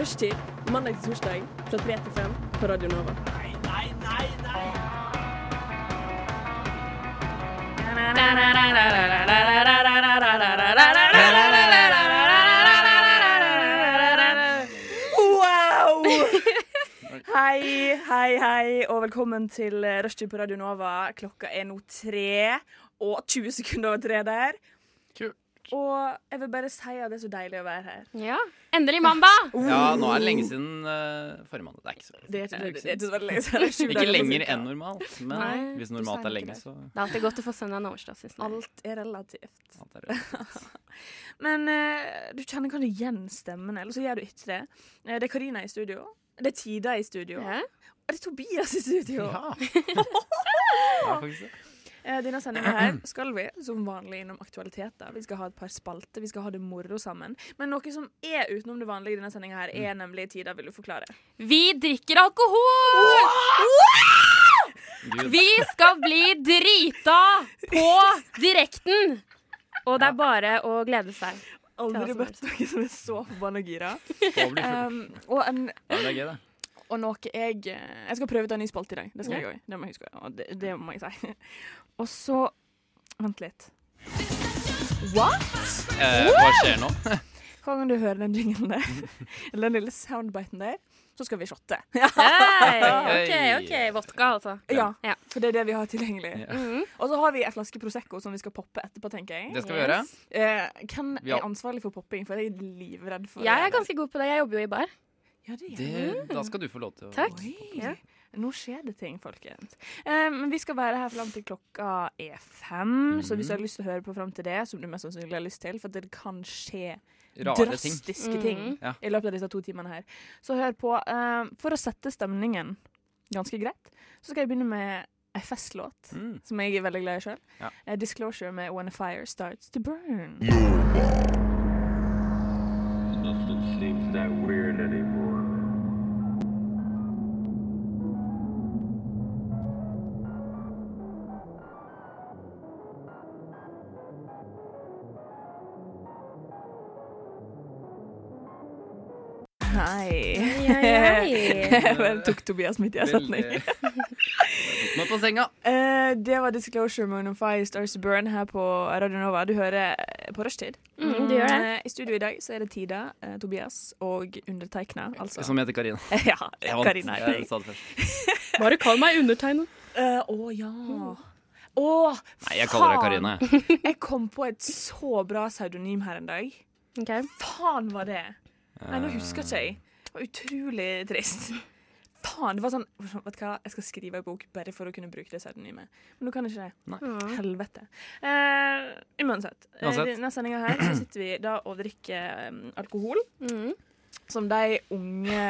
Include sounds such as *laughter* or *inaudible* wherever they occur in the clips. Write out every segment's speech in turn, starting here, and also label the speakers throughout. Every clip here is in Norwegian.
Speaker 1: Rushtid mandag til torsdag fra 3 til 5 på Radio Nova.
Speaker 2: Wow!
Speaker 1: *laughs*
Speaker 2: Hei, hei, hei, og velkommen til Rushtid på Radio Nova. Klokka er nå tre og 20 sekunder over tre der.
Speaker 3: Kult.
Speaker 2: Og jeg vil bare si at det er så deilig å være her.
Speaker 4: Ja. Endelig mandag!
Speaker 3: Ja, nå er det lenge siden uh, forrige mandag. Det er ikke så
Speaker 2: Det er ikke,
Speaker 3: det er ikke
Speaker 2: det er ikke så veldig lenge siden. Det er sju dager
Speaker 3: Ikke
Speaker 2: på
Speaker 3: lenger
Speaker 2: siden.
Speaker 3: enn normalt, men
Speaker 4: Nei,
Speaker 3: hvis
Speaker 2: du sa
Speaker 3: normalt er
Speaker 2: ikke
Speaker 3: lenge,
Speaker 2: det.
Speaker 3: så
Speaker 4: Det er alltid godt å få søndagen over, da, synes jeg.
Speaker 2: Alt er relativt.
Speaker 3: alt er det.
Speaker 2: Men eh, du kjenner kanskje igjen stemmen, eller så gjør du ikke det. Eh, det er Karina i studio. Det er Tida i studio.
Speaker 4: Ja.
Speaker 2: Og det er Tobias i studio. *laughs*
Speaker 3: Ja. Ja, faktisk det.
Speaker 2: Eh, Denne sendingen her skal vi som vanlig innom aktualiteter. Vi skal ha et par spalter, vi skal ha det moro sammen. Men noe som er utenom det vanlige i denne sendingen her, er nemlig Tida vil du forklare.
Speaker 4: Vi drikker alkohol!
Speaker 3: Gud.
Speaker 4: Vi skal bli drita på direkten! Og det er bare å glede seg.
Speaker 2: Aldri
Speaker 4: Klara
Speaker 2: møtt noen som er så forbanna gira.
Speaker 3: Å bli full.
Speaker 2: Um, og, en,
Speaker 3: Ja, det er gøy, det.
Speaker 2: og noe jeg eh, Jeg skal prøve ut en ny spalte i dag. Det skal
Speaker 4: Ja.
Speaker 2: jeg òg. Det må jeg huske. Og det, det må jeg si. *laughs* Og så Vent litt.
Speaker 3: Eh, hva skjer nå?
Speaker 2: Hver gang du hører den jinglen der, *laughs* eller den lille soundbiten der, så skal vi shotte.
Speaker 4: Hei, OK, OK. Vodka, altså.
Speaker 2: Ja,
Speaker 4: Ja.
Speaker 2: for det er det vi har tilgjengelig.
Speaker 3: Ja.
Speaker 4: Mhm.
Speaker 2: Og så har vi en flaske Prosecco som vi skal poppe etterpå, tenker jeg.
Speaker 3: Det skal vi gjøre.
Speaker 2: Eh, hvem
Speaker 3: Ja.
Speaker 2: er ansvarlig for popping? For jeg er livredd for
Speaker 4: Jeg er ganske god på det. Jeg jobber jo i bar.
Speaker 2: Ja, det er jeg.
Speaker 3: Det, da skal du få lov til å
Speaker 4: Takk.
Speaker 2: Oi.
Speaker 4: Ja.
Speaker 2: Nå skjer det ting, folkens. Eh, Men vi skal være her fram til klokka er fem. Så hvis du har
Speaker 3: Mhm.
Speaker 2: lyst til å høre på fram til det, som du mest sannsynlig har lyst til, for det kan skje
Speaker 3: Rare ting.
Speaker 2: drastiske ting
Speaker 4: Mhm.
Speaker 3: Ja.
Speaker 2: i løpet av disse to timene her, så hør på. eh, For å sette stemningen ganske greit, så skal jeg begynne med ei festlåt. *laughs*
Speaker 3: Mm.
Speaker 2: Som jeg er veldig glad i sjøl.
Speaker 3: Ja.
Speaker 2: Eh, Disclosure med When a Fire Starts to Burn.
Speaker 5: Nothing seems that weird anymore.
Speaker 2: Hei.
Speaker 3: *laughs*
Speaker 2: *laughs*
Speaker 4: *laughs* Hei.
Speaker 2: Jeg tok Tobias midt i en setning.
Speaker 3: Veldig- Tok meg på senga.
Speaker 2: Eh, det var Disclosure Moon and Fire Stars to Burn her på Radio Nova. Du hører eh, på rushtid.
Speaker 4: Mm, du gjør det.
Speaker 2: Eh, I studio i dag så er det Tida, eh, Tobias og undertegna, altså.
Speaker 3: Som heter Karina.
Speaker 2: *laughs* ja,
Speaker 3: Jeg vant.
Speaker 2: Karina. heter
Speaker 3: Jeg
Speaker 2: jeg.
Speaker 3: sa det først.
Speaker 4: Bare kall meg undertegnet.
Speaker 2: Eh, Å ja.
Speaker 4: Mm.
Speaker 2: Å,
Speaker 3: Nei, jeg kaller deg
Speaker 2: faen.
Speaker 3: Karina. jeg.
Speaker 2: Jeg kom på et så bra pseudonym her en dag. Faen var det? Nei, nå husker ikke jeg. Det var utrolig trist. Faen, det var sånn Vet du hva, jeg skal skrive en bok bare for å kunne bruke det pseudonymet. Men nå kan jeg ikke det. Helvete. Eh, uansett. eh,
Speaker 3: Uansett.
Speaker 2: I denne sendinga her så sitter vi da og drikker eh, alkohol.
Speaker 4: Mm.
Speaker 2: Som de unge,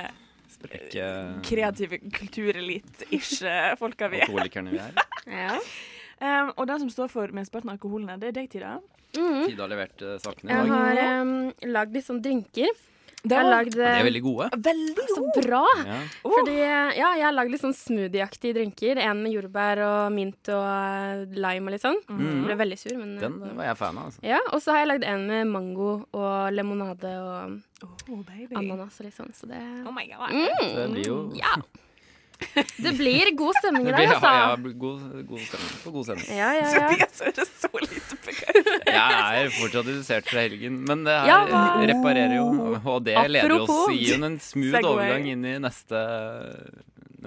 Speaker 2: eh,
Speaker 3: Sprekke
Speaker 2: kreative kulturelit-ish-folka vi er.
Speaker 3: alkoholikerne vi er.
Speaker 4: Ja.
Speaker 2: Eh, og den som står for mesteparten av alkoholen her, det er deg, Tida.
Speaker 4: Mhm.
Speaker 3: Tide har levert eh, sakene i
Speaker 4: Jeg
Speaker 3: dag.
Speaker 4: har em, lagd litt sånn drinker. Jeg har
Speaker 2: var
Speaker 4: lagd
Speaker 3: De er
Speaker 4: eh,
Speaker 3: veldig gode.
Speaker 2: veldig
Speaker 4: så
Speaker 2: god.
Speaker 4: bra.
Speaker 3: Ja.
Speaker 4: Fordi, ja, jeg har lagd litt sånn smoothieaktige drinker. En med jordbær og mint og eh, lime og litt sånn.
Speaker 3: Mm.
Speaker 4: Ble veldig sur, men eh,
Speaker 3: Den var jeg fan av. Altså.
Speaker 4: Ja, Og så har jeg lagd en med mango og lemonade og
Speaker 2: Oh, baby.
Speaker 4: ananas og litt sånn, så det
Speaker 2: Oh my god. *laughs*
Speaker 3: Det blir jo
Speaker 4: Mm. Ja. Det blir god stemning
Speaker 3: det
Speaker 4: i
Speaker 3: blir,
Speaker 4: dag,
Speaker 3: ja, ja,
Speaker 4: altså.
Speaker 3: god, god stemning. På god stemning.
Speaker 4: Ja, ja, ja.
Speaker 2: Tobias høres så lite begeistret
Speaker 3: Jeg er fortsatt redusert fra helgen, men det her
Speaker 4: Ja, hva?
Speaker 3: reparerer jo. Og det leder oss
Speaker 4: Apropos.
Speaker 3: i en smooth
Speaker 2: Segway.
Speaker 3: overgang inn i neste,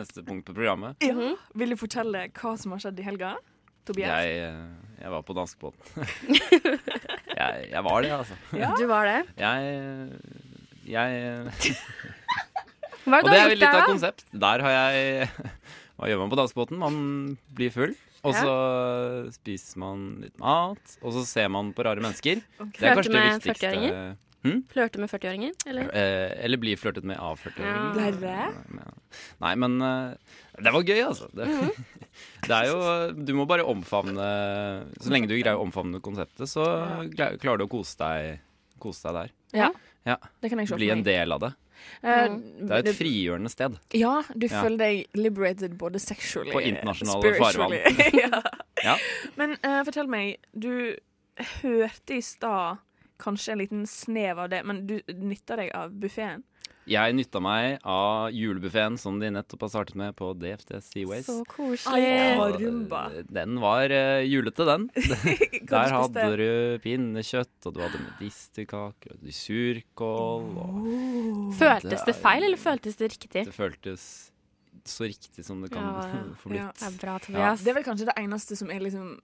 Speaker 3: neste punkt på programmet.
Speaker 2: ja. Vil du fortelle hva som har skjedd i helga? Tobias?
Speaker 3: Jeg, eh, jeg var på
Speaker 4: *laughs*
Speaker 3: danskebåten. Jeg, jeg var det, altså.
Speaker 4: Du var det.
Speaker 3: Jeg, jeg
Speaker 4: Hva
Speaker 3: Og det er
Speaker 4: har
Speaker 3: vel litt
Speaker 4: gjort der,
Speaker 3: av
Speaker 4: da?
Speaker 3: konsept. Der har jeg *laughs* Hva gjør man på dansebåten? Man blir full, og så spiser man litt mat, og så ser man på rare mennesker. Det er
Speaker 4: Flørte
Speaker 3: kanskje det
Speaker 4: med
Speaker 3: viktigste.
Speaker 4: 40-åringer? Flørte med 40-åringer, eller?
Speaker 3: Eh, eller bli flørtet med av 40-åringer.
Speaker 2: Ja. Dere?
Speaker 3: Nei, men eh, det var gøy, altså. Det, *laughs* det er jo Du må bare omfavne Så lenge du greier å omfavne konseptet, så gla- klarer du å kose deg, kose deg der.
Speaker 2: Ja.
Speaker 3: Ja.
Speaker 2: Det kan jeg se
Speaker 3: Bli
Speaker 2: for
Speaker 3: en
Speaker 2: meg.
Speaker 3: del av det.
Speaker 2: Eh,
Speaker 3: Det er jo et frigjørende sted.
Speaker 2: Ja, du
Speaker 3: Ja.
Speaker 2: føler deg liberated både sexually
Speaker 3: På internasjonale
Speaker 2: spiritually. *laughs* ja.
Speaker 3: Ja.
Speaker 2: Men eh, fortell meg, du hørte i stad kanskje en liten snev av det, men du nytter deg av buffeen.
Speaker 3: Jeg nytta meg av julebuffeen som de nettopp har startet med på DFT Seaways.
Speaker 4: Så
Speaker 2: Ai,
Speaker 4: koselig.
Speaker 2: ja.
Speaker 3: Og,
Speaker 2: rumba.
Speaker 3: eh, Den var eh, julete, den. Der hadde
Speaker 2: spiste?
Speaker 3: du pinnekjøtt, og du hadde medisterkaker, og du surkål og
Speaker 4: Føltes det feil, eller føltes det riktig?
Speaker 3: Det føltes så riktig som det kan
Speaker 4: Ja, ja.
Speaker 3: *laughs* få blitt.
Speaker 2: Ja.
Speaker 4: Det er bra, Tobias.
Speaker 2: Det er vel kanskje det eneste som er liksom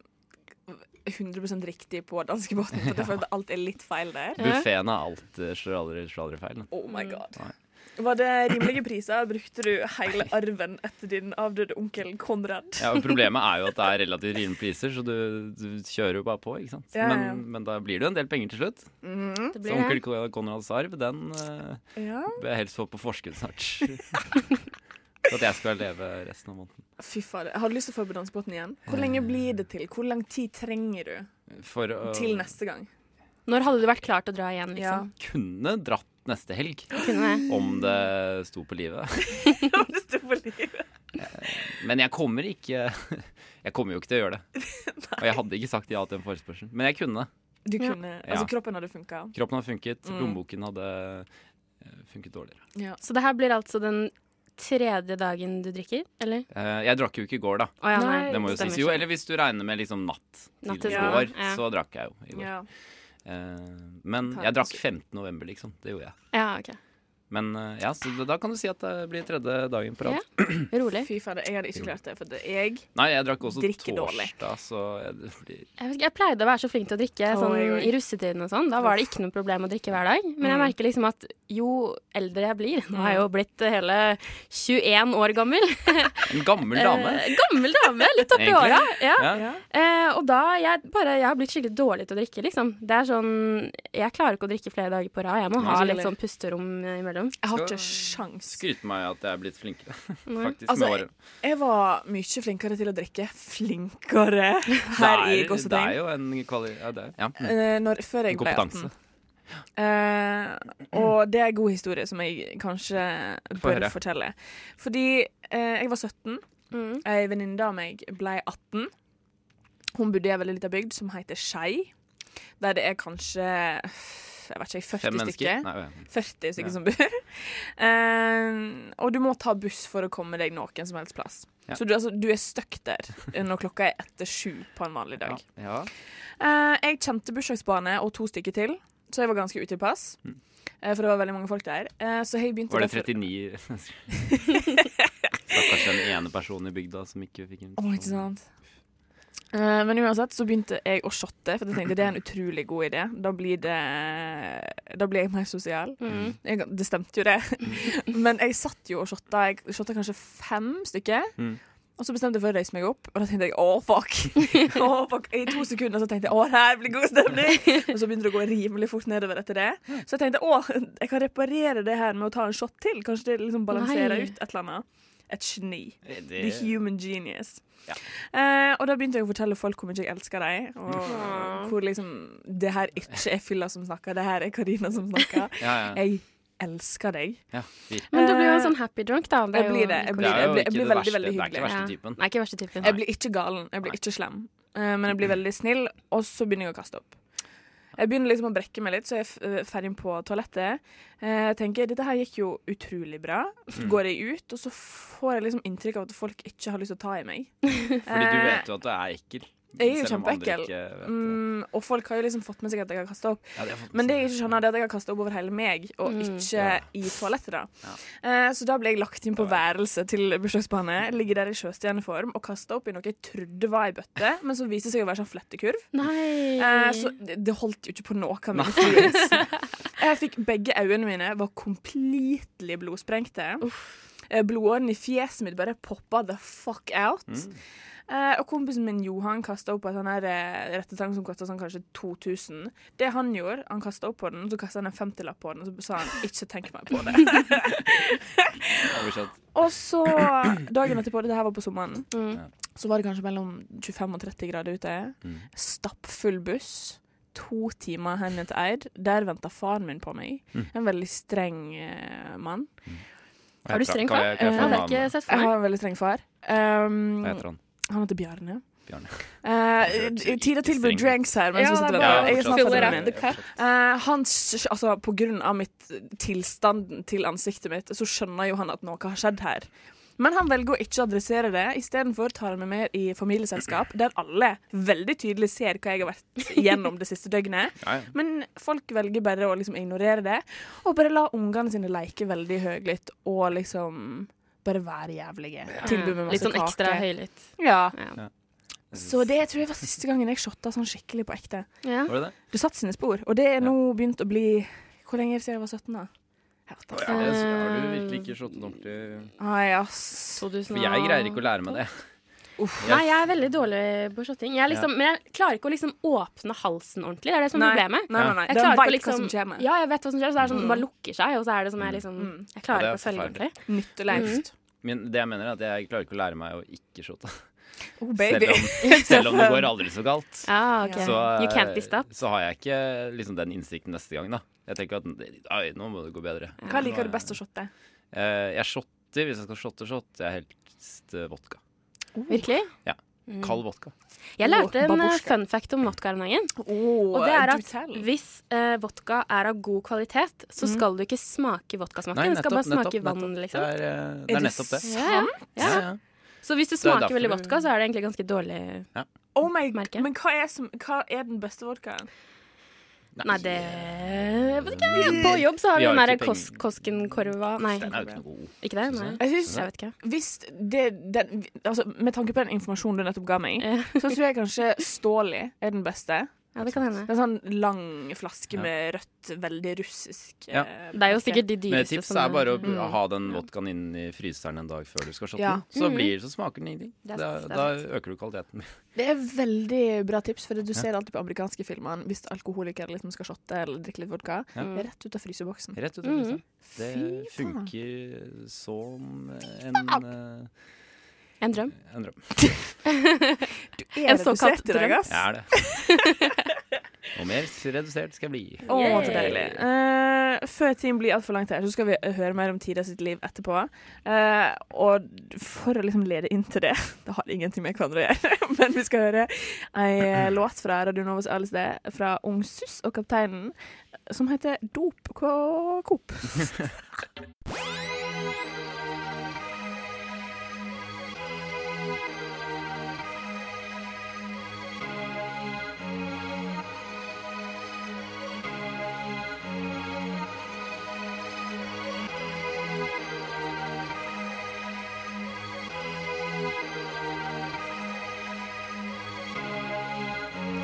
Speaker 2: 100 riktig på danskebåten. For jeg føler at alt er litt feil der.
Speaker 3: Buffeen er alltid slår aldri, slår aldri feil. den.
Speaker 2: Oh my god.
Speaker 3: Nei.
Speaker 2: Var det rimelige priser? Brukte du hele arven etter din avdøde onkel Konrad?
Speaker 3: Ja, og Problemet er jo at det er relativt rimelige priser, så du, du kjører jo bare på. ikke sant?
Speaker 2: Ja, ja, ja.
Speaker 3: Men, men da blir det jo en del penger til slutt.
Speaker 4: Det
Speaker 3: Så
Speaker 4: blir
Speaker 3: onkel
Speaker 4: det.
Speaker 3: Kon- Konrads arv, den eh,
Speaker 2: Mm. Ja.
Speaker 3: bør jeg helst få på forskudd snart.
Speaker 4: *laughs*
Speaker 3: Så at jeg skal leve resten av måneden.
Speaker 2: Fy fader. Jeg hadde lyst til å få på dansebåten igjen. Hvor lenge
Speaker 3: Eh.
Speaker 2: blir det til? Hvor lang tid trenger du
Speaker 3: For å
Speaker 2: til neste gang? *laughs*
Speaker 4: Når hadde du vært klar til å dra igjen, liksom?
Speaker 3: kunne dratt neste helg,
Speaker 4: Kunne
Speaker 3: om det sto på livet.
Speaker 2: Ja, det sto på livet.
Speaker 3: Men jeg kommer ikke Jeg kommer jo ikke til å gjøre det. Og jeg hadde ikke sagt ja til den forespørselen. Men jeg kunne.
Speaker 2: Du kunne, altså
Speaker 3: Ja.
Speaker 2: Kroppen hadde funka.
Speaker 3: Kroppen hadde funket,
Speaker 4: Mm.
Speaker 3: lommeboken hadde eh, funket dårligere.
Speaker 4: Så det her blir altså den tredje dagen du drikker, eller?
Speaker 3: Eh, Jeg drakk jo ikke i går, da.
Speaker 4: Å ja, nei.
Speaker 3: Det må jo
Speaker 4: stemmer
Speaker 3: sies. Jo,
Speaker 4: ikke.
Speaker 3: eller hvis du regner med liksom natt
Speaker 4: Natt
Speaker 3: til
Speaker 4: til
Speaker 3: i
Speaker 4: søndag,
Speaker 3: går,
Speaker 4: ja.
Speaker 3: så drakk jeg jo i går.
Speaker 2: Ja.
Speaker 3: Eh, Men jeg drakk 15. november, liksom. Det gjorde jeg.
Speaker 4: Ja, ok.
Speaker 3: Men eh, ja, så da kan du si at det blir tredje dagen på rad.
Speaker 4: Ja. Rolig.
Speaker 2: Fy fader, jeg hadde ikke klart det. For det er jeg
Speaker 3: Nei, jeg drakk også
Speaker 2: Drikker dårlig.
Speaker 3: torsdag, så jeg, det blir
Speaker 4: Jeg, vet ikke, jeg pleide å være så flink til å drikke
Speaker 2: Å,
Speaker 4: sånn,
Speaker 2: jeg òg.
Speaker 4: i russetiden og sånn. Da var det ikke noe problem å drikke hver dag. Men jeg merker liksom at jo eldre jeg blir Nå er jeg jo blitt hele 21 år gammel.
Speaker 3: En gammel *laughs* dame.
Speaker 4: Eh, Gammel dame, litt oppi
Speaker 3: Egentlig.
Speaker 4: åra. Ja.
Speaker 3: Ja.
Speaker 4: Eh, og da jeg bare Jeg har blitt skikkelig dårlig til å drikke, liksom. Det er sånn Jeg klarer ikke å drikke flere dager på rad. Jeg må ha
Speaker 2: Nei,
Speaker 4: litt
Speaker 2: heller.
Speaker 4: sånn pusterom imellom.
Speaker 2: Jeg har
Speaker 3: Skal-
Speaker 2: ikke sjans.
Speaker 3: Skryter meg at jeg er blitt flinkere, *laughs* faktisk.
Speaker 2: Altså,
Speaker 3: med året.
Speaker 2: Jeg var mye flinkere til å drikke. Flinkere
Speaker 3: *laughs*
Speaker 2: her i
Speaker 3: Det er- Det er
Speaker 2: gåsetegn.
Speaker 3: jo en kvali... Ja, det er, ja. mm.
Speaker 2: Eh, Når, før jeg
Speaker 3: En
Speaker 2: ble 18.
Speaker 3: kompetanse.
Speaker 2: Eh, og det er en god historie som jeg kanskje
Speaker 3: Få
Speaker 2: bør
Speaker 3: høre.
Speaker 2: fortelle. Fordi eh, jeg var 17.
Speaker 4: Mm.
Speaker 2: Ei venninne av meg ble 18. Hun bodde i ei veldig lita bygd som heter Skei. Der det er kanskje jeg vet ikke,
Speaker 3: Fem
Speaker 2: 40
Speaker 3: mennesker.
Speaker 2: stykker.
Speaker 3: Nei, ja.
Speaker 2: 40 stykker
Speaker 3: Ja.
Speaker 2: som bor. *laughs* Eh, og du må ta buss for å komme deg noen som helst plass.
Speaker 3: Ja.
Speaker 2: Så du, altså, du er stuck der når klokka er etter sju på en vanlig dag.
Speaker 3: Ja.
Speaker 2: Eh, jeg kjente bursdagsbarnet og to stykker til, så jeg var ganske utilpass. Eh, for det var veldig mange folk der. Eh, så jeg begynte
Speaker 3: Mm. Var *laughs* det
Speaker 2: derfor-
Speaker 3: 39 Stakkars den ene personen i bygda som ikke fikk en sånn-
Speaker 2: Å, ikke sant? Eh, men uansett så begynte jeg å shotte, for jeg tenkte det er en utrolig god idé. Da blir, det, da blir jeg mer sosial.
Speaker 4: Mm.
Speaker 2: Jeg, det stemte jo, det. *laughs* Men jeg satt jo og shotta. Jeg shotta kanskje fem stykker.
Speaker 3: Mm.
Speaker 2: Og så bestemte jeg for å reise meg opp, og da tenkte jeg å, fuck. *laughs* Å, fuck. I to sekunder så tenkte jeg å, det her blir god stemning. Og så begynte det å gå rimelig fort nedover etter det. Så jeg tenkte å, jeg kan reparere det her med å ta en shot til. Kanskje det liksom balanserer
Speaker 4: Nei.
Speaker 2: ut et eller annet. Et geni.
Speaker 3: det,
Speaker 2: The human genius.
Speaker 3: Ja.
Speaker 2: Eh, og da begynte jeg å fortelle folk hvor mye jeg elsker dem, og hvor liksom det her ikke er Fylla som snakker, det her er Karina som snakker.
Speaker 3: ja, ja.
Speaker 2: Jeg elsker deg.
Speaker 3: ja. fint.
Speaker 4: Men du blir jo en sånn happy drunk, da.
Speaker 2: Eh, Jeg blir det. Jeg
Speaker 3: Det
Speaker 2: blir,
Speaker 3: er
Speaker 2: jeg
Speaker 3: jo
Speaker 2: blir, jeg
Speaker 3: ikke
Speaker 2: blir
Speaker 3: det
Speaker 2: veldig,
Speaker 3: verste.
Speaker 2: veldig
Speaker 3: Det er ikke
Speaker 2: hyggelig.
Speaker 3: verste
Speaker 4: Ja.
Speaker 3: typen.
Speaker 4: Nei, ikke verste typen.
Speaker 2: Jeg blir ikke galen, jeg blir ikke slem, eh, men jeg blir veldig snill, og så begynner jeg å kaste opp. Jeg begynner liksom å brekke meg litt, så jeg f- eh, fer inn på toalettet. Eh, Jeg tenker, dette her gikk jo utrolig bra.
Speaker 3: Mm.
Speaker 2: Så går jeg ut, og så får jeg liksom inntrykk av at folk ikke har lyst til å ta i meg.
Speaker 3: *laughs* Fordi du
Speaker 2: Eh,
Speaker 3: vet jo at du er ekkel.
Speaker 2: jeg er jo
Speaker 3: selv om andre
Speaker 2: kjempeekkel.
Speaker 3: ikke vet det.
Speaker 2: Mm, og folk har jo liksom fått med seg at jeg har kasta opp.
Speaker 3: Ja, det har jeg fått med
Speaker 2: Men det
Speaker 3: seg.
Speaker 2: jeg ikke skjønner, det er at jeg har kasta opp over hele meg, og ikke
Speaker 3: Ja.
Speaker 2: i toalettet. da.
Speaker 3: Ja.
Speaker 2: Eh, så da ble jeg lagt inn på værelset til bursdagsbarnet, ligger der i sjøstjerneform og kasta opp i noe jeg trodde var ei bøtte, men som viste seg å være sånn flettekurv.
Speaker 4: Nei.
Speaker 2: Eh, så det, det holdt jo ikke på noe av min influence. Jeg fikk begge øynene mine var completely blodsprengte. Eh, Blodåren i fjeset mitt bare poppa the fuck out. Eh, og kompisen min Johan kasta opp på en sånn her eh, rettetang som kosta sånn kanskje 2000. Det han gjorde, han kasta opp på den, så kasta han en 50-lapp på den, og så sa han 'ikke tenk meg på det'.
Speaker 3: Oversatt.
Speaker 2: og så, dagen etterpå, det her var på sommeren,
Speaker 4: Mm.
Speaker 2: så var det kanskje mellom 25 og 30 grader ute. Stappfull buss. To timer hen til Eid. Der venta faren min på meg. En veldig streng eh, mann.
Speaker 4: Er du
Speaker 3: Kan
Speaker 4: streng far?
Speaker 3: jeg-
Speaker 4: Jeg
Speaker 3: kan jeg få
Speaker 4: har
Speaker 3: navnet?
Speaker 4: ikke
Speaker 2: Jeg
Speaker 4: sett for meg.
Speaker 2: har en veldig streng far. Um,
Speaker 3: Hva heter han?
Speaker 2: Han heter Bjarne.
Speaker 3: Bjarne.
Speaker 2: Eh, Tida tilbyr
Speaker 3: Strengt.
Speaker 2: dranks her. Mens
Speaker 6: Ja,
Speaker 2: hun sitter
Speaker 6: det er
Speaker 2: der.
Speaker 6: bare
Speaker 2: Jeg er
Speaker 3: fortsatt.
Speaker 2: snart
Speaker 6: fill
Speaker 2: ferdig
Speaker 6: it
Speaker 2: med
Speaker 6: up
Speaker 2: min.
Speaker 6: the cup.
Speaker 2: Eh, han, s- altså, på grunn av mitt, tilstanden til ansiktet mitt, så skjønner jo han at noe har skjedd her. Men han velger å ikke adressere det. Istedenfor tar han meg med i familieselskap, der alle veldig tydelig ser hva jeg har vært gjennom det siste døgnet.
Speaker 3: Ja, ja.
Speaker 2: Men folk velger bare å liksom ignorere det, og bare la ungene sine leke veldig høylytt og liksom bare være jævlige. Tilby meg masse
Speaker 4: Litt sånn ekstra
Speaker 2: kake.
Speaker 4: høylytt.
Speaker 2: Ja.
Speaker 4: Ja.
Speaker 2: Så det tror jeg var siste gangen jeg shotta sånn skikkelig på ekte.
Speaker 4: Ja.
Speaker 3: Var det det?
Speaker 2: Du satte sine spor, og det er nå begynt å bli Hvor lenge er det siden jeg var 17, da? Jeg vet da.
Speaker 6: Ja, det har du virkelig ikke slått den
Speaker 2: Eh,
Speaker 6: ordentlig
Speaker 2: Ai, ass.
Speaker 3: For jeg greier ikke å lære meg det.
Speaker 4: Nei, jeg er veldig dårlig på shotting. Jeg liksom, Men jeg klarer ikke å liksom åpne halsen ordentlig. Det er det som er problemet.
Speaker 2: Nei, nei, nei.
Speaker 4: Jeg
Speaker 2: Den
Speaker 4: klarer ikke å
Speaker 2: vet hva som
Speaker 4: liksom-
Speaker 2: Mm. kommer.
Speaker 4: Ja, jeg vet hva som skjer. Så det er sånn, det bare lukker seg, og så er det sånn jeg liksom
Speaker 2: Mm.
Speaker 4: Jeg klarer
Speaker 3: Ja,
Speaker 4: ikke
Speaker 3: det
Speaker 4: å
Speaker 3: er
Speaker 4: svelge ordentlig. Mhm.
Speaker 2: Nytteløst.
Speaker 3: Men det jeg mener, er at jeg klarer ikke å lære meg å ikke shotte.
Speaker 2: Oh,
Speaker 3: Selv
Speaker 2: *laughs* baby.
Speaker 3: om,
Speaker 2: *laughs*
Speaker 3: selv om det går aldri så galt.
Speaker 4: Ja, Ah, ok.
Speaker 3: Så, eh,
Speaker 4: you can't be stopped.
Speaker 3: så har jeg ikke liksom, den innsikten neste gang, da. Jeg tenker at Oi, nå må det gå bedre.
Speaker 2: Hva liker du best å shotte?
Speaker 3: Eh, jeg shotter, hvis jeg skal shotte shot, jeg helst eh, vodka.
Speaker 4: Virkelig.
Speaker 3: Kald vodka.
Speaker 4: Jeg lærte en eh,
Speaker 2: Babushka.
Speaker 4: fun fact om vodka her om dagen.
Speaker 2: Oh,
Speaker 4: Og det er
Speaker 2: do
Speaker 4: at
Speaker 2: tell.
Speaker 4: hvis eh, vodka er av god kvalitet, så
Speaker 3: Mm.
Speaker 4: skal du ikke smake vodkasmaken. Den skal bare smake vann, liksom.
Speaker 3: Det er, eh,
Speaker 2: Er
Speaker 3: det er
Speaker 2: det
Speaker 3: nettopp det.
Speaker 4: Ja, ja.
Speaker 3: Ja,
Speaker 4: Ja.
Speaker 3: ja.
Speaker 4: Så hvis du
Speaker 3: er
Speaker 4: smaker
Speaker 3: derfor
Speaker 4: veldig
Speaker 3: du-
Speaker 4: vodka, så er det egentlig ganske dårlig
Speaker 2: Oh my,
Speaker 4: merker jeg.
Speaker 2: men hva er, som, hva er den beste vodkaen?
Speaker 4: Nei, det jeg vet ikke. På jobb så har vi
Speaker 3: Vi har
Speaker 4: den derre
Speaker 3: ikke
Speaker 4: kos
Speaker 3: penger.
Speaker 4: Koskenkorva Nei,
Speaker 3: Den er jo ikke noe god.
Speaker 4: ikke det? Nei.
Speaker 2: Jeg synes,
Speaker 4: Jeg vet ikke.
Speaker 2: hvis det, den, altså, Med tanke på den informasjonen du nettopp ga meg,
Speaker 4: Eh,
Speaker 2: så tror jeg kanskje Ståli er den beste.
Speaker 4: Ja, det kan hende.
Speaker 2: En sånn lang flaske
Speaker 3: Ja.
Speaker 2: med rødt, veldig russisk
Speaker 3: Ja.
Speaker 2: eh,
Speaker 4: Det er jo sikkert de
Speaker 3: Men et
Speaker 4: dyreste
Speaker 3: tips er bare å
Speaker 4: Mm.
Speaker 3: ha den vodkaen inn i fryseren en dag før du skal shotte
Speaker 2: Ja.
Speaker 3: den. Så,
Speaker 4: Mhm.
Speaker 3: blir, så smaker den ingenting.
Speaker 4: Det er
Speaker 3: Da,
Speaker 4: sant, det er
Speaker 3: da øker du kvaliteten. *laughs*
Speaker 2: Det er veldig bra tips, for du ser alltid på amerikanske filmer hvis alkoholikere liksom skal shotte eller drikke litt vodka.
Speaker 3: Ja.
Speaker 4: Mm.
Speaker 2: Det er Rett ut av fryseboksen.
Speaker 3: Rett ut av
Speaker 4: Mhm.
Speaker 3: fryseren. Det
Speaker 2: Fy faen.
Speaker 3: funker som en, eh,
Speaker 4: En drøm.
Speaker 3: en drøm.
Speaker 4: En såkalt
Speaker 2: redusert i dag,
Speaker 4: drøm.
Speaker 2: ass.
Speaker 3: Jeg er det.
Speaker 4: *laughs*
Speaker 3: Og mer redusert skal jeg bli.
Speaker 2: Å, så
Speaker 4: Yay.
Speaker 2: deilig.
Speaker 4: *laughs*
Speaker 2: Eh, før tiden blir altfor langt her, så skal vi høre mer om Tida sitt liv etterpå. Eh, og for å liksom lede inn til det *laughs* Det har ingenting med hverandre å gjøre, *laughs* men vi skal høre ei låt fra Radio Novas Alice D, fra Ung Suss og Kapteinen, som heter Dop Ko- Coop.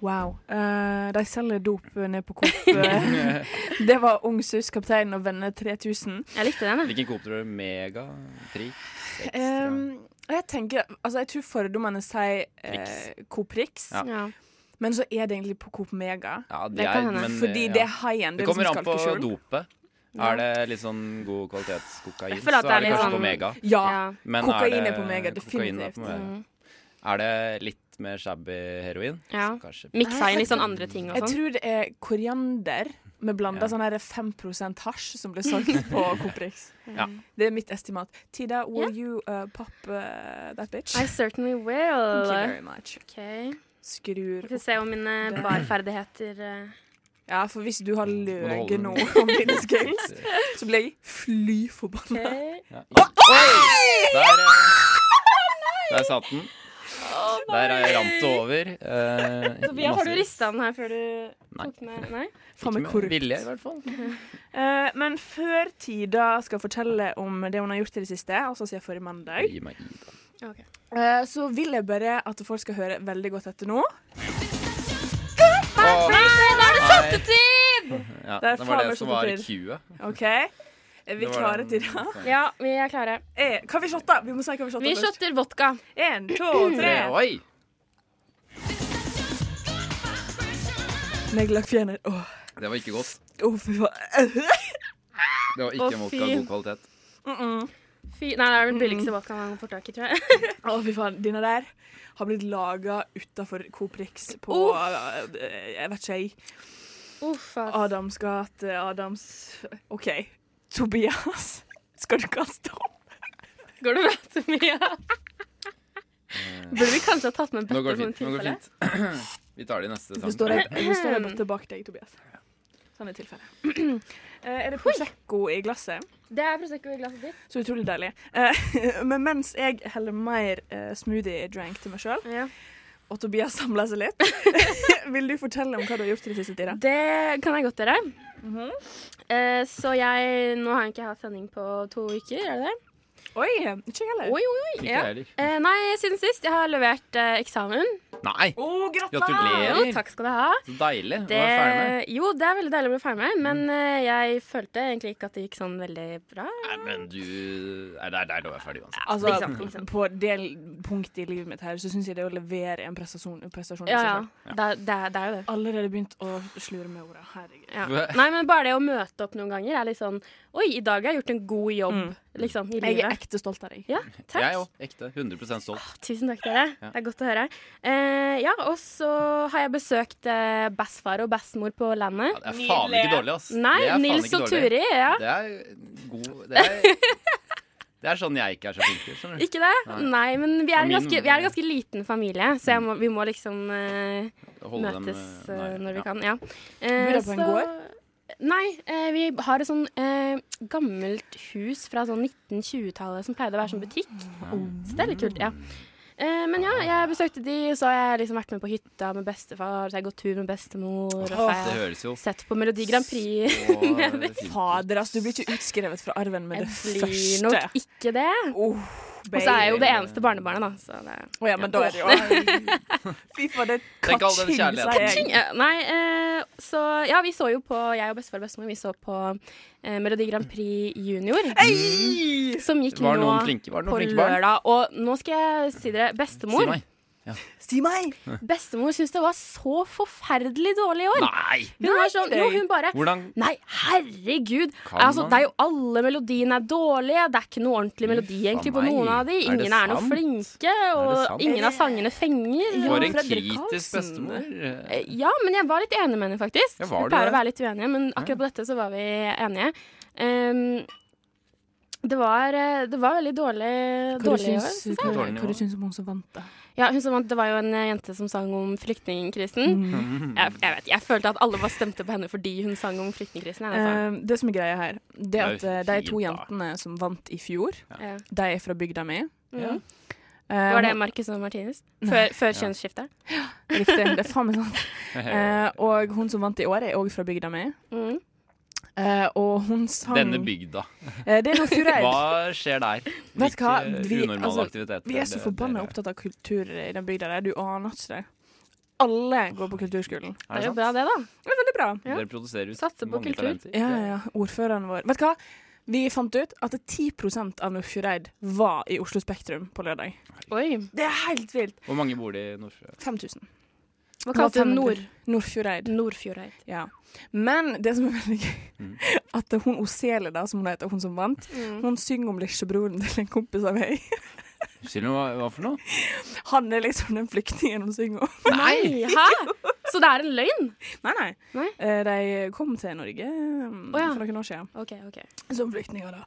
Speaker 2: Wow. Eh, de selger dop ned på Coop.
Speaker 3: *laughs*
Speaker 2: Eh, det var Ung Suss, Kapteinen og Venner 3000.
Speaker 4: Jeg likte den, jeg.
Speaker 3: *laughs* Hvilken Coop tror du? er Mega? Prix? Extra?
Speaker 2: Um, jeg tenker, altså jeg tror fordommene sier eh, Coop Rix,
Speaker 3: Ja.
Speaker 4: Ja.
Speaker 2: men så er det egentlig på Coop Mega.
Speaker 3: ja, det,
Speaker 4: det kan
Speaker 3: er,
Speaker 4: hende.
Speaker 3: men, eh,
Speaker 2: Fordi
Speaker 3: ja.
Speaker 2: det er high-end.
Speaker 3: Det
Speaker 2: Det,
Speaker 3: kommer
Speaker 2: er
Speaker 3: an
Speaker 2: liksom
Speaker 3: på
Speaker 2: skalkeskjul.
Speaker 3: dopet.
Speaker 4: Ja.
Speaker 3: Er det litt sånn god kvalitetskokain,
Speaker 4: Jeg
Speaker 3: så
Speaker 4: føler at det er
Speaker 3: er det
Speaker 4: litt
Speaker 3: kanskje
Speaker 4: sånn-
Speaker 3: på Mega.
Speaker 2: Ja.
Speaker 4: Ja.
Speaker 3: Men
Speaker 2: Kokain
Speaker 3: det-
Speaker 2: er på Mega,
Speaker 3: kokain er
Speaker 2: definitivt.
Speaker 3: på Mega.
Speaker 4: Mm.
Speaker 3: Er det litt mer shabby heroin?
Speaker 4: Ja.
Speaker 3: Så
Speaker 4: *laughs*
Speaker 3: Kanskje
Speaker 4: Miksa inn litt sånn andre ting og
Speaker 2: Jeg
Speaker 4: sånn.
Speaker 2: tror det er koriander med blanda
Speaker 3: Ja.
Speaker 2: sånn her 5 hasj som ble
Speaker 3: *laughs*
Speaker 2: solgt på Coop Rix.
Speaker 3: Ja.
Speaker 2: Det er mitt estimat. Tida, will you uh, pop uh, that bitch?
Speaker 4: I uh, certainly
Speaker 2: Thank you
Speaker 4: will.
Speaker 2: very much.
Speaker 4: Ok, Vi
Speaker 2: Skrur
Speaker 4: får se om mine barferdigheter eh,
Speaker 2: Ja, for hvis du har løyet
Speaker 3: den.
Speaker 2: nå om dine skills, så blir jeg fly forbanna.
Speaker 3: Ja. Oi! Der, eh, der satt den. Der er rant det over. Eh,
Speaker 4: Sofia, har du
Speaker 3: masse-
Speaker 4: rista den her før du
Speaker 3: Nei.
Speaker 4: tok den med? Nei?
Speaker 2: Faen meg
Speaker 3: Ikke med
Speaker 2: korrupt.
Speaker 3: vilje, i hvert fall.
Speaker 2: Eh, men før Tida skal fortelle om det hun har gjort i det siste, altså siden forrige mandag,
Speaker 3: Gi meg i det.
Speaker 2: eh, så vil jeg bare at folk skal høre veldig godt etter nå.
Speaker 3: Åh,
Speaker 4: da er det
Speaker 3: nei.
Speaker 4: shottetid!
Speaker 3: Ja,
Speaker 2: Der
Speaker 3: det var
Speaker 2: faen meg
Speaker 3: det som var i
Speaker 2: shottetid.
Speaker 3: queuet.
Speaker 2: OK? Er vi
Speaker 3: Det var
Speaker 2: klare
Speaker 3: den-
Speaker 2: til det?
Speaker 4: Ja, vi er klare.
Speaker 2: Eh, hva vi shotta? Vi må si hva vi shotta
Speaker 4: Vi
Speaker 2: først.
Speaker 4: shotter vodka.
Speaker 2: Én, to, tre.
Speaker 3: Tre, Oi!
Speaker 2: Neglelakkfjerner. Åh,
Speaker 3: Det var ikke godt.
Speaker 2: *laughs* oh, fy faen.
Speaker 3: Det var
Speaker 4: Å,
Speaker 3: ikke vodka
Speaker 4: fy.
Speaker 3: av god kvalitet.
Speaker 4: Fy, nei, det er
Speaker 3: Mm.
Speaker 4: den billigste vodkaen man får tak i, tror jeg. *laughs*
Speaker 2: Å, fy faen. Denne der har blitt laga utafor Coop Rix på eh, Jeg vet ikke, jeg.
Speaker 4: Uff, ass.
Speaker 2: Adams gate, Adams OK. Tobias, *laughs* skal du kaste opp?
Speaker 4: Går det bra, Tomia? Burde vi kanskje ha tatt med en
Speaker 3: Eh, Nå
Speaker 4: bøtte
Speaker 3: går det
Speaker 4: for en
Speaker 3: fint. Nå går det
Speaker 4: tilfelle?
Speaker 3: fint. *clears throat* Vi tar det i neste
Speaker 2: Det står
Speaker 3: sang.
Speaker 2: ei det står ei bøtte bak deg, Tobias. Sånn er tilfellet. *clears throat* Eh, er det Prosecco i glasset?
Speaker 4: Det er Prosecco i glasset ditt.
Speaker 2: Så utrolig deilig. Eh, *laughs* Men mens jeg heller mer eh, smoothie drink til meg sjøl,
Speaker 4: Ja.
Speaker 2: og Tobias samler seg litt, *laughs* vil du fortelle om hva du har gjort i det siste tida?
Speaker 4: Det kan jeg godt gjøre.
Speaker 3: Mhm.
Speaker 4: Eh, så jeg Nå har jeg ikke hatt sending på to uker, er det det?
Speaker 2: Oi, ikke jeg heller.
Speaker 4: Oi, oi, oi.
Speaker 3: *clears throat* Ikke
Speaker 4: Ja.
Speaker 3: jeg heller.
Speaker 4: Eh, nei, siden sist. Jeg har levert eh, eksamen.
Speaker 3: Nei!
Speaker 2: Å, gratulerer!
Speaker 3: Gratulerer.
Speaker 4: Jo, takk skal du ha.
Speaker 3: Så deilig. Nå
Speaker 4: Det,
Speaker 3: er jeg ferdig med.
Speaker 4: jo, det er veldig deilig å bli ferdig med, men eh, jeg følte egentlig ikke at det gikk sånn veldig bra.
Speaker 3: Nei, men du Nei, det er deilig å være ferdig uansett.
Speaker 2: Altså,
Speaker 4: Ikke sant, ikke sant.
Speaker 2: På det punktet i livet mitt her, så syns jeg det å levere en prestasjon, en prestasjon i
Speaker 4: Ja,
Speaker 2: seg
Speaker 4: ja.
Speaker 2: selv.
Speaker 4: Det, er- det, er- det er jo det.
Speaker 2: Allerede begynt å slure med orda. Herregud.
Speaker 4: Ja. Nei, men bare det å møte opp noen ganger er litt sånn Oi, i dag har jeg gjort en god jobb,
Speaker 2: Mm.
Speaker 4: liksom, i
Speaker 2: Jeg er
Speaker 4: livet.
Speaker 2: ekte stolt av deg.
Speaker 4: Ja, takk.
Speaker 3: Jeg òg. Ekte. 100 stolt.
Speaker 4: Tusen takk, dere.
Speaker 3: Ja.
Speaker 4: Det er godt å høre. Eh, ja, og så har jeg besøkt eh, bassfar og bassmor på landet.
Speaker 3: Ja, det er faen ikke dårlig, ass.
Speaker 4: Nei,
Speaker 3: Det er faen
Speaker 4: Nils
Speaker 3: ikke
Speaker 4: og
Speaker 3: dårlig.
Speaker 4: Turi. Ja.
Speaker 3: Det er god Det er, det er sånn jeg ikke er så flink til. skjønner du.
Speaker 4: Ikke det? Nei,
Speaker 3: Nei.
Speaker 4: men vi er, en
Speaker 3: Min- Mm.
Speaker 4: ganske, vi er en ganske liten familie, så jeg må, vi må liksom eh,
Speaker 3: Holde dem,
Speaker 4: møtes
Speaker 3: eh, nær.
Speaker 4: eh, når
Speaker 3: Ja.
Speaker 4: vi kan. Ja. Eh,
Speaker 2: Bor dere på en gård?
Speaker 4: Nei, eh, vi har et sånn eh, gammelt hus fra sånn 1920-tallet som pleide å være sånn butikk. Så det er litt kult, ja. Eh, men ja, jeg besøkte de, så har jeg liksom vært med på hytta med bestefar, så har jeg gått tur med bestemor, og så
Speaker 3: Det
Speaker 4: har jeg *laughs*
Speaker 3: høres jo
Speaker 4: sett på Melodi Grand Prix.
Speaker 3: så fint ut.
Speaker 2: Fader, altså, du blir ikke utskrevet fra arven med
Speaker 4: Jeg
Speaker 2: det
Speaker 4: blir
Speaker 2: første.
Speaker 4: nok ikke det.
Speaker 2: Oh,
Speaker 4: Og så er jeg jo det eneste barnebarnet, da. Så det
Speaker 2: Å ja, men da er det jo Fy faen, det er
Speaker 3: *laughs* Tenk all den
Speaker 2: kaching,
Speaker 3: kjærligheten.
Speaker 2: sier jeg.
Speaker 4: Ting, ja. Nei, eh, så ja, vi så jo på Jeg og bestefar og bestemor vi så på eh, Melodi Grand Prix Junior. Mm. Som gikk
Speaker 3: Var det
Speaker 4: nå
Speaker 3: noen flinke, var det
Speaker 4: på
Speaker 3: noen flinke barn?
Speaker 4: lørdag. Og nå skal jeg si dere
Speaker 3: Si
Speaker 4: Bestemor
Speaker 3: meg.
Speaker 2: Si meg!
Speaker 4: Bestemor syntes det var så forferdelig dårlig i år.
Speaker 3: Nei!
Speaker 4: Hun var sånn, jo, hun bare
Speaker 3: Hvordan
Speaker 4: Nei, herregud!
Speaker 3: Kan
Speaker 4: Altså,
Speaker 3: man?
Speaker 4: det er jo Alle melodiene er dårlige. Det er ikke noe ordentlig melodi
Speaker 3: Uff a
Speaker 4: egentlig på
Speaker 3: meg.
Speaker 4: noen av de.
Speaker 3: Er det
Speaker 4: Ingen er noe
Speaker 3: sant?
Speaker 4: flinke,
Speaker 3: sant?
Speaker 4: og ingen av sangene fenger.
Speaker 3: For
Speaker 4: Ja.
Speaker 3: en
Speaker 2: Fredrik
Speaker 3: kritisk
Speaker 2: Karlsen.
Speaker 3: bestemor.
Speaker 4: Eh, Ja, men jeg var litt enig med henne, faktisk.
Speaker 3: Ja, var
Speaker 4: vi
Speaker 3: du
Speaker 4: pleier
Speaker 3: det?
Speaker 4: å være litt uenige, men akkurat på dette så var vi enige. Ehm, det, var, eh, det var veldig dårlig,
Speaker 2: Hva du
Speaker 4: dårlig i år.
Speaker 2: syns hva-
Speaker 3: Dårlig
Speaker 2: hva
Speaker 3: nivå.
Speaker 2: du syns om hun som vant, da?
Speaker 4: Ja, hun som vant, det var jo en eh, jente som sang om
Speaker 2: Mm.
Speaker 4: flyktningkrisen. *laughs* Jeg, jeg vet, jeg følte at alle bare stemte på henne fordi hun sang om flyktningkrisen. jeg, Altså.
Speaker 2: Eh, det som er greia her, det er at
Speaker 3: Det er jo
Speaker 2: eh, de to
Speaker 3: fint, da.
Speaker 2: jentene som vant i fjor,
Speaker 4: Ja.
Speaker 2: de er fra bygda mi.
Speaker 4: Mm.
Speaker 2: Eh,
Speaker 4: Det var det Marcus og Martinus? Før, før kjønnsskiftet?
Speaker 2: *laughs* Riktig. Det er faen meg
Speaker 3: *laughs*
Speaker 2: sant. Eh, og hun som vant i år, er òg fra bygda mi.
Speaker 4: Mm.
Speaker 2: Eh, og hun sang
Speaker 3: Denne bygda.
Speaker 2: Eh, Det er Nordfjordeid.
Speaker 3: Hva skjer der?
Speaker 2: Vet du hva?
Speaker 3: Hvilke
Speaker 2: Vi-
Speaker 3: unormale
Speaker 2: altså,
Speaker 3: aktiviteter?
Speaker 2: Vi er så
Speaker 3: det-
Speaker 2: forbanna
Speaker 3: dere-
Speaker 2: opptatt av kultur i den bygda der. Du aner ikke det. Alle går på kulturskolen.
Speaker 4: Det
Speaker 3: Er
Speaker 4: er
Speaker 3: det sånn?
Speaker 4: jo
Speaker 3: sant?
Speaker 4: bra, det, da.
Speaker 2: Det er veldig bra.
Speaker 4: Ja.
Speaker 3: Dere produserer ut
Speaker 4: Satser på
Speaker 3: mange
Speaker 4: kultur.
Speaker 3: talenter.
Speaker 2: Ja, ja, ja. Ordføreren vår. Vet du hva? Vi fant ut at 10 av Nordfjordeid var i Oslo Spektrum på lørdag.
Speaker 4: Oi.
Speaker 2: Det er helt vilt!
Speaker 3: Hvor mange bor det i Nordsjø?
Speaker 2: 5000.
Speaker 4: Hva kalte du Nord,
Speaker 2: Nordfjordeid.
Speaker 4: Nordfjordeid?
Speaker 2: Ja. Men det som er veldig gøy,
Speaker 3: Mm.
Speaker 2: at hun Osele, da, som hun heter, hun som vant,
Speaker 4: Mm.
Speaker 2: hun synger om lillebroren til en kompis av meg.
Speaker 3: Skyld, hva, hva for noe?
Speaker 2: Han er liksom den flyktningen hun synger om.
Speaker 4: Nei! Hæ? Så det er en løgn?
Speaker 2: Nei, nei.
Speaker 4: Nei?
Speaker 2: Eh, De kom til Norge mm,
Speaker 4: Å, ja.
Speaker 2: for noen år siden
Speaker 4: OK, OK.
Speaker 2: som flyktninger, da.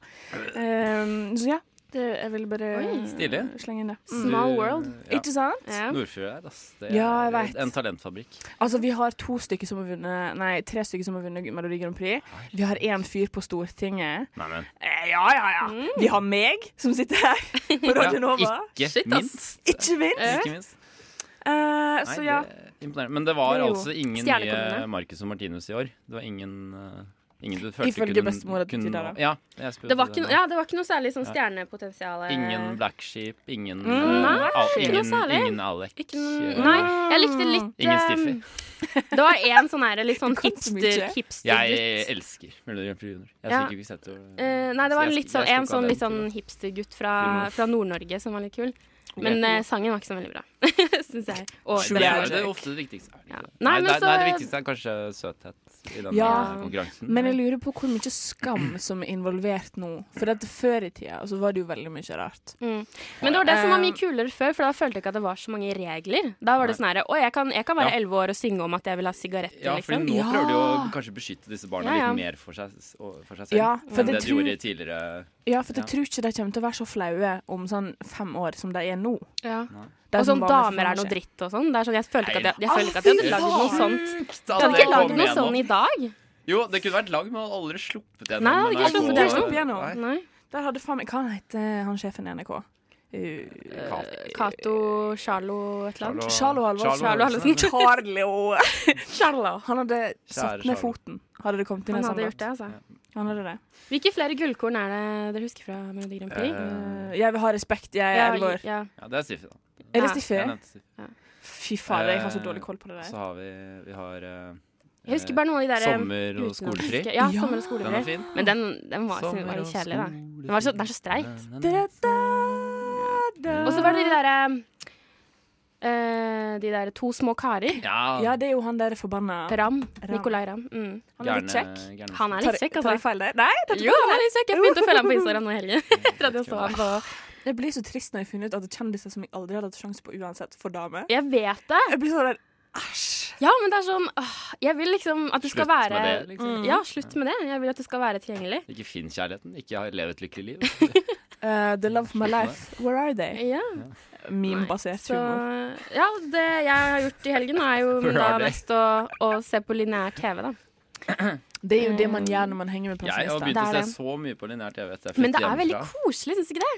Speaker 2: Eh, så ja. Det, jeg ville bare eh,
Speaker 4: Oi.
Speaker 3: Stilig.
Speaker 2: slenge inn det. Mm.
Speaker 4: Small
Speaker 3: Du-
Speaker 4: world.
Speaker 3: Ja.
Speaker 2: Ikke sant?
Speaker 4: Ja.
Speaker 3: Nordfjord her, ass. Det er
Speaker 2: Ja, jeg vet.
Speaker 3: en talentfabrikk.
Speaker 2: Altså, vi har to stykker som har vunnet Nei, tre stykker som har vunnet Melodi Grand Prix. Vi har én fyr på Stortinget.
Speaker 3: Nei, men
Speaker 2: Eh, ja, ja, ja.
Speaker 4: Mm.
Speaker 2: Vi har meg, som sitter her
Speaker 4: *laughs*
Speaker 2: på Radio Nova.
Speaker 3: ikke
Speaker 4: Shit, ass.
Speaker 3: minst.
Speaker 2: Ikke minst.
Speaker 4: Eh.
Speaker 3: Ikke minst.
Speaker 2: Eh,
Speaker 4: altså,
Speaker 3: Nei,
Speaker 2: så ja.
Speaker 3: det er imponerende. Men det var
Speaker 2: Det er jo
Speaker 3: altså ingen nye
Speaker 4: stjernekommende.
Speaker 3: Marcus og Martinus i år. Det var ingen, eh, ingen du følte
Speaker 2: Ifølge
Speaker 3: kunne
Speaker 2: bestemor at
Speaker 3: kunne
Speaker 2: de der,
Speaker 3: nå-
Speaker 2: da.
Speaker 3: Ja, jeg spurte
Speaker 4: Det var
Speaker 3: det
Speaker 4: ikke,
Speaker 3: nå.
Speaker 4: no- ja, det var ikke noe særlig sånn
Speaker 3: Ja.
Speaker 4: stjernepotensial. eh.
Speaker 3: Ingen Black Sheep, ingen eh,
Speaker 4: nei,
Speaker 3: Al-
Speaker 4: ikke noe
Speaker 3: ingen,
Speaker 4: særlig.
Speaker 3: ingen Alec.
Speaker 4: Ikke noe-
Speaker 3: eh,
Speaker 4: Nei, jeg likte litt
Speaker 3: Ingen
Speaker 4: eh,
Speaker 3: Stiffy.
Speaker 4: Det var en sånn her litt sånn
Speaker 2: Du kan så mye.
Speaker 4: hipster,
Speaker 3: Jeg
Speaker 4: hipstergutt.
Speaker 3: elsker Melodi Grand Prix Junior. Jeg
Speaker 4: Ja.
Speaker 3: skulle ikke sett det.
Speaker 4: Eh, nei, det
Speaker 3: Så
Speaker 4: var en
Speaker 3: jeg-
Speaker 4: litt
Speaker 3: jeg skulle
Speaker 4: sånn, en
Speaker 3: ikke ha
Speaker 4: sånn,
Speaker 3: den
Speaker 4: litt sånn
Speaker 3: til.
Speaker 4: hipstergutt fra, fra Nord-Norge som var litt kul. Men eh, sangen var ikke så veldig bra. *laughs* syns jeg. Og
Speaker 3: Det
Speaker 4: det
Speaker 3: er
Speaker 4: er
Speaker 3: jo det ofte det viktigste. Nei,
Speaker 4: Ja. Nei, men
Speaker 3: det, nei, det
Speaker 4: så-
Speaker 3: viktigste er kanskje søthet i denne
Speaker 2: Ja.
Speaker 3: konkurransen.
Speaker 2: Men jeg lurer på hvor mye skam som er involvert nå. For at før i tida så var det jo veldig mye rart.
Speaker 4: Mm. Men det var det som var mye kulere før, for da følte jeg ikke at det var så mange regler. Da var det sånn her Å, jeg kan, jeg kan være
Speaker 3: Ja.
Speaker 4: elleve år og synge om at jeg vil ha sigaretter,
Speaker 3: Ja, for
Speaker 4: liksom.
Speaker 3: nå
Speaker 2: Ja.
Speaker 3: prøver de å kanskje beskytte disse barna
Speaker 4: Ja, ja.
Speaker 3: litt mer for seg, s- og- for seg selv
Speaker 2: Ja, for
Speaker 3: enn
Speaker 2: det
Speaker 3: det de
Speaker 2: tror-
Speaker 3: gjorde tidligere.
Speaker 2: Ja, for jeg
Speaker 3: Ja.
Speaker 2: tror ikke de kommer til å være så flaue om sånn fem år som de er nå.
Speaker 4: Ja.
Speaker 2: De
Speaker 4: Og
Speaker 2: som
Speaker 4: sånn
Speaker 2: var med for
Speaker 4: damer
Speaker 2: fem
Speaker 4: er
Speaker 2: år
Speaker 4: noe
Speaker 2: siden.
Speaker 4: dritt og sånn. Det er sånn, Jeg følte ikke at jeg, jeg,
Speaker 2: Nei.
Speaker 4: følte ikke at
Speaker 2: Å, fy
Speaker 4: jeg hadde lagd noe
Speaker 2: faen.
Speaker 4: sånt.
Speaker 3: Da,
Speaker 4: Jeg hadde
Speaker 3: det
Speaker 4: ikke
Speaker 3: kom
Speaker 4: lagd noe
Speaker 3: igjen nå.
Speaker 4: sånn i dag.
Speaker 3: Jo, det kunne vært lag, men jeg hadde aldri sluppet gjennom.
Speaker 4: Nei, det hadde ikke sluppet
Speaker 2: sluppet gjennom.
Speaker 4: Nei.
Speaker 2: Der hadde faen meg Hva heter han sjefen i NRK? Uh,
Speaker 4: Cato, Charlo, et eller annet.
Speaker 2: Charlo Halvorsen.
Speaker 4: Charlo Halvorsen.
Speaker 2: *laughs* Charlo. Charlo. Han hadde satt ned
Speaker 3: Charlo.
Speaker 2: foten. Hadde det kommet inn
Speaker 4: Han
Speaker 2: en
Speaker 4: hadde
Speaker 2: sånn
Speaker 4: gjort det,
Speaker 2: låt.
Speaker 4: altså.
Speaker 2: Han hadde det.
Speaker 4: Hvilke flere gullkorn er det dere husker fra Melodi Grand Prix?
Speaker 2: Eh, jeg vil ha respekt, jeg er elleve år.
Speaker 4: ja.
Speaker 3: Ja, det er Siffi, da.
Speaker 2: Er det
Speaker 4: ja.
Speaker 2: Stiffi?
Speaker 3: Jeg nevnte Siffi.
Speaker 2: Fy fader, jeg har så dårlig koll på det
Speaker 3: Så
Speaker 2: der.
Speaker 3: har vi, vi har eh,
Speaker 4: Jeg husker bare noen av de der eh,
Speaker 3: Sommer og
Speaker 4: utenlandske-
Speaker 3: skolefri.
Speaker 4: Ja,
Speaker 2: Ja.
Speaker 3: Den
Speaker 4: sommer og
Speaker 3: er
Speaker 4: skolefri.
Speaker 3: fin.
Speaker 4: Men den, den var, den var litt kjedelig, da. Den, var så, den er så streit. Og så var det de derre eh, De derre to små karer.
Speaker 2: Ja,
Speaker 3: Ja,
Speaker 2: det er jo han der forbanna
Speaker 4: Ram.
Speaker 2: Ram.
Speaker 4: Nicolay Ram. Mm.
Speaker 2: Han er litt kjekk.
Speaker 4: Han er litt kjekk,
Speaker 2: Tar jeg
Speaker 4: altså.
Speaker 2: feil der? Nei, det
Speaker 4: Jo, han er litt kjekk. Jeg begynte å følge ham på Instagram nå i *laughs* helgen. Etter at jeg så ham på
Speaker 2: Jeg blir så trist når jeg finner ut at kjendiser som jeg aldri hadde hatt sjanse på uansett, får dame.
Speaker 4: Jeg vet det.
Speaker 2: Jeg blir sånn der Æsj.
Speaker 4: Ja, men det er sånn åh, Jeg vil liksom at du skal
Speaker 3: Slutt
Speaker 4: være mm.
Speaker 3: med det, liksom.
Speaker 4: Ja, slutt med det. Jeg vil at du skal være tilgjengelig.
Speaker 3: Ikke finn kjærligheten. Ikke ha- lev et
Speaker 4: *laughs*
Speaker 3: lykkelig liv.
Speaker 2: Eh, the love of my life, where are they?
Speaker 4: Ja,
Speaker 2: Meme-basert
Speaker 4: så
Speaker 2: humor.
Speaker 4: Ja, det jeg har gjort i helgen, er jo
Speaker 3: Where
Speaker 4: da
Speaker 3: are they?
Speaker 4: mest å, å se på lineær TV, da.
Speaker 2: Det er jo det man gjør når man henger med
Speaker 3: Jeg har
Speaker 2: pensjonister.
Speaker 3: begynt å
Speaker 4: Det er
Speaker 3: se så mye på lineær TV etter jeg
Speaker 4: Men
Speaker 3: flyttet
Speaker 4: det er veldig
Speaker 3: hjemmefra.
Speaker 4: koselig, syns du ikke det?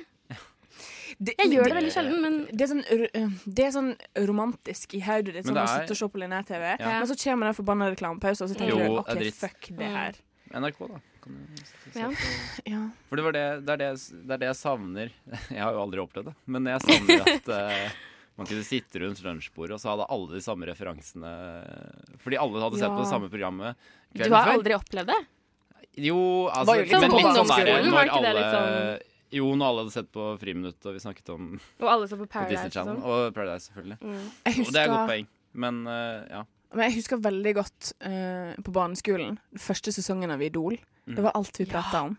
Speaker 2: Det-
Speaker 4: Jeg gjør det veldig sjelden, men
Speaker 2: Det er, sånn, r- det er sånn romantisk i hodet ditt,
Speaker 3: Men
Speaker 2: sånn
Speaker 3: det
Speaker 2: å
Speaker 3: er-
Speaker 2: sitte og se på lineær-TV.
Speaker 3: Ja.
Speaker 2: Men så kommer den forbanna reklamepausen, og så tenker
Speaker 3: Jo,
Speaker 2: du
Speaker 3: det er
Speaker 2: OK,
Speaker 3: dritt. Mm.
Speaker 2: fuck det her.
Speaker 3: NRK, da. Kan du se
Speaker 4: Ja.
Speaker 3: på.
Speaker 2: Ja.
Speaker 3: For det, var det, det, er det, jeg s- det er det jeg savner. *laughs* Jeg har jo aldri opplevd det, men jeg
Speaker 4: *laughs*
Speaker 3: savner at eh, man kunne sitte rundt lunsjbordet, og så hadde alle de samme referansene. Fordi alle hadde sett
Speaker 2: Ja.
Speaker 3: på det samme programmet
Speaker 4: du
Speaker 3: kvelden
Speaker 4: har
Speaker 3: før.
Speaker 4: aldri opplevd det?
Speaker 3: Jo, altså,
Speaker 2: Var jo litt
Speaker 3: men
Speaker 2: sånn
Speaker 3: litt
Speaker 2: på
Speaker 3: sånn der,
Speaker 4: ungdomsskolen, var
Speaker 3: når
Speaker 4: ikke det
Speaker 3: alle
Speaker 4: litt sånn-
Speaker 3: Jo, når alle hadde sett på Friminutt, og vi snakket om
Speaker 4: Og alle så på
Speaker 3: på Disney
Speaker 4: Paradise Mm. og
Speaker 3: Channel.
Speaker 4: sånn?
Speaker 3: Og Paradise, selvfølgelig.
Speaker 2: Jeg
Speaker 3: Og det er et godt
Speaker 2: husker,
Speaker 3: poeng. Men eh, ja.
Speaker 2: men jeg husker veldig godt eh, på barneskolen, første sesongen av Idol.
Speaker 3: Mm.
Speaker 2: Det var alt vi prata om.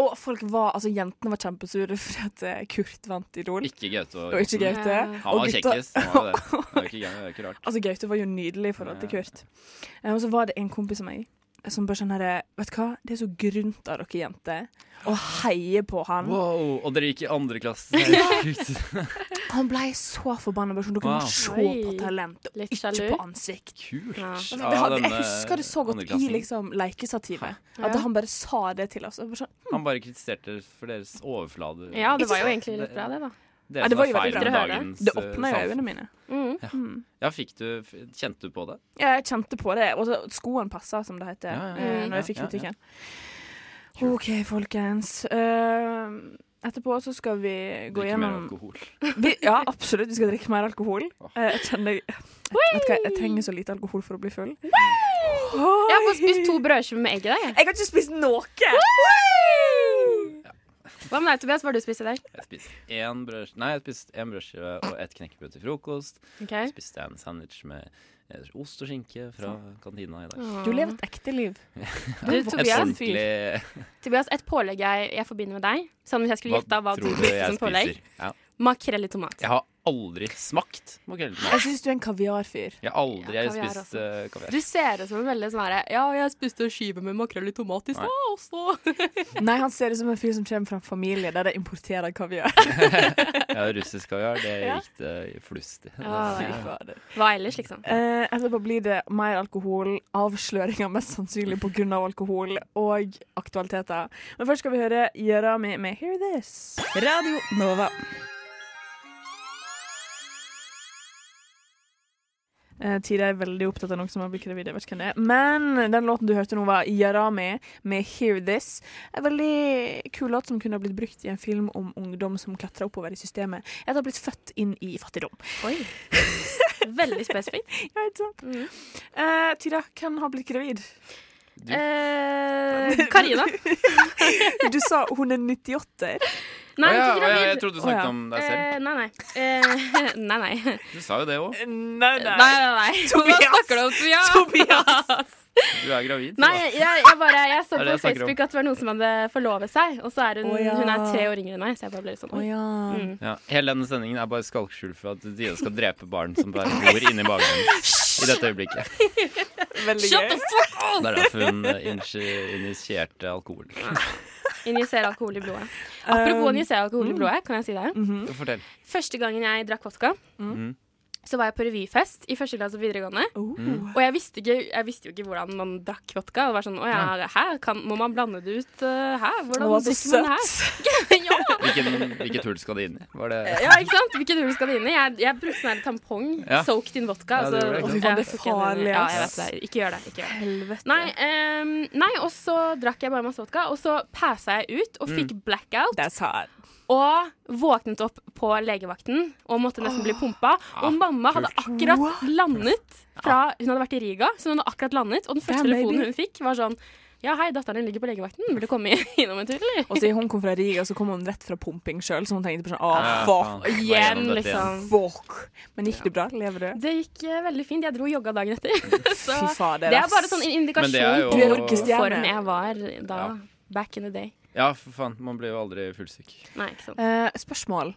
Speaker 2: Og folk var, altså Jentene var kjempesure *laughs* fordi at eh, Kurt vant Idol,
Speaker 3: Ikke Gaute og
Speaker 2: og ikke
Speaker 3: Johnsen.
Speaker 2: Gaute.
Speaker 4: Eh,
Speaker 3: Han
Speaker 2: og
Speaker 3: var
Speaker 2: gutta-
Speaker 3: kjekkest. Han var jo
Speaker 2: *laughs*
Speaker 3: det. Det er jo ikke, det er jo ikke rart.
Speaker 2: Altså, Gaute var jo nydelig i forhold til Kurt. Eh, Og så var det en kompis av meg som bare sånn herre Vet du hva, det er så grunt av dere jenter å heie på han.
Speaker 3: Wow, og dere gikk i andre klasse. Herregud.
Speaker 2: Han blei så forbanna. Bare sånn, dere
Speaker 3: Wow.
Speaker 2: må se
Speaker 4: Oi.
Speaker 2: på talent, og
Speaker 4: Litt
Speaker 2: ikke
Speaker 4: sjalu.
Speaker 2: på ansikt.
Speaker 3: Kult.
Speaker 4: Ja.
Speaker 3: av
Speaker 2: Det hadde, jeg
Speaker 3: denne
Speaker 2: husker det
Speaker 3: eh,
Speaker 2: så godt i
Speaker 3: andreklassen.
Speaker 2: liksom, lekestativet. At
Speaker 4: Ja.
Speaker 2: han bare sa det til oss. Og bare sånn,
Speaker 3: Han bare kritiserte dere for deres overflate.
Speaker 4: Ja, det
Speaker 2: Ikke
Speaker 4: var jo
Speaker 2: sant?
Speaker 4: egentlig litt bra, det, da.
Speaker 3: det,
Speaker 2: Ja, det
Speaker 3: som
Speaker 2: var
Speaker 3: er
Speaker 2: jo veldig
Speaker 3: feil
Speaker 4: bra.
Speaker 3: med dagens
Speaker 2: det åpna jo
Speaker 3: eh,
Speaker 2: øynene
Speaker 3: samfunn.
Speaker 2: mine. Hmm.
Speaker 4: Mm.
Speaker 3: Ja, fikk du, f- kjente du på det?
Speaker 2: Ja, jeg kjente på det. Og så skoen passa, som det heter,
Speaker 3: Ja, ja,
Speaker 2: eh,
Speaker 4: ja,
Speaker 2: når jeg
Speaker 3: ja,
Speaker 2: fikk
Speaker 3: ja,
Speaker 2: kritikken. OK, folkens. Eh, etterpå så skal vi gå
Speaker 3: Drikke mer
Speaker 2: gjennom
Speaker 3: alkohol.
Speaker 2: Vi, ja, absolutt. Vi skal drikke mer alkohol. Eh, Jeg kjenner jeg, vet du hva, jeg trenger så lite alkohol for å bli full.
Speaker 4: Jeg har bare spist to brødskiver med egg i dag. jeg.
Speaker 2: Jeg har ikke spist noe!
Speaker 4: Hva med deg, Tobias? Hva har du spist i dag?
Speaker 3: Jeg spiste én brød- nei, jeg spiste én brødskive og ett knekkebrød til frokost.
Speaker 4: Ok.
Speaker 3: Spiste jeg en sandwich med eh, ost og skinke fra
Speaker 2: Sånn.
Speaker 3: kantina i dag.
Speaker 2: Du lever et ekte liv.
Speaker 4: Du,
Speaker 3: Et
Speaker 4: Tobias,
Speaker 3: ordentlig
Speaker 4: Tobias, et pålegg jeg, jeg forbinder med deg, sånn hvis jeg skulle gjette hva du
Speaker 3: tror du
Speaker 4: brukte
Speaker 3: jeg
Speaker 4: *laughs* som pålegg
Speaker 3: spiser? Ja.
Speaker 4: Makrell i tomat.
Speaker 3: Jeg har aldri smakt makrell til
Speaker 2: Jeg
Speaker 3: mat.
Speaker 2: syns du er en kaviarfyr.
Speaker 3: Jeg har aldri
Speaker 4: Ja,
Speaker 3: jeg
Speaker 4: kaviar
Speaker 3: spist eh, kaviar. *laughs*
Speaker 4: Du ser ut som en veldig sånn herre Ja, jeg spiste en skive med makrell i tomat i stad, og så
Speaker 2: Nei, han ser ut som en fyr som kommer fra en familie der de importerer kaviar.
Speaker 3: Jeg har russisk kaviar. Det gikk det i flust i.
Speaker 2: Fy
Speaker 4: ja.
Speaker 2: fader.
Speaker 4: Hva ellers, liksom?
Speaker 2: Eh, etterpå blir det mer alkohol, avsløringer mest sannsynlig pga. alkohol, og aktualiteter. Men først skal vi høre Gjøra mi med 'Hear This'.
Speaker 7: Radio Nova.
Speaker 2: Eh, Tida er veldig opptatt av noen som har blitt gravid. Jeg vet ikke hvem det er. Men den låten du hørte nå, var Yarami med 'Hear This'. En veldig kul låt som kunne ha blitt brukt i en film om ungdom som klatrer oppover i systemet etter å ha blitt født inn i fattigdom. *laughs*
Speaker 4: Oi. Veldig spesifikt. Mm.
Speaker 2: Ja, ikke sant? Eh, Tida, hvem har blitt gravid?
Speaker 3: Du-
Speaker 4: Eh, Karina.
Speaker 2: Du sa hun er 98-er.
Speaker 4: Nei,
Speaker 3: Å ja,
Speaker 4: ikke
Speaker 3: å ja,
Speaker 4: gravid.
Speaker 3: jeg trodde du snakket
Speaker 2: Å ja.
Speaker 3: om deg selv.
Speaker 4: Eh, nei, nei. Eh, *laughs* nei, nei.
Speaker 3: Du sa jo det òg.
Speaker 2: Nei,
Speaker 4: Nei, nei, nei.
Speaker 2: Tobias.
Speaker 4: Hva snakker du om, Tobias?
Speaker 3: Du er gravid.
Speaker 4: Nei,
Speaker 3: så da.
Speaker 4: jeg, jeg bare Jeg så
Speaker 3: Det er det
Speaker 4: på
Speaker 3: jeg snakker om.
Speaker 4: Facebook at det var noen som hadde forlovet seg, og så er hun
Speaker 2: Å ja.
Speaker 4: Hun er tre år yngre enn meg, så jeg bare ble litt sånn
Speaker 2: Å
Speaker 4: oi.
Speaker 2: ja.
Speaker 4: Mm.
Speaker 3: Ja, hele denne sendingen er bare skalkskjul for at Dia skal drepe barn som bare bor inni
Speaker 4: *laughs*
Speaker 3: bakgrunnen i dette øyeblikket.
Speaker 2: Veldig
Speaker 4: Shut the
Speaker 2: gøy.
Speaker 4: fuck up!
Speaker 3: Det er derfor hun eh, inji- injiserte alkohol.
Speaker 4: Injisere alkohol i blodet. Apropos
Speaker 2: Um,
Speaker 4: injisere
Speaker 2: mm.
Speaker 4: alkohol i blodet, kan jeg si det?
Speaker 3: Fortell.
Speaker 4: Første gangen jeg drakk vodka,
Speaker 3: Mm.
Speaker 4: så var jeg på revyfest i første klasse på videregående.
Speaker 2: Oh.
Speaker 4: Og jeg visste, ikke, jeg visste jo ikke hvordan man drakk vodka. Det var sånn, å ja, her kan, Må man blande det ut eh, her? Hvordan
Speaker 2: Å, så
Speaker 4: drikker man det her?
Speaker 2: søtt.
Speaker 4: *laughs* ja,
Speaker 3: Hvilken, hvilket hull skal det inn i? Var det
Speaker 4: ja, ikke sant? Hvilket hull skal det inn i? Jeg, jeg brukte sånn her tampong
Speaker 3: Ja.
Speaker 4: soaked in vodka.
Speaker 3: Ja,
Speaker 4: altså,
Speaker 3: det gjorde det, ikke
Speaker 2: Å, fy faen, det er
Speaker 4: jeg tok en-
Speaker 2: farlig,
Speaker 4: Ja,
Speaker 2: ass.
Speaker 4: jeg vet det. Ikke gjør det. Ikke gjør det.
Speaker 2: Helvete.
Speaker 4: Nei, ehm, nei, og så drakk jeg bare masse vodka, og så passa jeg ut
Speaker 3: Mm.
Speaker 4: og fikk blackout.
Speaker 2: That's hard.
Speaker 4: Og våknet opp på legevakten og måtte nesten bli pumpa.
Speaker 3: Ah,
Speaker 4: Og mamma hadde akkurat landet fra Hun hadde vært i Riga, så hun hadde akkurat landet. Og den første
Speaker 2: Damn,
Speaker 4: telefonen
Speaker 2: baby.
Speaker 4: hun fikk, var sånn Ja, hei, datteren din ligger på legevakten. Vil du komme *laughs* innom en tur, eller?
Speaker 2: *laughs* Og siden hun kom fra Riga, så kom hun rett fra pumping sjøl, så hun tenkte på sånn
Speaker 3: Ja,
Speaker 2: ah,
Speaker 3: faen.
Speaker 2: fuck.
Speaker 3: Bare
Speaker 4: Igjen,
Speaker 3: gjennom dette
Speaker 4: liksom.
Speaker 2: Fuck. Men gikk det bra? Lever du?
Speaker 4: Det gikk eh, veldig fint. Jeg dro og jogga dagen etter. Så
Speaker 2: Fy fader,
Speaker 4: det er
Speaker 2: ass.
Speaker 4: bare sånn en
Speaker 3: Men
Speaker 4: indikasjon
Speaker 3: det er jo-
Speaker 4: på
Speaker 3: Du er
Speaker 4: hvor god
Speaker 2: rockestjerne.
Speaker 4: form jeg var da.
Speaker 3: Ja.
Speaker 4: Back in the day.
Speaker 3: Ja, for faen. Man blir jo aldri fullsyk.
Speaker 4: Nei, ikke sant.
Speaker 2: Eh, spørsmål.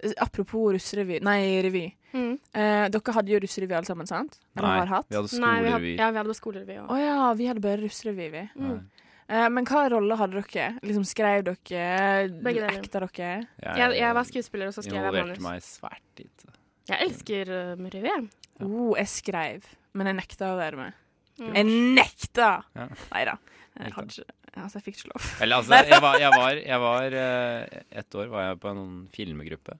Speaker 2: Eh, Apropos russerevy Nei, revy.
Speaker 4: Mm.
Speaker 2: Eh, dere hadde jo russerevy alle sammen, sant? Eller har hatt?
Speaker 3: vi hadde
Speaker 4: Nei, vi hadde,
Speaker 3: skolerevy.
Speaker 4: ja, vi hadde skolerevy òg.
Speaker 2: Å ja, vi hadde bare russerevy, vi.
Speaker 4: Mm.
Speaker 2: Eh, men hva rolle hadde dere? Liksom Skrev dere?
Speaker 4: Begge deler.
Speaker 2: Ekta dere?
Speaker 4: Jeg, jeg var skuespiller, og så skrev jeg
Speaker 3: Involverte
Speaker 4: manus.
Speaker 3: meg svært lite.
Speaker 4: Jeg elsker uh, revy. jeg.
Speaker 2: Oh, jeg skrev, men jeg nekta å være med.
Speaker 4: Mm.
Speaker 2: Jeg nekta!
Speaker 3: Ja.
Speaker 2: Nei da. Jeg,
Speaker 3: Nekta.
Speaker 2: hadde ikke- altså, jeg fikk ikke lov.
Speaker 3: Eller altså, jeg var, jeg var, jeg var eh, Ett år var jeg på en filmgruppe.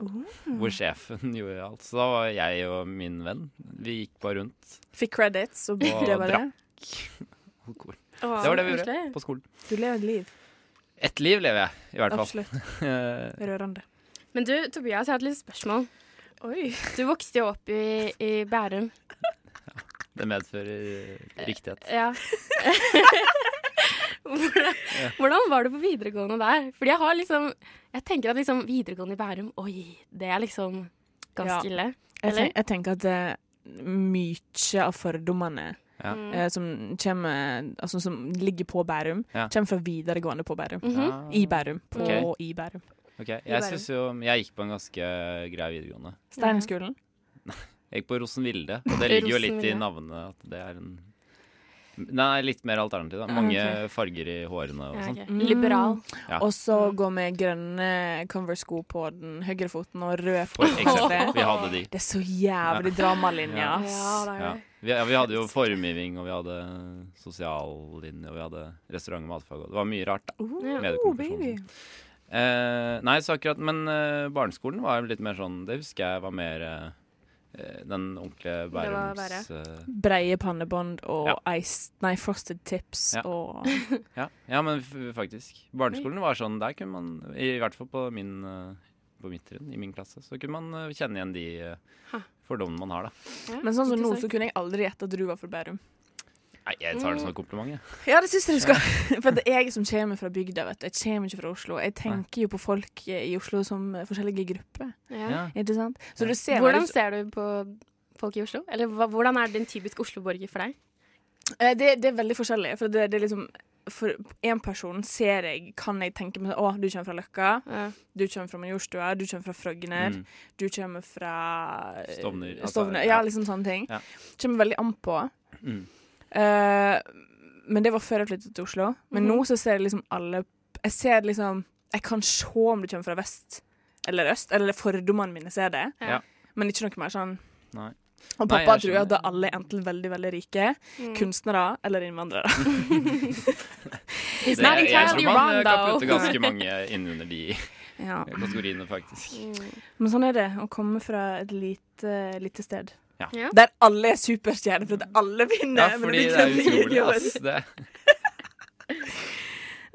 Speaker 4: Oh.
Speaker 3: Hvor sjefen *laughs* gjorde alt. Så da var jeg og min venn Vi gikk bare rundt
Speaker 2: Fikk credits, og
Speaker 3: Og
Speaker 2: det var det.
Speaker 3: drakk. alkohol. Det var det vi gjorde på skolen.
Speaker 2: Du lever et liv.
Speaker 3: Ett liv lever jeg, i hvert fall.
Speaker 2: Absolutt.
Speaker 3: Eh,
Speaker 2: Rørende.
Speaker 4: Men du, Tobias, jeg har et lite spørsmål.
Speaker 2: Oi.
Speaker 4: Du vokste jo opp i, i Bærum.
Speaker 3: *laughs* Det medfører riktighet.
Speaker 4: Ja. *laughs* hvordan, hvordan var det på videregående der? Fordi jeg har liksom Jeg tenker at liksom videregående i Bærum, oi, det er liksom ganske
Speaker 2: Ja.
Speaker 4: ille.
Speaker 2: Jeg,
Speaker 4: Eller?
Speaker 2: tenk, jeg tenker at eh, mye av fordommene
Speaker 3: Ja.
Speaker 2: eh, som, kommer, altså, som ligger på Bærum,
Speaker 3: Ja.
Speaker 2: kommer fra videregående på Bærum.
Speaker 4: Mhm.
Speaker 3: Ah,
Speaker 2: I Bærum. På
Speaker 3: Ok.
Speaker 2: i Bærum.
Speaker 3: ok. Jeg
Speaker 4: Bærum.
Speaker 3: synes jo Jeg gikk på en ganske grei videregående.
Speaker 2: Steinerskolen.
Speaker 3: Jeg gikk på Rosenvilde, og det ligger jo litt i
Speaker 4: Rosenvilde.
Speaker 3: navnet at det er en Nei, litt mer alternativ, da. Mange farger i hårene og
Speaker 4: Ah, Ja,
Speaker 3: sånn.
Speaker 4: ok.
Speaker 2: Mm.
Speaker 4: Liberal.
Speaker 3: Ja.
Speaker 2: Og så går vi grønne Converse-sko på den høyre foten og rød
Speaker 4: *laughs*
Speaker 2: på
Speaker 3: For
Speaker 2: den
Speaker 3: eksempel. Vi
Speaker 2: venstre.
Speaker 3: hadde de.
Speaker 2: Det er så jævlig dramalinje,
Speaker 3: Ja.
Speaker 2: ass.
Speaker 4: det er
Speaker 3: Ja.
Speaker 4: det.
Speaker 3: Vi, ja, vi hadde jo formgivning, og vi hadde sosiallinje, og vi hadde restaurant og matfag, og det var mye rart, da.
Speaker 2: Uh.
Speaker 4: Ja. oh,
Speaker 3: Mediekommunikasjon og sånn. Eh, nei, så akkurat Men eh, barneskolen var litt mer sånn Det husker jeg var mer eh, den ordentlige
Speaker 4: var
Speaker 3: Bærums... eh,
Speaker 2: Breie pannebånd og ice, nei, frosted tips
Speaker 3: Ja.
Speaker 4: *laughs*
Speaker 2: og
Speaker 3: Ja, ja men f- faktisk. Barneskolen var sånn, der kunne man, i hvert fall på min eh, på mitt trinn, i min klasse, så kunne man eh, kjenne igjen de eh,
Speaker 4: Ha.
Speaker 3: fordommene man har, da.
Speaker 2: Men sånn som nå, så
Speaker 4: Interessant.
Speaker 2: kunne jeg aldri gjette at du var fra Bærum.
Speaker 3: Nei, jeg tar det som et kompliment, jeg.
Speaker 2: Ja, det syns jeg du skal. For det er jeg som kommer fra bygda, vet du. Jeg kommer ikke fra Oslo. Jeg tenker jo på folk i Oslo som eh, forskjellige grupper.
Speaker 4: Ja.
Speaker 2: Ikke sant? Så du ser
Speaker 4: Hvordan
Speaker 2: veldig-
Speaker 4: ser du på folk i Oslo? Eller hva, hvordan er den typisk Oslo-borger for deg?
Speaker 2: Eh, Det, det er veldig forskjellig. For det, det er liksom For én person ser jeg, kan jeg tenke meg sånn Å, du kommer fra Løkka.
Speaker 4: Ja.
Speaker 2: Du kommer fra Majorstua. Du kommer fra Frogner.
Speaker 3: Mm.
Speaker 2: Du kommer fra eh,
Speaker 3: Stovner, altså,
Speaker 2: Stovner.
Speaker 3: ja.
Speaker 2: ja, liksom sånne ting.
Speaker 3: Ja.
Speaker 2: Kommer veldig an på.
Speaker 3: Mm.
Speaker 2: Eh, men det var før jeg flyttet til Oslo. Men
Speaker 4: Mhm.
Speaker 2: nå så ser jeg liksom alle Jeg ser liksom Jeg kan se om du kommer fra vest eller øst, eller fordommene mine ser det,
Speaker 4: Ja.
Speaker 2: men ikke noe mer sånn.
Speaker 3: Nei.
Speaker 2: Og
Speaker 3: Nei,
Speaker 2: pappa
Speaker 3: jeg
Speaker 2: tror jo
Speaker 3: skjønner.
Speaker 2: at alle er enten veldig, veldig rike,
Speaker 4: Mm.
Speaker 2: kunstnere eller innvandrere.
Speaker 3: *laughs* Det,
Speaker 4: not
Speaker 3: jeg,
Speaker 4: entirely
Speaker 3: tror man
Speaker 4: wrong,
Speaker 3: eh, kan
Speaker 4: though.
Speaker 3: putte ganske mange innunder de
Speaker 2: Ja.
Speaker 3: kategoriene, faktisk.
Speaker 4: *laughs* Mm.
Speaker 2: Men sånn er det å komme fra et lite, lite sted.
Speaker 3: Ja.
Speaker 4: Ja.
Speaker 2: Der alle er superstjerner, for at alle vinner.
Speaker 3: Ja,
Speaker 2: men
Speaker 3: fordi
Speaker 2: blir
Speaker 3: det er
Speaker 2: ikke
Speaker 3: utrolig,
Speaker 2: videoer.
Speaker 3: ass. Det.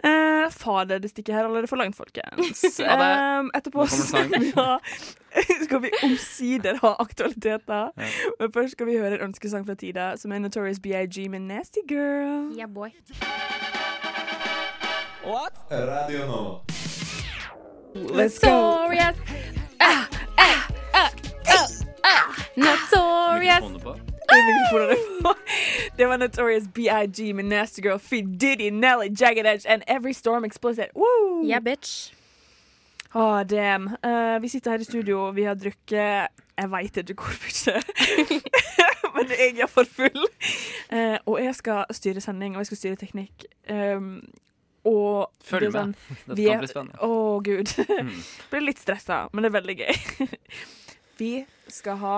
Speaker 2: Eh, fader, det stikker her allerede for langt, *laughs* folkens.
Speaker 3: Ha det.
Speaker 2: Em, Ehm, etterpå
Speaker 3: Nå kommer det
Speaker 2: skal
Speaker 3: sang.
Speaker 2: vi, ha, *laughs* skal vi omsider ha aktualiteter. Men først skal vi høre en ønskesang fra Tida, som er Notorious BIG med Nasty Girl.
Speaker 4: Yeah, boy.
Speaker 5: Radio Nova.
Speaker 2: Let's
Speaker 4: Notorious. Ah, ah, ah, ah, ah. Notorious.
Speaker 3: Mikrofonen på.
Speaker 2: Det var Notorious BIG med Nasty Girl, Feed Diddy, Nelly, Jagged Edge and Every Storm Explicit. Woo!
Speaker 4: Yeah, bitch.
Speaker 2: Ah, damn. Eh, vi sitter her i studio, vi har drukket eh, Jeg veit ikke hvor mye, *laughs* men jeg er for full. Eh, og jeg skal styre sending, og jeg skal styre teknikk. Um, og
Speaker 3: Følg
Speaker 2: det er
Speaker 3: med. Dette
Speaker 2: vi er-
Speaker 3: kan
Speaker 2: *laughs*
Speaker 3: bli spennende. Mm.
Speaker 2: Å, gud. Blir litt stressa, men det er veldig gøy. *laughs* vi skal ha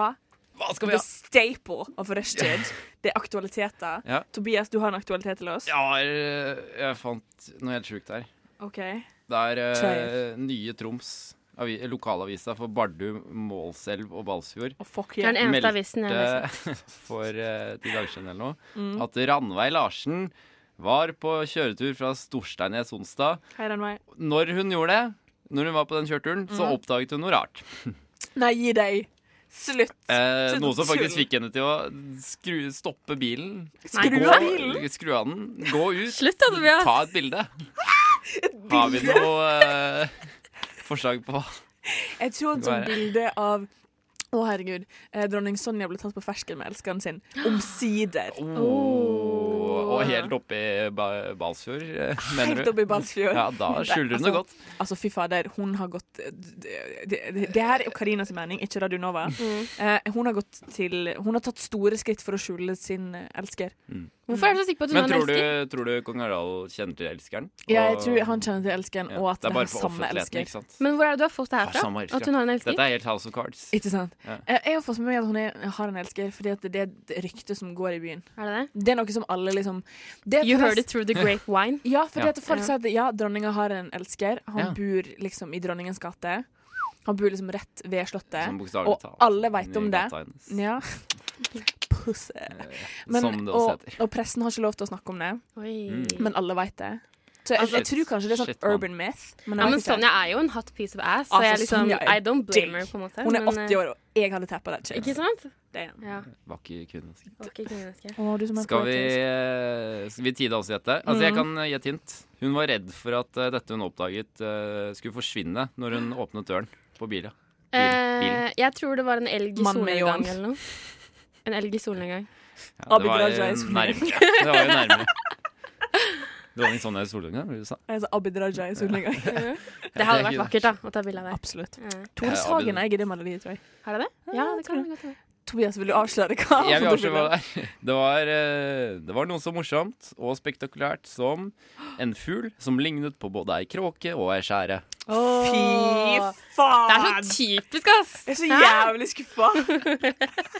Speaker 3: Hva skal vi
Speaker 2: the
Speaker 3: ha?
Speaker 2: staple of
Speaker 3: *laughs*
Speaker 2: rushtid. Det er aktualiteter.
Speaker 3: Ja.
Speaker 2: Tobias, du har en aktualitet til oss?
Speaker 3: Ja, eh, jeg fant noe helt sjukt her.
Speaker 2: OK.
Speaker 3: Det er eh,
Speaker 2: Trail.
Speaker 3: Nye Troms, avi, lokalavisa for Bardu, Målselv og Balsfjord.
Speaker 2: Å, fuck
Speaker 4: Det er
Speaker 2: yeah.
Speaker 4: den eneste
Speaker 3: meldte
Speaker 4: avisen jeg leser.
Speaker 3: *laughs* for eh, ti dager siden eller noe,
Speaker 2: Mm.
Speaker 3: at Ranveig Larsen var på kjøretur fra Storsteinnes onsdag.
Speaker 2: Hei, den meg.
Speaker 3: Når hun gjorde det, når hun var på den kjøreturen,
Speaker 2: Mhm.
Speaker 3: så oppdaget hun noe rart.
Speaker 2: Nei, gi deg. Slutt.
Speaker 3: Eh,
Speaker 2: Slutt å
Speaker 3: noe som faktisk
Speaker 2: tulle.
Speaker 3: fikk henne til å skru, stoppe bilen.
Speaker 2: Skru
Speaker 3: gå-
Speaker 2: av bilen.
Speaker 3: Skru av den. Gå ut.
Speaker 4: Slutt, da, Tobias.
Speaker 3: Ta et bilde.
Speaker 2: *laughs*
Speaker 3: Har vi noe eh, forslag på hva?
Speaker 2: Jeg tror et sånt
Speaker 3: Bare-
Speaker 2: bilde av å, herregud. Eh, dronning Sonja ble tatt på fersken med elskeren sin. Omsider.
Speaker 3: Oh, og helt oppe i ba Balsfjord, eh, mener
Speaker 2: Ah, Helt
Speaker 3: du?
Speaker 2: oppe i Balsfjord.
Speaker 3: Ja, da skjuler hun det godt.
Speaker 2: Altså, fy fader, hun har gått Det, det, det her er jo Karinas mening, ikke Radio Nova. Eh, hun har gått til Hun har tatt store skritt for å skjule sin eh, elsker.
Speaker 4: Hvorfor er du så sikker på at hun
Speaker 3: Men
Speaker 4: har en
Speaker 3: tror du,
Speaker 4: elsker?
Speaker 3: tror du kong Harald kjenner til elskeren?
Speaker 2: Ja, jeg
Speaker 3: Og-
Speaker 2: tror han kjenner til elskeren,
Speaker 3: Ja,
Speaker 2: og at det er,
Speaker 3: bare for
Speaker 2: samme
Speaker 3: offentligheten,
Speaker 2: elsker.
Speaker 3: Ikke sant?
Speaker 4: Men hvor er det du har fått det her
Speaker 3: Har
Speaker 4: fra?
Speaker 3: samme elsker.
Speaker 4: At hun har en elsker?
Speaker 3: Dette er helt House of Cards.
Speaker 2: Ikke sant?
Speaker 3: Ja.
Speaker 2: Eh, Jeg har fått med meg at hun er, har en elsker, fordi at det er et rykte som går i byen.
Speaker 4: Er det det?
Speaker 2: Det er noe som alle liksom det er
Speaker 4: You
Speaker 2: forresten-
Speaker 4: heard it
Speaker 3: *laughs*
Speaker 4: through the grapevine.
Speaker 2: Ja, fordi
Speaker 3: Ja.
Speaker 2: at folk sier at ja, dronninga har en elsker. Han
Speaker 3: Ja.
Speaker 2: bor liksom i Dronningens gate. Han bor liksom rett ved
Speaker 3: Som
Speaker 2: slottet.
Speaker 3: bokstavelig
Speaker 2: Og
Speaker 3: talt.
Speaker 2: alle veit om
Speaker 3: Inni
Speaker 2: det.
Speaker 3: gata hennes. *laughs*
Speaker 2: Ja. Pussy. Men,
Speaker 3: Som det også
Speaker 2: og,
Speaker 3: heter.
Speaker 2: og pressen har ikke lov til å snakke om det,
Speaker 4: Oi.
Speaker 3: Mm.
Speaker 2: men alle veit det. Så jeg, jeg tror kanskje det er sånn
Speaker 3: Altså, Shit, mann.
Speaker 2: urban myth. Men
Speaker 4: Ja,
Speaker 2: jeg
Speaker 4: men
Speaker 2: vet ikke.
Speaker 4: Sonja er jo en hot piece of ass, så
Speaker 2: Altså,
Speaker 4: jeg liksom
Speaker 2: Sonja er
Speaker 4: I don't blame
Speaker 2: digg.
Speaker 4: her, på en måte.
Speaker 2: Hun er
Speaker 4: men, eh,
Speaker 2: 80 år, og jeg hadde tappa that
Speaker 4: Ikke
Speaker 2: chick.
Speaker 4: sant?
Speaker 2: Damn.
Speaker 4: Ja.
Speaker 3: Vakker kvinne. sikkert.
Speaker 4: Ok, kvinnemenneske.
Speaker 2: Å, du som er
Speaker 3: Skal vi,
Speaker 2: poetisk. Mm.
Speaker 3: eh, skal vi tide oss i dette? Altså, jeg kan eh, gi et hint. Hun var redd for at eh, dette hun oppdaget, eh, skulle forsvinne når hun åpnet døren på bilen. Bilen.
Speaker 4: Eh, jeg tror det var en elg i
Speaker 2: Mann med ljåen.
Speaker 4: solnedgang eller noe. En elg i solnedgang.
Speaker 3: Ja,
Speaker 2: Abid
Speaker 3: det var
Speaker 2: Raja i
Speaker 3: eh,
Speaker 2: solnedgang.
Speaker 4: *laughs*
Speaker 3: nærmere. Det var jo nærmere. Dronning Sonja i solnedgang, var sånn det du sa?
Speaker 2: Jeg sa Abid Raja i solnedgang.
Speaker 3: *laughs*
Speaker 4: Det hadde vært vakkert da, å ta bilde av det.
Speaker 2: Absolutt.
Speaker 4: Eh,
Speaker 2: Tore
Speaker 3: Ja, Abid-
Speaker 2: Sagen eier det maleriet, tror jeg.
Speaker 4: Har jeg det? Ja, det kan jeg godt hende.
Speaker 2: Tobias, vil du avsløre hva?
Speaker 3: Jeg vil
Speaker 2: han
Speaker 3: avsløre hva det er. *laughs* Det var, eh, det var noe så morsomt og spektakulært som en fugl som lignet på både ei kråke og ei skjære.
Speaker 2: Fy
Speaker 4: Åh. Det
Speaker 2: faen!
Speaker 4: er så typisk, ass!
Speaker 2: Jeg er så
Speaker 4: Hæ?
Speaker 2: jævlig skuffa.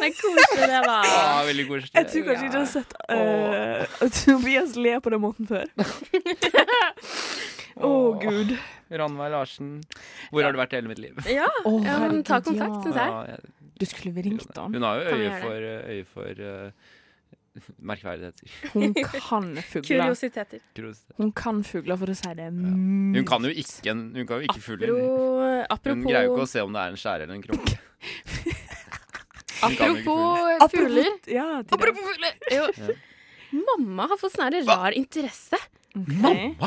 Speaker 4: Men koselig det var.
Speaker 3: Ah, veldig koselig.
Speaker 2: Jeg tror kanskje ikke jeg har sett eh, at Tobias le på den måten
Speaker 4: *laughs*
Speaker 2: før. Å, gud.
Speaker 3: Ranveig Larsen. Hvor har du vært i hele mitt liv?
Speaker 4: *laughs* Ja,
Speaker 2: Å,
Speaker 4: ja, men ta
Speaker 2: herregud,
Speaker 4: kontakt,
Speaker 2: ja.
Speaker 4: syns jeg.
Speaker 3: Ja, jeg-
Speaker 2: Du skulle vi ringt han.
Speaker 4: *laughs*
Speaker 3: Hun har jo
Speaker 4: Kan vi
Speaker 3: øye
Speaker 4: gjøre
Speaker 3: for, eh, øye for eh, *laughs* merkverdigheter.
Speaker 2: Hun kan fugler.
Speaker 4: Kuriositeter.
Speaker 3: Kuriositet.
Speaker 2: Hun kan fugler, for å si det.
Speaker 3: Hun kan jo ikke, en- hun kan jo ikke fugler.
Speaker 4: Bro,
Speaker 3: Hun greier jo ikke å
Speaker 4: apropos
Speaker 3: se om det er en skjære eller en kråke. Hun kan jo ikke
Speaker 4: Apropos fugler.
Speaker 2: Ja, Tida.
Speaker 4: Apropos fugler! Jo. Mamma har fått sånn her rar interesse.
Speaker 2: Ok.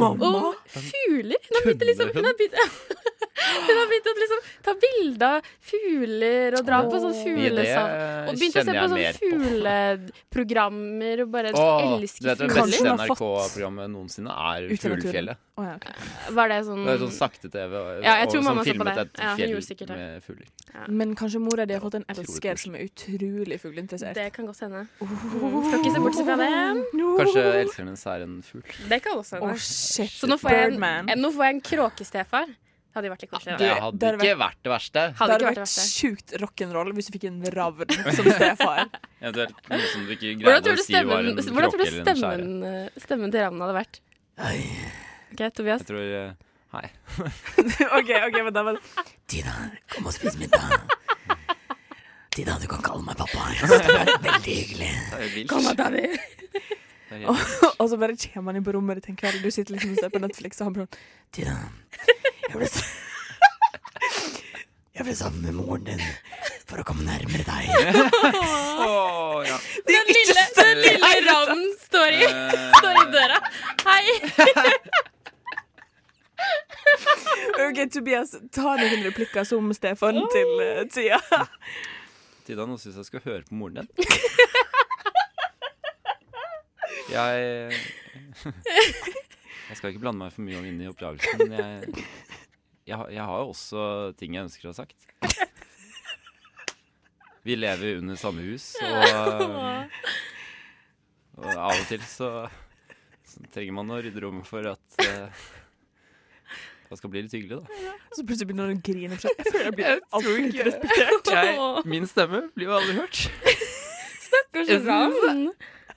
Speaker 4: Og fugler. Hun har begynt, å liksom, hun har begynt, *laughs* hun har begynt å liksom, ta bilde av fugler og dra på sånn
Speaker 3: I det eh,
Speaker 4: fuglesavn. Og begynte å se
Speaker 3: kjenner
Speaker 4: på sånn
Speaker 3: jeg mer
Speaker 4: sånne
Speaker 3: på.
Speaker 4: fugleprogrammer og bare
Speaker 3: Åh, du
Speaker 4: elsker
Speaker 3: vet, det
Speaker 4: fugler.
Speaker 2: Kanskje
Speaker 3: beste
Speaker 2: hun har fått-
Speaker 3: NRK-programmet noensinne er
Speaker 2: Ut i naturen.
Speaker 3: Fuglefjellet.
Speaker 2: Å, ja, ok.
Speaker 4: Var det sånn
Speaker 3: Det er sånn sakte-TV og,
Speaker 4: Ja, jeg
Speaker 3: og
Speaker 4: tror
Speaker 3: sånn
Speaker 4: mamma så på
Speaker 3: filmet
Speaker 4: det.
Speaker 3: et
Speaker 4: Ja, hun
Speaker 3: fjell
Speaker 4: gjorde sikkert det.
Speaker 3: med fugler.
Speaker 2: Men kanskje mora di har fått en
Speaker 3: Utrolig
Speaker 2: elsker
Speaker 3: koselig.
Speaker 2: som er utrolig fugleinteressert.
Speaker 4: Det kan godt hende. Mm, skal ikke se bort fra det.
Speaker 3: Kanskje
Speaker 4: Uhuh.
Speaker 3: elskeren hennes er en fugl.
Speaker 4: Det kan også
Speaker 2: Å,
Speaker 4: hende.
Speaker 2: shit.
Speaker 4: Så nå får jeg
Speaker 2: Birdman.
Speaker 4: en, eh, nå får jeg en kråkestefar. Det hadde jo vært litt koselig.
Speaker 3: Det
Speaker 4: da.
Speaker 3: hadde
Speaker 2: det hadde
Speaker 3: ikke vært det verste.
Speaker 4: Hadde
Speaker 2: Det
Speaker 4: ikke
Speaker 2: hadde
Speaker 4: vært
Speaker 2: vært
Speaker 4: det verste.
Speaker 2: sjukt rock'n'roll hvis du fikk en ravn *laughs* som stefar.
Speaker 3: Eventuelt noe som du ikke
Speaker 4: Hvordan
Speaker 3: greide å
Speaker 4: tror du
Speaker 3: si var en
Speaker 4: stemmen, hvordan tror
Speaker 3: kråke eller
Speaker 4: du
Speaker 3: en skjære.
Speaker 4: stemmen, eh, stemmen til Ravnen hadde vært? Ok, Tobias.
Speaker 3: Jeg tror eh, Hei.
Speaker 2: OK, ok, men da var det Tina, kom og spis middag.
Speaker 8: alltid, da. Du kan kalle meg pappa. Jeg synes det er veldig hyggelig.
Speaker 3: Det er jo vilt.
Speaker 4: Kom da, daddy.
Speaker 3: Det er helt vilt.
Speaker 2: *laughs* Og så bare kommer han inn på rommet ditt en kveld, du sitter liksom og ser på Netflix, og han bare sånn
Speaker 8: Tina, jeg ble, s- jeg ble sammen med moren din for å komme nærmere deg.
Speaker 3: Åh, ja.
Speaker 4: *laughs* Den lille, den lille ravnen står i, står i døra. Hei.
Speaker 2: OK, Tobias, ta noen replikker som Stefan til eh, Tia. *laughs*
Speaker 3: Tida, nå syns jeg skal høre på *laughs* moren din. *laughs* Jeg Jeg skal ikke blande meg for mye om inn i oppdragelsen, men jeg, jeg, har- jeg har jo også ting jeg ønsker å ha sagt. Vi lever under samme hus, og, og av og til så, så trenger man å rydde rommet for at eh, det skal bli litt hyggelig, da.
Speaker 2: Så plutselig begynner han å grine. for Jeg føler jeg blir
Speaker 3: Jeg tror
Speaker 2: altfor lite
Speaker 3: ikke-
Speaker 2: respektert.
Speaker 4: *laughs* Åh,
Speaker 3: Min stemme blir jo aldri hørt.
Speaker 4: Stakkars ravn.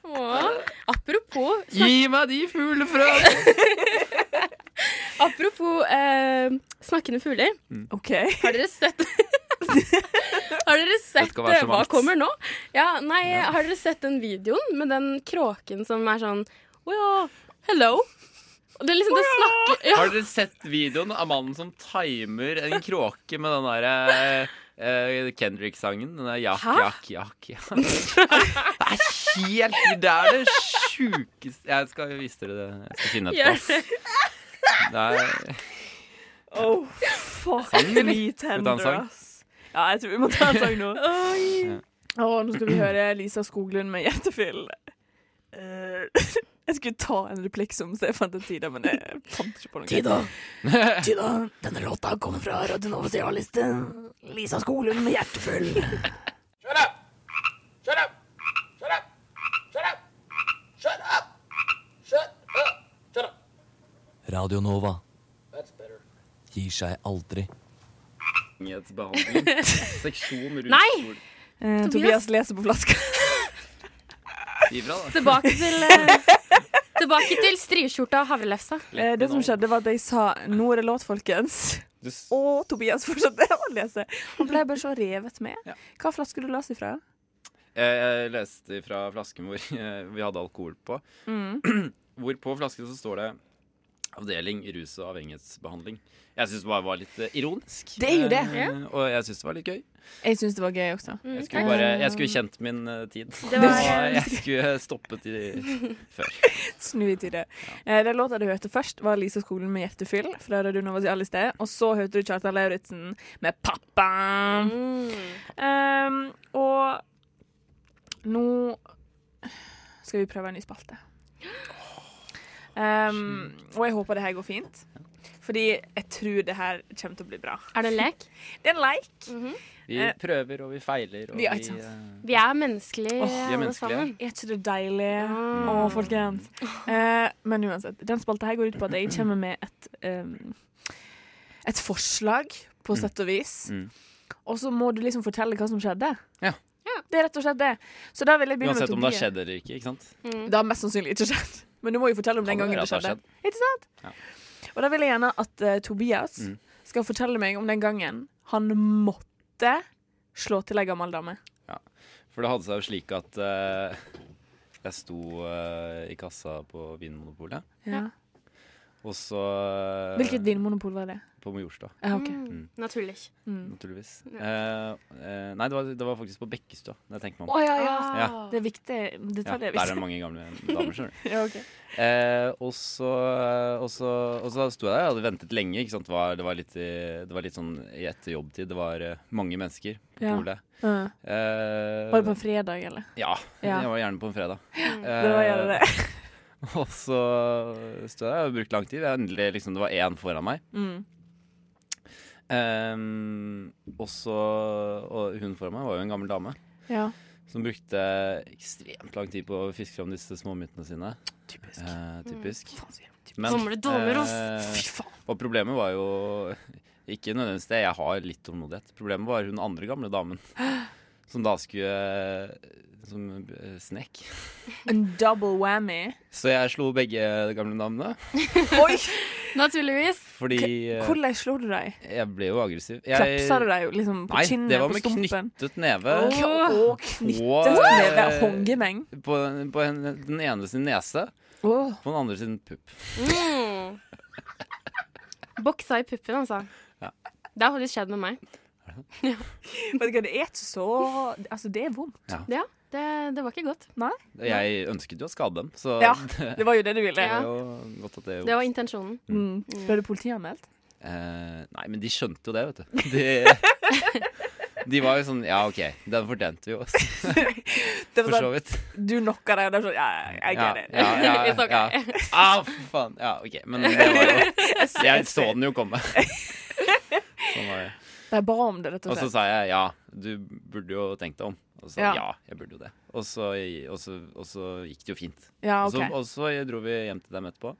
Speaker 4: Åh. Apropos
Speaker 3: Gi meg de fuglefrøene!
Speaker 4: Apropos eh, snakkende fugler.
Speaker 2: *laughs* OK.
Speaker 4: Har dere sett *laughs* Har dere sett eh,
Speaker 3: skal være så
Speaker 4: Hva
Speaker 3: mangt.
Speaker 4: kommer nå? Ja, nei, Har dere sett den videoen med den kråken som er sånn Å ja, hello? Og Det er liksom, det snakker ja.
Speaker 3: *laughs* Har dere sett videoen av mannen som timer en kråke med den der eh, Kendrick-sangen? Den der jak,
Speaker 4: Hæ?
Speaker 3: jak, jak, jak. Det er helt Det er det sjukeste Jeg skal vise dere det. Jeg skal finne et
Speaker 4: Gjør
Speaker 3: pass.
Speaker 4: det.
Speaker 3: Det er,
Speaker 2: Oh, fuck
Speaker 3: Sang, eller?
Speaker 2: me
Speaker 3: Vil du ta en
Speaker 2: tender,
Speaker 3: sang?
Speaker 2: ass. Ja, jeg tror vi må ta en *laughs* sang nå. Åh, nå skal vi høre Lisa Skoglund med Hjertefyll. Eh, *laughs* jeg skulle ta en replikk som Stefan til Tida, men jeg fant ikke på noe.
Speaker 8: Tida. Tida, denne låta kommer fra Radio Novas A-liste. Lisa Skoglund med Hjertefull.
Speaker 9: Radio Nova gir seg aldri.
Speaker 3: avhengighetsbehandling. Seksjon rundt
Speaker 4: Nei!
Speaker 3: skolen.
Speaker 2: Eh, Tobias leser på flaska.
Speaker 3: Gi fra, da.
Speaker 4: Tilbake
Speaker 3: *laughs*
Speaker 4: til eh, Tilbake til striskjorta og havrelefsa.
Speaker 2: Eh, det som skjedde, var at jeg sa 'nå er det låt, folkens'.
Speaker 3: Du s-
Speaker 2: Og Tobias fortsatte *laughs* å lese. Han ble bare så revet med.
Speaker 3: Ja.
Speaker 2: Hva flaske du leste ifra?
Speaker 3: Jeg, jeg leste fra flasken hvor eh, vi hadde alkohol på.
Speaker 2: Mm.
Speaker 3: *clears throat* Hvor på flasken så står det Avdeling rus og avhengighetsbehandling. Jeg syns det bare var litt eh, ironisk.
Speaker 2: Det er jo det.
Speaker 3: Eh, Og jeg syns det var litt gøy.
Speaker 2: Jeg syns det var gøy også.
Speaker 4: Mm,
Speaker 3: Jeg skulle,
Speaker 4: takk.
Speaker 3: bare, jeg skulle kjent min eh,
Speaker 2: *laughs*
Speaker 3: tid.
Speaker 4: Det var-
Speaker 3: Og jeg skulle stoppet i før.
Speaker 2: Snu i tide. Eh, den låta du hørte først, var Lisa Skolen med 'Hjertefyll' fra Radio Nova i alle steder. Og så hørte du Kjartan Lauritzen med
Speaker 4: Mm.
Speaker 2: 'Pappa'. Um, og nå skal vi prøve en ny spalte. Um, og jeg håper det her går fint. Fordi jeg tror det her kommer til å bli bra.
Speaker 4: Er det en lek?
Speaker 2: Det er en leik.
Speaker 3: Vi prøver og vi feiler og
Speaker 2: Eh. Ja,
Speaker 3: vi
Speaker 2: ikke sant.
Speaker 3: eh,
Speaker 4: Vi er
Speaker 3: vi
Speaker 4: menneskelige,
Speaker 3: er
Speaker 4: alle
Speaker 3: menneskelige.
Speaker 4: sammen.
Speaker 2: Er ikke det deilig?
Speaker 4: Mm.
Speaker 2: Å, folkens. Eh, men uansett, den spalta her går ut på at jeg kommer med et em, Et forslag, på sett og vis.
Speaker 3: Mm.
Speaker 2: Og så må du liksom fortelle hva som skjedde.
Speaker 3: Ja.
Speaker 2: Det er rett og slett det. Så da vil jeg begynne
Speaker 3: Uansett om det
Speaker 2: med
Speaker 3: har
Speaker 2: Tobias.
Speaker 3: skjedd eller ikke. ikke sant?
Speaker 2: Det har mest sannsynlig ikke skjedd. Men du må jo fortelle om den
Speaker 3: Kan det
Speaker 2: gangen
Speaker 3: være
Speaker 2: det
Speaker 3: at det
Speaker 2: skjedde.
Speaker 3: har
Speaker 2: Ikke sant? Og da vil jeg gjerne at eh, Tobias
Speaker 3: Mm.
Speaker 2: skal fortelle meg om den gangen han måtte slå til ei gammel dame.
Speaker 3: For det hadde seg jo slik at eh, jeg sto eh, i kassa på Vinmonopolet,
Speaker 2: Ja.
Speaker 3: og så eh,
Speaker 2: Hvilket vinmonopol var det?
Speaker 3: På Majorstua,
Speaker 2: Ja, ok.
Speaker 4: Mm, naturlig.
Speaker 3: naturligvis. Eh, eh, nei, det var, det var faktisk på Bekkestua. Det tenker man
Speaker 2: Å
Speaker 3: på.
Speaker 2: ja, Ah, ja.
Speaker 3: Ah. Ja.
Speaker 2: Det er viktig.
Speaker 3: Ja,
Speaker 2: Detalj
Speaker 3: der
Speaker 2: er
Speaker 3: er det
Speaker 2: viktig.
Speaker 3: mange gamle damer, skjønner du.
Speaker 2: *laughs* Ja, ok.
Speaker 3: Eh, og så, eh, og så, og så sto jeg der, jeg hadde ventet lenge. Ikke sant? Det, var, det, var litt, i- det var litt sånn i etter jobbtid. Det var eh, mange mennesker på
Speaker 2: Ja.
Speaker 3: polet.
Speaker 2: Ja.
Speaker 3: Eh, eh,
Speaker 2: Var det på en fredag, eller?
Speaker 3: Ja, *laughs*
Speaker 2: Ja.
Speaker 3: jeg var gjerne på en fredag. Eh,
Speaker 2: Det var gjerne det.
Speaker 3: *laughs* Og så sto jeg der og brukte lang tid. Jeg endelig, liksom, det var én foran meg.
Speaker 2: Mm.
Speaker 3: Eh, og så Og hun foran meg var jo en gammel dame
Speaker 2: Ja.
Speaker 3: som brukte ekstremt lang tid på å fiske fram disse småmyntene sine.
Speaker 2: Typisk.
Speaker 3: Eh, typisk.
Speaker 2: Mm.
Speaker 4: Gamle Dolmeros.
Speaker 3: eh,
Speaker 2: Fy faen.
Speaker 3: Og problemet var jo *laughs*
Speaker 2: *gasps*
Speaker 3: ikke nødvendigvis det, jeg har litt tålmodighet. Problemet var hun andre gamle damen Som da skulle eh, Som eh, snek.
Speaker 2: En double whammy.
Speaker 3: Så jeg slo begge de gamle navnene.
Speaker 2: *laughs* Oi!
Speaker 4: Naturligvis.
Speaker 3: Fordi eh,
Speaker 2: Hvordan slo du deg?
Speaker 3: jeg ble jo aggressiv.
Speaker 2: Klapsa du deg liksom på
Speaker 3: Nei,
Speaker 2: kinnet?
Speaker 3: det var med
Speaker 2: på stumpen?
Speaker 3: knyttet neve.
Speaker 2: Å,
Speaker 3: Og,
Speaker 2: knyttet neve.
Speaker 3: eh,
Speaker 2: sånn Hongemeng.
Speaker 3: På, på en, den ene sin nese, på den andre sin pupp.
Speaker 4: Mm. Boksa i puppen, altså.
Speaker 3: Ja.
Speaker 4: Det har faktisk skjedd med meg.
Speaker 2: Vet du hva, det er ikke så Altså, det er vondt.
Speaker 4: Ja, det, det var ikke godt.
Speaker 3: Jeg ønsket jo å skade dem, så
Speaker 2: Ja,
Speaker 3: *laughs* det
Speaker 2: det var jo det du ville.
Speaker 4: Ja.
Speaker 3: er jo godt at det
Speaker 4: Det var intensjonen.
Speaker 2: Mm. Ble du politianmeldt?
Speaker 3: Eh, nei, men de skjønte jo det, vet du. De, de var jo sånn Ja, OK, den fortjente vi jo, for
Speaker 2: Det var
Speaker 3: så
Speaker 2: sånn,
Speaker 3: vidt.
Speaker 2: du knocka deg, og det er sånn Ja, ja, I
Speaker 3: Ja,
Speaker 2: get it.
Speaker 3: ja, ja,
Speaker 4: It's
Speaker 3: ja.
Speaker 4: okay.
Speaker 3: Au, for faen. Ja, OK. Men det var jo Jeg så den jo komme. Sånn var det.
Speaker 2: De ba om det, rett
Speaker 3: Og
Speaker 2: og
Speaker 3: så
Speaker 2: slett.
Speaker 3: sa jeg ja, du burde jo tenkt deg om. Og så
Speaker 2: Ja.
Speaker 3: ja. jeg burde jo det. Og så, og så, og så gikk det jo fint.
Speaker 2: Ja,
Speaker 3: Og
Speaker 2: Ah, OK.
Speaker 3: så, og så dro vi hjem til dem etterpå.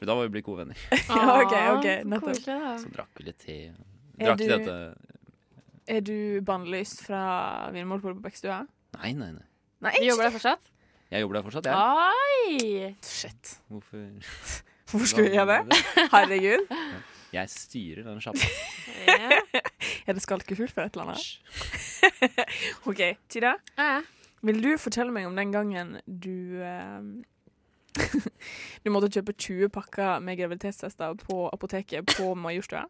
Speaker 3: For da var vi blitt gode venner.
Speaker 2: *laughs* Ja, ok, ok,
Speaker 4: Ah, så
Speaker 2: nettopp.
Speaker 4: Koselig, da.
Speaker 3: Så drakk vi litt te.
Speaker 2: Er
Speaker 3: Drakk
Speaker 2: du-
Speaker 3: dette
Speaker 2: Er du bannlyst fra Vinmonopolet på Bekkestua?
Speaker 3: Nei, nei, nei.
Speaker 2: Nei,
Speaker 4: Du jobber der fortsatt?
Speaker 3: Jeg jobber der
Speaker 4: Ah.
Speaker 3: fortsatt, jeg.
Speaker 4: Oi!
Speaker 2: Shit.
Speaker 3: Hvorfor
Speaker 2: Hvorfor skulle jeg gjøre det? Herregud.
Speaker 3: *laughs* Jeg styrer den sjappa.
Speaker 4: Ja.
Speaker 2: Er det skalkehull for et eller annet? OK, Tida.
Speaker 4: Ja, ja.
Speaker 2: Vil du fortelle meg om den gangen du eh, *laughs* Du måtte kjøpe 20 pakker med graviditetstester på apoteket på Majorstua?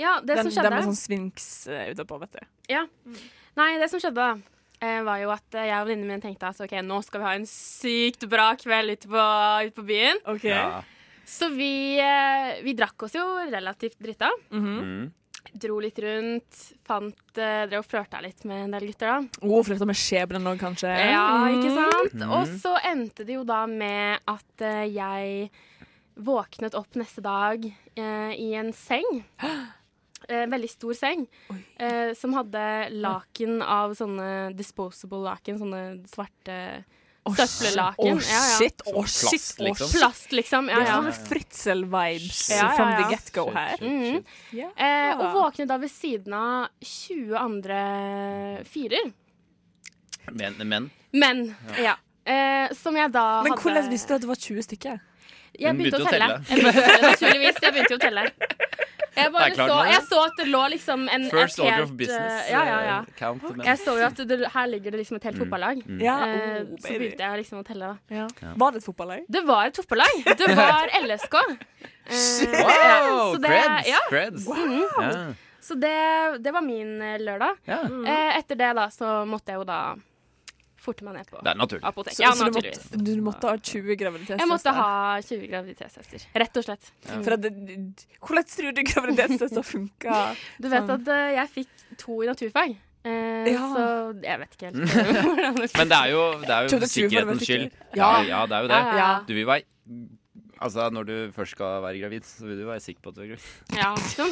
Speaker 4: ja, det
Speaker 2: Den,
Speaker 4: som
Speaker 2: den
Speaker 4: skjedde
Speaker 2: med sånn svinks eh, utapå, vet du.
Speaker 4: Nei, det som skjedde da, eh, var jo at eh, jeg og venninnen min tenkte at ok, nå skal vi ha en sykt bra kveld ute på, ute på byen.
Speaker 2: OK.
Speaker 3: Ja.
Speaker 4: Så vi, eh, vi drakk oss jo relativt drita.
Speaker 2: Mhm.
Speaker 3: Mm.
Speaker 4: Dro litt rundt, fant, eh, drev og flørta litt med en del gutter da.
Speaker 2: Oh, flørta med skjebnen òg, kanskje?
Speaker 4: Ja, ikke
Speaker 2: Mm.
Speaker 4: sant?
Speaker 3: Mhm.
Speaker 4: Og så endte det jo da med at eh, jeg våknet opp neste dag eh, i
Speaker 2: *gasps*
Speaker 4: en seng. En veldig stor seng
Speaker 2: Oi.
Speaker 4: eh, som hadde laken av sånne disposable laken, sånne svarte
Speaker 2: Å,
Speaker 4: Søppellaken,
Speaker 2: Å,
Speaker 4: ja, ja.
Speaker 2: shit, å,
Speaker 3: Sånn
Speaker 2: shit,
Speaker 3: plast,
Speaker 2: å,
Speaker 3: liksom.
Speaker 2: shit.
Speaker 4: plast, liksom. Ja,
Speaker 2: Det
Speaker 4: ja.
Speaker 2: er sånne fritzel-vibes
Speaker 4: Ja, ja,
Speaker 2: from the
Speaker 4: ja.
Speaker 2: get-go
Speaker 3: Shit,
Speaker 2: her. Mm.
Speaker 3: shit, shit.
Speaker 4: Eh, og
Speaker 2: Ja.
Speaker 4: våknet da ved siden av 20 andre fyrer.
Speaker 3: Men, men
Speaker 4: Men, ja. Eh, som jeg da
Speaker 2: Men
Speaker 4: hadde
Speaker 2: hvordan visste du at det var 20 stykker?
Speaker 3: Mm.
Speaker 4: Jeg
Speaker 3: Hun
Speaker 4: begynte å
Speaker 3: begynte å
Speaker 4: telle. Jeg begynte å telle, naturligvis. Jeg begynte å telle. Jeg, bare
Speaker 3: Det er klart
Speaker 4: så,
Speaker 3: nå,
Speaker 4: jeg
Speaker 3: det.
Speaker 4: så at det lå liksom en
Speaker 3: first
Speaker 4: et
Speaker 3: order
Speaker 4: helt,
Speaker 3: of business.
Speaker 4: eh, Ja, ja, ja.
Speaker 3: eh, Count the men. Mm.
Speaker 4: Jeg så jo at det, her ligger det liksom et helt fotballag.
Speaker 2: Ja,
Speaker 4: Eh,
Speaker 2: oh,
Speaker 4: så
Speaker 2: baby.
Speaker 4: begynte jeg liksom å telle. da.
Speaker 2: Ja. Var det et fotballag?
Speaker 4: Det var et fotballag! Det
Speaker 3: *laughs*
Speaker 4: var LSK. Eh, ja,
Speaker 3: Wow!
Speaker 4: så det-
Speaker 3: Creds!
Speaker 4: Ja,
Speaker 3: creds. Ja.
Speaker 4: så det, det var min eh, lørdag.
Speaker 3: Ja.
Speaker 2: Mm.
Speaker 4: Eh, etter det da, så måtte jeg jo da forte meg ned på
Speaker 3: Det er naturlig.
Speaker 4: apoteket. Ja,
Speaker 2: du, måtte,
Speaker 4: naturligvis.
Speaker 2: du måtte ha 20 graviditetstester?
Speaker 4: Jeg måtte ha Mm. 20 graviditetshester, rett og slett.
Speaker 2: For at det, hvordan tror du graviditetstester
Speaker 4: *laughs*
Speaker 2: funker?
Speaker 4: Du vet
Speaker 2: Sånn.
Speaker 4: at eh, jeg fikk to i naturfag, eh,
Speaker 2: Ja.
Speaker 4: så jeg
Speaker 3: *laughs*
Speaker 4: vet ikke helt hvordan det
Speaker 3: Men det er jo, det er jo
Speaker 2: Trodde
Speaker 3: for
Speaker 2: tyven var
Speaker 3: sikkerhetens skyld.
Speaker 2: sikker.
Speaker 3: Ja. ja, det er jo det.
Speaker 4: Ja, ja.
Speaker 3: Du vil være Altså, når du først skal være gravid, så vil du være sikker på at du er gravid.
Speaker 4: ja, sånn.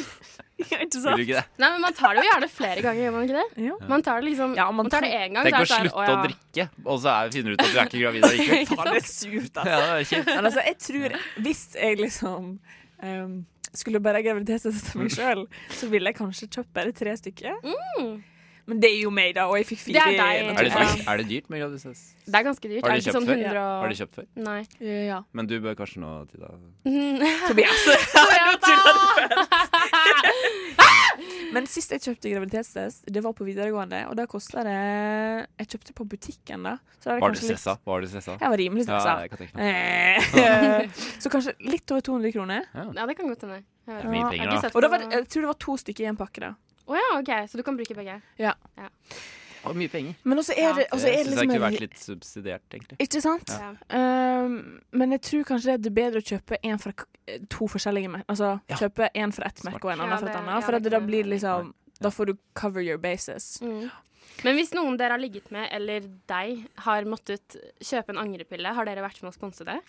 Speaker 2: Ja, ikke
Speaker 3: Vil
Speaker 2: sant?
Speaker 3: du ikke det?
Speaker 4: Nei, men man tar det jo gjerne flere ganger, gjør man ikke det?
Speaker 2: Ja.
Speaker 4: Man tar det liksom
Speaker 2: Ja, man
Speaker 4: man tar det én gang.
Speaker 3: Tenk
Speaker 4: så er
Speaker 3: å
Speaker 4: det sånn,
Speaker 3: slutte
Speaker 4: ja.
Speaker 3: å drikke, og så er, finner du ut at du er ikke gravid
Speaker 4: *laughs*
Speaker 3: allikevel.
Speaker 2: Faen, det er surt, altså.
Speaker 3: Ja, det er kjipt.
Speaker 2: Men altså, jeg tror Hvis jeg liksom ehm, skulle bare ha graviditetstest
Speaker 3: Mm.
Speaker 2: til meg sjøl, så ville jeg kanskje kjøpt bare tre stykker. Men det er jo meg, da, og jeg fikk
Speaker 4: Mm. Det
Speaker 2: fire. i
Speaker 4: er deg.
Speaker 3: Er det
Speaker 2: naturen.
Speaker 3: dyrt, er det dyrt med graviditet?
Speaker 4: Det er ganske dyrt.
Speaker 3: Har de
Speaker 4: Er det ikke
Speaker 3: kjøpt
Speaker 4: sånn
Speaker 3: før?
Speaker 4: 100 og...
Speaker 3: Har de kjøpt før?
Speaker 4: Nei.
Speaker 2: Ja.
Speaker 3: Men du bør kanskje nå, Tida.
Speaker 4: *laughs*
Speaker 2: *laughs* Tobias.
Speaker 4: Tobias,
Speaker 2: Men sist jeg kjøpte graviditetstest, det var på videregående, og da kosta det Jeg kjøpte på butikken, da. Så da er det
Speaker 3: Var du
Speaker 2: kanskje litt-
Speaker 3: stressa? Var du stressa?
Speaker 2: Jeg var rimelig
Speaker 3: Ja,
Speaker 2: stressa.
Speaker 3: jeg kan tenke meg.
Speaker 2: Eh, *laughs* så kanskje litt over 200 kroner.
Speaker 4: Ja, det kan godt hende. Jeg vet
Speaker 3: Det er mye
Speaker 4: ikke.
Speaker 3: penger,
Speaker 4: Jeg har ikke
Speaker 3: da.
Speaker 4: sett
Speaker 2: Og da
Speaker 4: på-
Speaker 2: var, det- jeg tror det var to stykker i en pakke, da.
Speaker 4: Å ja, OK, så du kan bruke begge.
Speaker 3: Og mye penger.
Speaker 2: Men også er det,
Speaker 3: Jeg
Speaker 2: også er det
Speaker 3: syns det
Speaker 2: liksom
Speaker 3: kunne
Speaker 2: en-
Speaker 3: vært litt subsidiert, egentlig.
Speaker 2: Ikke sant?
Speaker 4: Ja.
Speaker 2: Ehm, men jeg tror kanskje det er bedre å kjøpe en fra k- eh, to forskjellige mer- Altså
Speaker 3: Ja.
Speaker 2: kjøpe en fra ett merke og en
Speaker 4: Ja,
Speaker 2: annen fra et
Speaker 4: det-
Speaker 2: annet,
Speaker 4: ja,
Speaker 2: for
Speaker 4: det
Speaker 2: at det
Speaker 4: kan
Speaker 2: da
Speaker 4: jeg
Speaker 2: blir
Speaker 4: være
Speaker 2: liksom Da får du cover your bases.
Speaker 4: Mm. Men hvis noen dere har ligget med, eller deg, har måttet kjøpe en angrepille, har dere vært med å sponse det?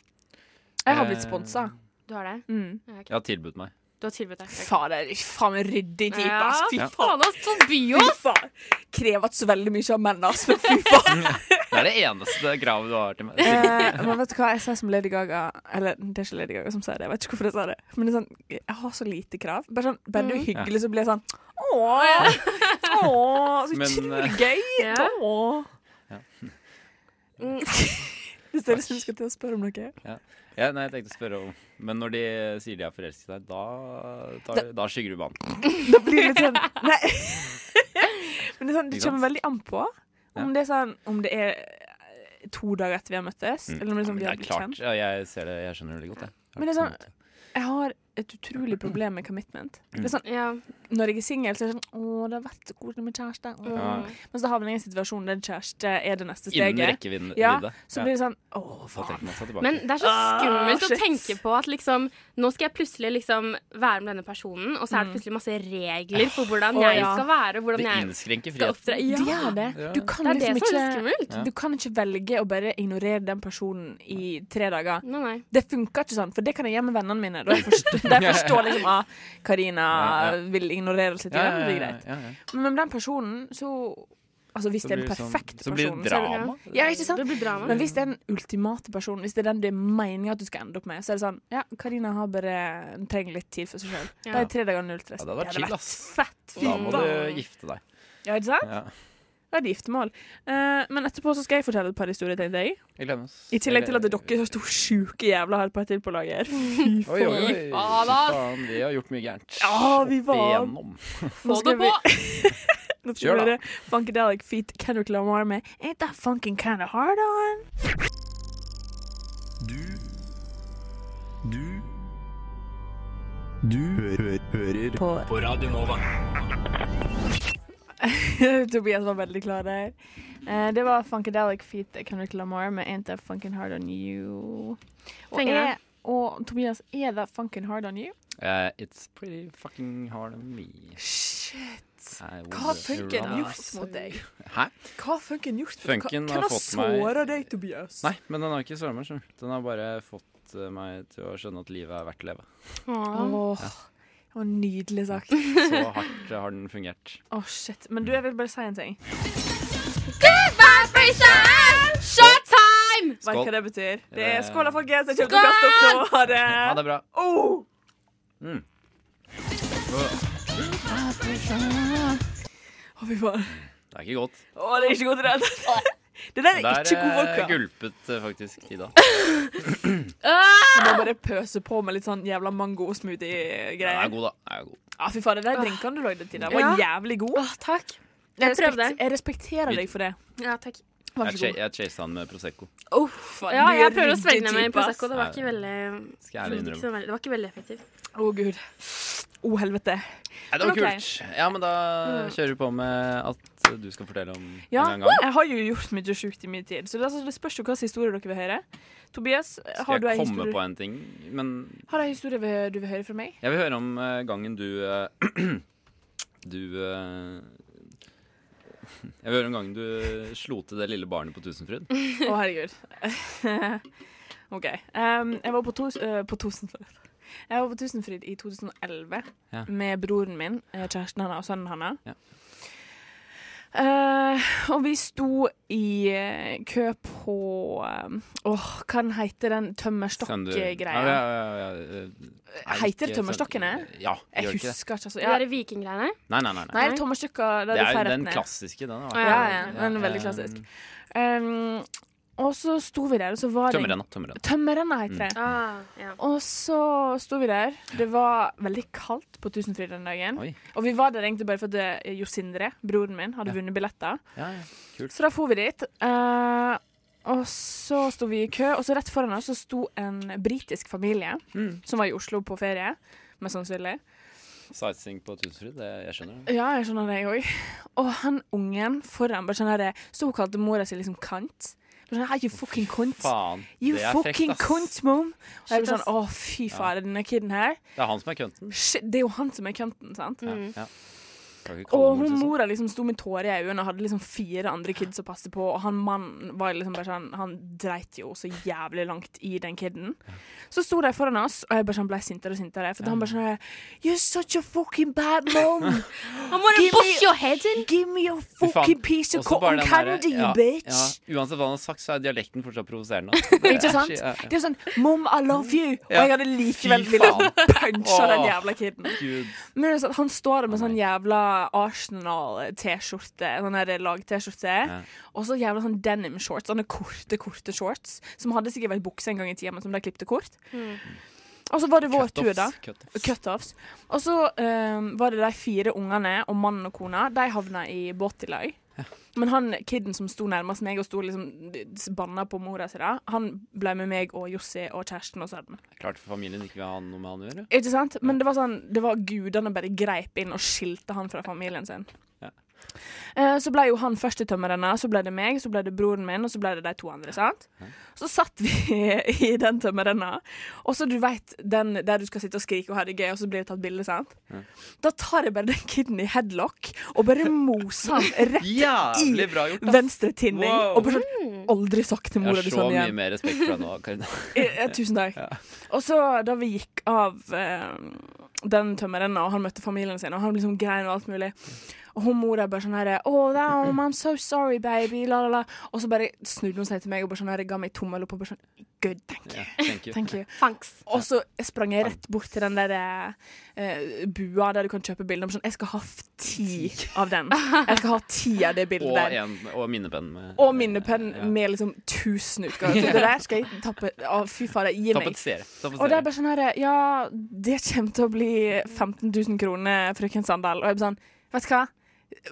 Speaker 2: Jeg har blitt
Speaker 3: Eh,
Speaker 2: sponsa.
Speaker 4: Du har det?
Speaker 2: Mm.
Speaker 4: Ja, ok.
Speaker 3: Jeg har tilbudt meg.
Speaker 4: Du har tilbudt deg? ok.
Speaker 2: Fader, faen meg ryddig type,
Speaker 4: Ja,
Speaker 2: ass. Fy
Speaker 4: fy
Speaker 3: Ja.
Speaker 2: faen.
Speaker 4: faen, ass, Tobias!
Speaker 2: Fy faen. Krever ikke så veldig mye av menn, ass, men fy faen.
Speaker 3: Det er det eneste kravet du har til meg.
Speaker 2: Eh, men vet du hva jeg sier som Lady Gaga Eller det er ikke Lady Gaga som sier det, jeg vet ikke hvorfor jeg sa det. Men det er sånn, jeg har så lite krav. Bare, sånn, bare du er hyggelig, så blir jeg sånn Å, Mm. Åh, *laughs* åh, så
Speaker 3: Men,
Speaker 2: utrolig
Speaker 3: eh,
Speaker 2: gøy!
Speaker 4: Ja.
Speaker 2: Åh.
Speaker 3: Ja.
Speaker 4: Mm.
Speaker 2: *laughs* Hvis dere syns skal til å spørre om noe.
Speaker 3: Ja, nei, jeg tenkte å spørre om Men når de sier de har forselsket deg, da, tar, da skygger du banen.
Speaker 2: Da blir det litt sånn Nei. *laughs* Men det, er sånn, det
Speaker 3: Ikke sant?
Speaker 2: kommer veldig an på om
Speaker 3: Ja.
Speaker 2: det er sånn Om det er eh, to dager etter vi har møttes,
Speaker 3: Mm.
Speaker 2: eller om det er sånn
Speaker 3: Men
Speaker 2: vi
Speaker 3: det
Speaker 2: har
Speaker 3: er
Speaker 2: blitt
Speaker 3: klart.
Speaker 2: kjent.
Speaker 3: Ja, jeg ser det, jeg skjønner det godt, jeg.
Speaker 2: Men det er sånn- Jeg har et utrolig problem med commitment. Det er
Speaker 3: Mm.
Speaker 2: sånn,
Speaker 4: Ja.
Speaker 2: når jeg er singel, så er det sånn Å, det har vært så koselig med kjæreste. Åh.
Speaker 3: Ja.
Speaker 2: Men så havner jeg i en situasjon der kjæreste er det neste
Speaker 3: Innen
Speaker 2: steget.
Speaker 3: rekkevidde.
Speaker 2: Ja,
Speaker 3: vidde.
Speaker 2: Så blir det sånn Å,
Speaker 3: Da
Speaker 2: faen.
Speaker 3: tenker man seg tilbake.
Speaker 4: Men det er så skummelt
Speaker 2: Ah,
Speaker 4: å
Speaker 2: shit.
Speaker 4: tenke på at liksom, nå skal jeg plutselig liksom være med denne personen, og så er det plutselig masse regler for hvordan
Speaker 2: Mm. Ah, Å,
Speaker 4: jeg
Speaker 2: ja.
Speaker 4: skal være. og Hvordan
Speaker 3: det
Speaker 4: jeg
Speaker 3: innskrenker
Speaker 4: skal
Speaker 3: friheten.
Speaker 4: opptre.
Speaker 2: Ja. Det
Speaker 4: Ja,
Speaker 2: gjør det.
Speaker 3: Ja.
Speaker 2: Du kan
Speaker 4: det er det
Speaker 2: liksom
Speaker 4: som er litt
Speaker 2: ikke
Speaker 4: skummelt.
Speaker 2: Du kan ikke velge å bare ignorere den personen i tre dager.
Speaker 4: Nei, nei.
Speaker 2: Det funker ikke sånn, for det kan jeg gjøre med vennene mine.
Speaker 3: *laughs*
Speaker 2: Da jeg forstår, da jeg forstår liksom at Karina
Speaker 3: Ja,
Speaker 2: vil ignorere oss litt. Ja, Det er greit.
Speaker 3: ja, ja.
Speaker 2: Men med den personen, så Altså hvis
Speaker 3: Så
Speaker 2: det er
Speaker 3: blir
Speaker 2: den
Speaker 3: det sånn-
Speaker 2: perfekte
Speaker 3: så blir det
Speaker 2: personen
Speaker 3: drama.
Speaker 2: er det- sånn- Ja, ikke sant?
Speaker 4: Det blir drama.
Speaker 2: Men hvis det er den ultimate personen, hvis det er den du mener at du skal ende opp med, så er det sånn Ja, Karina har bare hun trenger litt tid for seg sjøl.
Speaker 4: Ja.
Speaker 2: Da er tre dager null stress.
Speaker 3: Ja, det hadde vært chill, ass.
Speaker 2: fett. Fy
Speaker 3: Da må
Speaker 2: faen.
Speaker 3: du gifte deg.
Speaker 2: Ja, ikke sant?
Speaker 3: Ja.
Speaker 2: Da er det giftermål. Eh, men etterpå så skal jeg fortelle et par historier til deg.
Speaker 3: Jeg gleder meg. ass.
Speaker 2: I tillegg til at
Speaker 3: Jeg-
Speaker 2: dere er så sjuke jævla har et par til på lager.
Speaker 3: Oi, oi, oi. Fy
Speaker 4: faen, ass.
Speaker 3: faen, vi har gjort mye gærent.
Speaker 2: Ja, vi
Speaker 3: Opp
Speaker 2: var-
Speaker 3: igjennom.
Speaker 2: Nå skal *laughs* vi- Nå skal vi
Speaker 3: Kjør da.
Speaker 2: høre Funkadelic feat Kendrick Lamar med Ain't That Funkin' Kinda Hard On. *laughs* Tobias var veldig klar der. Eh, det var Funkadelic feat Kendrick Lamar med Ain't That Funkin' Hard On You. Og,
Speaker 4: Trenger det.
Speaker 2: er, og Tobias, er that funkin' hard on you?
Speaker 3: Eh, it's pretty fucking hard on me.
Speaker 2: Shit.
Speaker 3: I would
Speaker 2: Hva har funken
Speaker 3: rather-
Speaker 2: gjort mot deg?
Speaker 3: Hæ?
Speaker 2: Hva har funken gjort?
Speaker 3: Funken har fått meg
Speaker 2: deg, Tobias?
Speaker 3: Nei, men den har ikke såret meg. skjønner du. Den har bare fått eh, meg til å skjønne at livet er verdt å leve.
Speaker 4: Åh.
Speaker 2: Åh, det var nydelig sagt.
Speaker 3: Så
Speaker 2: *laughs*
Speaker 3: hardt eh, har den fungert.
Speaker 2: Åh, shit. Men du, jeg vil bare si en ting.
Speaker 4: Good vibration! Shot time!
Speaker 2: Vet
Speaker 3: Skål.
Speaker 2: hva det betyr? Det
Speaker 3: Eh.
Speaker 2: er skål, da, folkens. Jeg kommer til å kaste opp nå. Ha det. Oh!
Speaker 3: Ha det bra.
Speaker 2: Åh!
Speaker 3: Mm.
Speaker 2: Å, fy faen.
Speaker 3: Det er ikke godt.
Speaker 2: Å, det er ikke godt i det hele tatt. *laughs* Det der er
Speaker 3: Der
Speaker 2: ikke god
Speaker 3: eh,
Speaker 2: vodka.
Speaker 3: gulpet eh, faktisk
Speaker 2: *laughs*
Speaker 3: Ida.
Speaker 2: Jeg må bare pøse på med litt sånn jævla
Speaker 3: Den er
Speaker 2: mango-smoothie-greier.
Speaker 3: god, da. Den er god.
Speaker 2: Ja, fy faen, det der drinkene du lagde til deg var
Speaker 4: Ja.
Speaker 2: jævlig god.
Speaker 4: Åh, takk.
Speaker 2: Jeg,
Speaker 4: Jeg prøvde.
Speaker 2: respekt, jeg respekterer deg for det.
Speaker 4: Ja, takk.
Speaker 2: Vær
Speaker 3: Jeg,
Speaker 2: så
Speaker 3: ch
Speaker 2: god.
Speaker 3: jeg chasa han med Prosecco.
Speaker 2: Oh, faen,
Speaker 4: Ja,
Speaker 2: du er
Speaker 4: jeg prøver å
Speaker 2: ryddig
Speaker 4: svelge meg i
Speaker 2: type, ass.
Speaker 4: Prosecco. Det var ikke veldig
Speaker 3: Skal jeg ærlig
Speaker 4: ikke så veldig- Det var ikke veldig effektivt.
Speaker 2: Å, gud. Å, helvete.
Speaker 3: Nei, det var
Speaker 2: Men ok. Mm.
Speaker 3: kult. Ja, men da kjører vi på med at du skal fortelle om
Speaker 2: Ja,
Speaker 3: en gang.
Speaker 2: jeg har jo gjort mye sjukt i min tid, så det, altså, det spørs jo hvilken historie dere vil høre. Tobias, har
Speaker 3: Skal
Speaker 2: du en
Speaker 3: jeg komme på
Speaker 2: historie,
Speaker 3: en ting? Men
Speaker 2: har du en historie vi- du vil høre fra
Speaker 3: *laughs*
Speaker 2: meg?
Speaker 3: jeg vil høre om eh, gangen du eh, *clears throat* Du eh, *laughs* Jeg vil høre om gangen du eh, slo til det lille barnet på Tusenfryd.
Speaker 2: Å, herregud. *laughs* OK. em, jeg var på, tos, eh, på Tusenfryd. Jeg var på Tusenfryd i 2011
Speaker 3: Ja.
Speaker 2: med broren min, eh, kjæresten hans og sønnen hans.
Speaker 3: Ja.
Speaker 2: Eh, og vi sto i eh, kø på em, Åh, hva den heter den
Speaker 3: Søndag- Ja,
Speaker 2: tømmerstokkgreia?
Speaker 3: ja, ja, ja, eh, er
Speaker 2: Heiter
Speaker 3: ikke
Speaker 2: det tømmerstokkene?
Speaker 3: søndag- Ja,
Speaker 2: Jeg
Speaker 3: gjør ikke det.
Speaker 2: husker ikke, altså.
Speaker 4: De
Speaker 2: Ja.
Speaker 4: der vikinggreiene.
Speaker 3: Nei, nei, nei. nei.
Speaker 2: Nei, tommelstykker.
Speaker 3: Det
Speaker 2: Det
Speaker 3: er
Speaker 2: er
Speaker 3: jo den
Speaker 2: klassen.
Speaker 3: klassiske, den.
Speaker 4: Ja,
Speaker 2: Ja, ja, den er veldig
Speaker 3: eh,
Speaker 2: klassisk. Um, og så sto vi der, og så var det
Speaker 3: Tømmerrenna. Tømmerrenna.
Speaker 2: Tømmerrenna heter det.
Speaker 3: Mm.
Speaker 4: Ah, ja.
Speaker 2: Og så sto vi der. Det var veldig kaldt på Tusenfryd den dagen.
Speaker 3: Oi.
Speaker 2: Og vi var der egentlig bare fordi Jo Sindre, broren min, hadde vunnet billetter.
Speaker 3: Ja, ja. Kult.
Speaker 2: Så da for vi dit. eh, og så sto vi i kø, og så rett foran oss så sto en britisk familie
Speaker 3: Mm.
Speaker 2: som var i Oslo på ferie, mest sannsynlig.
Speaker 3: Sightseeing på Tusenfryd, det, jeg skjønner. det.
Speaker 2: Ja, jeg skjønner det, jeg òg. Og han ungen foran bare sånn herre Så hun kalte mora si liksom kant. Bare Sånn, hey, you fucking cunt.
Speaker 3: Faen,
Speaker 2: You
Speaker 3: det er frekt,
Speaker 2: fucking
Speaker 3: ass.
Speaker 2: cunt, mom. Og jeg
Speaker 4: Shit,
Speaker 2: ble sånn, å
Speaker 4: ass.
Speaker 2: fy faen, denne kiden her.
Speaker 3: Det er han som er kønten.
Speaker 2: Shit, det er jo han som er kønten, sant?
Speaker 3: Ja, ja. Skal ikke kalle
Speaker 2: Mm. Og
Speaker 3: ham
Speaker 2: hun
Speaker 3: til sånn.
Speaker 2: mora liksom sto med tårer i øynene og hadde liksom fire andre kids å passe på, og han mannen var liksom bare sånn Han dreit jo så jævlig langt i den kiden. Så sto de foran oss, og jeg bare sånn ble sintere og sintere. For han bare sånn You're such a fucking bad mom!
Speaker 4: I'm gonna
Speaker 2: Give
Speaker 4: bust
Speaker 2: me-
Speaker 4: your head in!
Speaker 2: Give me a
Speaker 3: Fy faen.
Speaker 2: fucking piece of
Speaker 3: Også bare
Speaker 2: cotton
Speaker 3: den derre-
Speaker 2: candy,
Speaker 3: ja,
Speaker 2: bitch!
Speaker 3: Ja. Uansett hva han har sagt, så er dialekten fortsatt provoserende.
Speaker 2: *laughs* Ikke sant?
Speaker 3: Ja, ja.
Speaker 2: Det er sånn Mom, I love you! Og
Speaker 3: Ja.
Speaker 2: jeg hadde likevel
Speaker 3: Fy
Speaker 2: villet
Speaker 3: faen.
Speaker 2: punche den
Speaker 3: Åh.
Speaker 2: jævla kiden.
Speaker 3: Gud.
Speaker 2: Men det er sånn, han står der med sånn jævla Arsenal-T-skjorte, sånn her lag-T-skjorte, og så jævla sånn denim-shorts, sånne korte, korte shorts, som hadde sikkert vært bukse en gang i tida, men som de klippte kort. Og så var det vår tur, da. Mm. Cutoffs. Og så eh, var det de fire ungene og mannen og kona. De havna i båt i lag. Men han kiden som sto nærmest meg og sto liksom banna på mora si, da, han ble med meg og Jossi og kjæresten og sønnen.
Speaker 3: Klart familien ikke vil ha noe med han å gjøre.
Speaker 2: Ikke sant? Men det var sånn, det var gudene bare greip inn og skilte han fra familien sin.
Speaker 3: Ja.
Speaker 2: Eh, Så ble jo han førstetømmeren, så ble det meg, så ble det broren min, og så ble det de to andre. sant? Så satt vi *laughs* i den tømmerrenna, og så du veit den der du skal sitte og skrike og ha det gøy, og så blir det tatt bilde, sant? Da tar jeg bare den kiden i headlock og bare moser han rett
Speaker 3: Jævlig bra *laughs* gjort, ass.
Speaker 2: venstre tinning.
Speaker 3: Wow.
Speaker 2: Og bare sånn Aldri sagt til
Speaker 3: Mm. Jeg
Speaker 2: mora
Speaker 3: har
Speaker 2: di
Speaker 3: så
Speaker 2: sånn
Speaker 3: mye
Speaker 2: igjen.
Speaker 3: mer respekt for deg nå,
Speaker 2: *laughs*
Speaker 3: Karina.
Speaker 2: Eh, eh, Tusen takk. Og så da vi gikk av eh, den tømmerrenna, og han møtte familien sin, og han liksom grein og alt mulig, og hun mora bare sånn herre Oh, damn, I'm so sorry, baby, la, la, la. Og så bare snudde hun seg til meg og bare sånn herre ga meg tommel opp og bare sånn Good, thank you.
Speaker 3: Ja, thank you.
Speaker 2: Thank you.
Speaker 4: Fangs.
Speaker 2: Og så sprang jeg rett bort til den der eh, bua der du kan kjøpe bilder. og bare Sånn, jeg skal ha f- ti av den. Jeg skal ha ti av det bildet
Speaker 3: Og,
Speaker 2: der.
Speaker 3: en, og minnepenn med
Speaker 2: Og minnepenn med liksom 1000 utgaver. Så Det der skal jeg tappe av. Fy fader, gi meg.
Speaker 3: Tapetsere.
Speaker 2: Og det er bare sånn her Ja, det kommer til å bli 15 000 kroner, frøken Sandal. Og jeg blir sånn Vet du hva?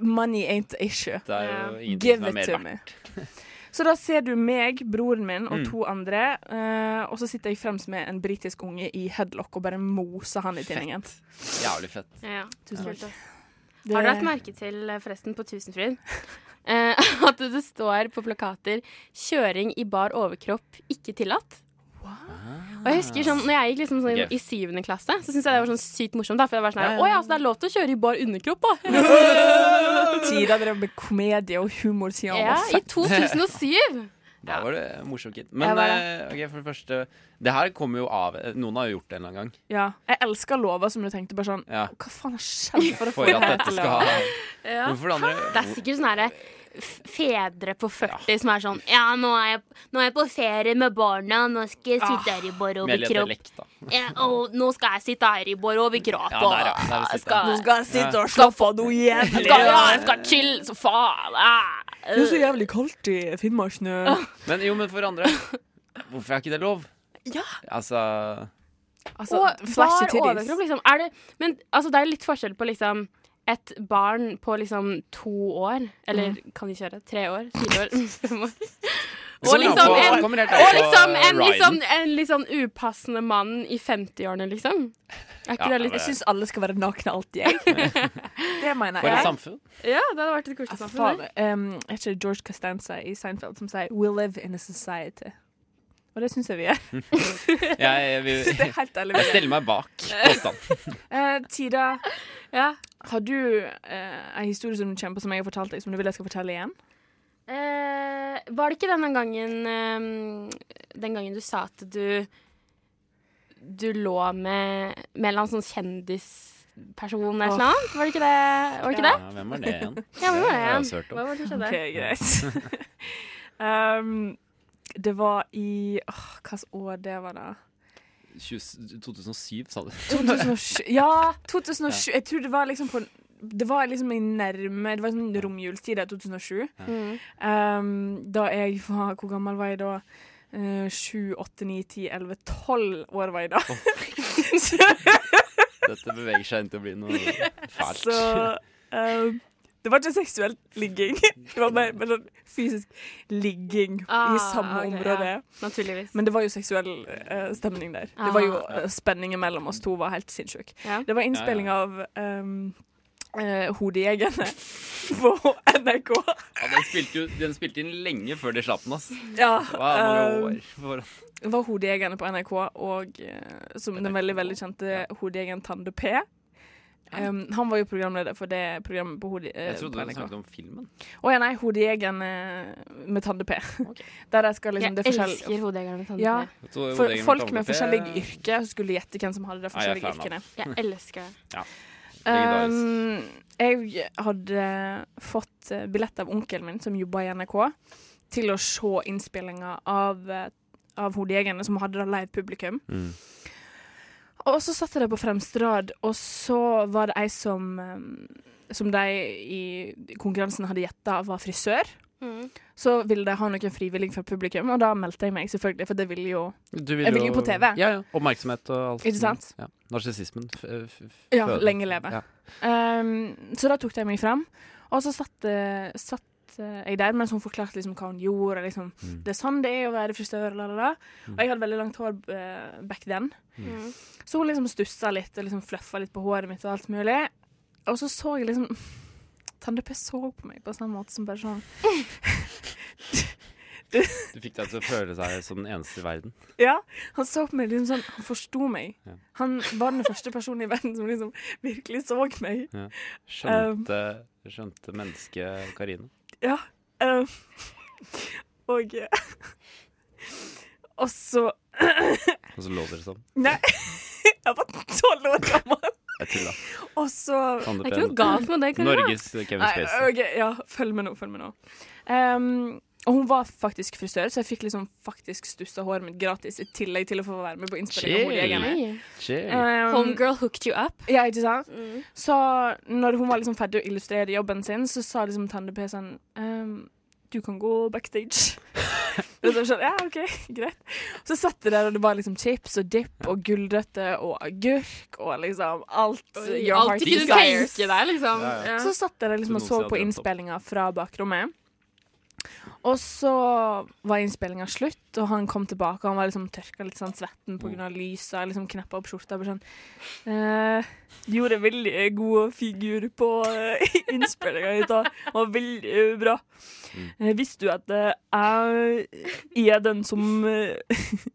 Speaker 2: Money ain't the issue.
Speaker 3: Det er jo ingenting
Speaker 2: Give
Speaker 3: som er
Speaker 2: it
Speaker 3: mer
Speaker 2: to
Speaker 3: verdt. Mm.
Speaker 2: me. Så da ser du meg, broren min og to andre, eh, og så sitter jeg fremst med en britisk unge i headlock og bare moser han i tinningen.
Speaker 3: Jævlig fett.
Speaker 4: Ja,
Speaker 2: Tusen
Speaker 4: kult, ass.
Speaker 2: Det-
Speaker 4: Har du
Speaker 3: *laughs*
Speaker 4: lagt merke til, eh, forresten, på Tusenfryd *laughs* eh, at det står på plakater 'kjøring i bar overkropp ikke tillatt'? Og jeg husker sånn, når jeg gikk liksom sånn,
Speaker 3: Ok.
Speaker 4: i syvende klasse, så syntes jeg det var sånn sykt morsomt. Da, for det var sånn her,
Speaker 3: Ja, ja.
Speaker 4: Å ja, så det er lov til å kjøre i bar underkropp, da!
Speaker 3: *laughs*
Speaker 2: Tida drev med komedie og humor siden han
Speaker 4: Ja,
Speaker 2: var
Speaker 4: I
Speaker 2: født.
Speaker 4: 2007!
Speaker 3: Da var det morsomt, gitt. Men
Speaker 2: Ja, var
Speaker 3: eh, ok, for det første Det her kommer jo av Noen har jo gjort det en eller annen gang.
Speaker 2: Ja. Jeg elsker lova som du tenkte bare sånn
Speaker 3: Ja.
Speaker 2: Hva faen har skjedd for å få
Speaker 3: *laughs* For at
Speaker 2: det her
Speaker 3: dette
Speaker 2: til
Speaker 3: skal
Speaker 2: å
Speaker 3: ha Men for det
Speaker 4: Det
Speaker 3: andre
Speaker 4: er sikkert sånne her, f- fedre på 40 som er sånn Ja, nå er, jeg, nå er jeg på ferie med barna, nå skal jeg sitte her i bar
Speaker 3: Ah, Mer
Speaker 4: overkropp.
Speaker 3: dialekt, da.
Speaker 4: Ja, og nå skal jeg sitte her i bar overkropp,
Speaker 3: Ja,
Speaker 4: og
Speaker 3: der, ja. Der vil jeg sitte.
Speaker 4: skal
Speaker 2: skal jeg sitte og slappe av noe *laughs* jævlig.
Speaker 4: skal, ja, jeg skal chille så faen.
Speaker 2: Det er så
Speaker 4: Ah.
Speaker 2: jævlig kaldt i *laughs* Finnmarksnø.
Speaker 3: Men jo, men for det andre Hvorfor er ikke det lov?
Speaker 4: Ja.
Speaker 3: Altså
Speaker 2: Altså,
Speaker 4: Og
Speaker 2: flashy
Speaker 4: bar
Speaker 2: titties.
Speaker 4: overkropp, liksom. Er det, men altså, det er litt forskjell på liksom et barn på liksom to år, eller kan de kjøre? Tre år? *laughs* Fire år? Fem år? Og
Speaker 3: kommer an
Speaker 4: liksom
Speaker 3: på-
Speaker 4: en,
Speaker 3: kommer helt an
Speaker 4: og
Speaker 3: på
Speaker 4: liksom en,
Speaker 3: riden.
Speaker 4: liksom, en litt sånn upassende mann i 50-årene, liksom. Er ikke
Speaker 3: Ja,
Speaker 4: det litt
Speaker 3: men-
Speaker 2: Jeg syns alle skal være nakne alltid,
Speaker 4: *laughs*
Speaker 2: jeg. det mener
Speaker 3: For et
Speaker 2: jeg.
Speaker 3: samfunn.
Speaker 4: Ja, det hadde vært et koselig
Speaker 2: Altså,
Speaker 4: samfunn.
Speaker 2: faen,
Speaker 4: det.
Speaker 2: um, er ikke det George Costanza i Seinfeld som sier 'We live in a society'? Og det syns jeg vi
Speaker 4: *laughs*
Speaker 2: gjør.
Speaker 3: Jeg, jeg, vil-
Speaker 2: Det er helt ærlig.
Speaker 3: jeg stiller meg bak påstanden.
Speaker 2: Eh, Tida,
Speaker 4: Ja.
Speaker 2: har du eh, en historie som du kjenner på som jeg har fortalt deg, som du vil jeg skal fortelle igjen?
Speaker 4: Eh, var det ikke denne gangen eh, Den gangen du sa at du Du lå med Med en eller annen sånn kjendisperson eller
Speaker 2: Åh.
Speaker 4: noe annet? Var det ikke det? Var det ikke
Speaker 2: Ja.
Speaker 4: det?
Speaker 3: Ja, hvem var det igjen?
Speaker 4: Ja, hvor var
Speaker 3: har
Speaker 4: det
Speaker 3: jeg også
Speaker 4: igjen?
Speaker 3: hørt om.
Speaker 4: Hva var det som skjedde?
Speaker 2: OK, *laughs* greit. um, det var i åh, Hvilket år det var, da?
Speaker 3: 20, 2007, sa du.
Speaker 2: 2007 *laughs* Ja, 2007. Jeg tror det var liksom på det var liksom i nærme Det var sånn romjulstid i 2007.
Speaker 4: Mm.
Speaker 2: Um, da jeg var Hvor gammel var jeg da? Uh, 7, 8, 9, 10, 11, 12 år var jeg da. så
Speaker 3: Dette beveger seg inn til å bli noe fælt.
Speaker 2: så um, Det var ikke seksuelt ligging. *laughs* Det var bare, bare sånn fysisk ligging
Speaker 4: Ah,
Speaker 2: i samme
Speaker 4: ok,
Speaker 2: område.
Speaker 4: ja. Naturligvis.
Speaker 2: Men det var jo seksuell eh, stemning der. Det var jo eh, Spenningen mellom oss to var helt sinnssyk.
Speaker 4: Ja.
Speaker 2: Det var innspilling
Speaker 3: Ja,
Speaker 2: av um, eh,
Speaker 3: *laughs*
Speaker 2: Hodejegerne på NRK.
Speaker 3: Ja, den, spilte jo, den spilte inn lenge før de slapp den, ass.
Speaker 2: Ja,
Speaker 3: Det var mange
Speaker 2: um,
Speaker 3: år for
Speaker 2: det var Hodejegerne på NRK, og eh, som den veldig veldig kjente hodejegeren Tande P. Um, han var jo programleder for det programmet på, hode, eh, på
Speaker 3: Jeg trodde du
Speaker 2: NRK.
Speaker 3: snakket om filmen.
Speaker 2: Å ja, nei, Hodejegeren eh, med Tande P.
Speaker 3: Ok.
Speaker 2: Der jeg skal liksom det
Speaker 4: jeg
Speaker 2: forskjell-
Speaker 4: elsker hodejegeren med tannpirker.
Speaker 2: Ja,
Speaker 3: Så
Speaker 2: for
Speaker 3: hodet gikk
Speaker 2: folk med
Speaker 3: tanke.
Speaker 2: forskjellige yrker skulle gjette hvem som hadde de
Speaker 3: Ja, jeg er
Speaker 2: forskjellige
Speaker 3: fan av
Speaker 2: yrkene.
Speaker 4: Jeg elsker det.
Speaker 3: Legendarisk.
Speaker 2: Um, jeg hadde fått eh, billett av onkelen min, som jobba i NRK, til å se
Speaker 3: Mm.
Speaker 2: innspillinga av, eh, av Hodejegerne, som hadde da live publikum. Og så satt jeg der på fremste rad, og så var det ei som eh, Som de i konkurransen hadde gjetta var frisør.
Speaker 4: Mm.
Speaker 2: Så ville de ha noen frivillige fra publikum, og da meldte jeg meg, selvfølgelig. For det ville jo
Speaker 3: Du
Speaker 2: Jeg vil jo på TV.
Speaker 3: Ja, ja. Oppmerksomhet og alt.
Speaker 2: Ikke sant?
Speaker 3: Ja. Narsissismen. f- f- f-
Speaker 2: Ja,
Speaker 3: føder.
Speaker 2: lenge leve.
Speaker 3: Ja.
Speaker 2: Ehm, så da tok de meg fram, og så satt, eh, satt eh, jeg der mens hun forklarte liksom hva hun gjorde. og Liksom,
Speaker 3: Mm.
Speaker 2: Det er sånn det er å være frisør, la, la, la. Og jeg hadde veldig langt hår eh, back then.
Speaker 4: Mm.
Speaker 2: Så hun liksom stussa litt og liksom fluffa litt på håret mitt og alt mulig. Og så så jeg liksom *laughs* Tande P så på meg på samme måte som bare sånn
Speaker 3: Du fikk deg til å føle seg som den eneste i verden.
Speaker 2: Ja, han så på meg liksom sånn Han forsto meg.
Speaker 3: Ja.
Speaker 2: Han var den første personen i verden som liksom virkelig så meg.
Speaker 3: Skjønte, skjønte mennesket Karina.
Speaker 2: Ja. eh, *laughs* og *laughs* Og så
Speaker 3: Og så lå dere sånn.
Speaker 2: Nei, *laughs* jeg var tolv år gammel.
Speaker 3: Jeg tulla.
Speaker 2: Og så
Speaker 3: Sander
Speaker 4: Det er
Speaker 3: Pen.
Speaker 4: ikke noe galt med det, Karina.
Speaker 3: Norges Kevin
Speaker 2: Nei,
Speaker 3: Spacey.
Speaker 2: OK, ja, følg med nå, følg med nå. Ehm, og hun var faktisk frisør, så jeg fikk liksom faktisk stussa håret mitt gratis i tillegg til å få være med på innspilling av Hodejegerne.
Speaker 4: Nei.
Speaker 3: Chill.
Speaker 2: Um,
Speaker 4: Homegirl hooked you up.
Speaker 2: ja, ikke sant?
Speaker 4: Mm.
Speaker 2: Så når hun var liksom ferdig å illustrere jobben sin, så sa liksom Tande P sånn ehm, Du kan gå backstage. *laughs* og så var jeg sånn, ja, ok, greit. Så satt jeg der, og det var liksom chips og dipp og gulrøtter og agurk og liksom alt. your heart
Speaker 4: Alt du kunne
Speaker 2: desires.
Speaker 4: tenke deg, liksom.
Speaker 3: Ja,
Speaker 4: Ja.
Speaker 2: Så satt jeg der liksom og
Speaker 3: Så
Speaker 2: så
Speaker 3: noen sier
Speaker 2: på
Speaker 3: at det er topp.
Speaker 2: innspillinga fra bakrommet. Og så var innspillinga slutt, og han kom tilbake. og Han var liksom tørka litt sånn svetten
Speaker 3: Mm.
Speaker 2: pga. lyset. Jeg liksom kneppa opp skjorta. og Bare sånn eh, Gjorde en veldig god figur på eh, *laughs* innspillinga di. da. Var veldig bra.
Speaker 3: Mm.
Speaker 2: Eh, visste du at eh, jeg er den som eh, *laughs*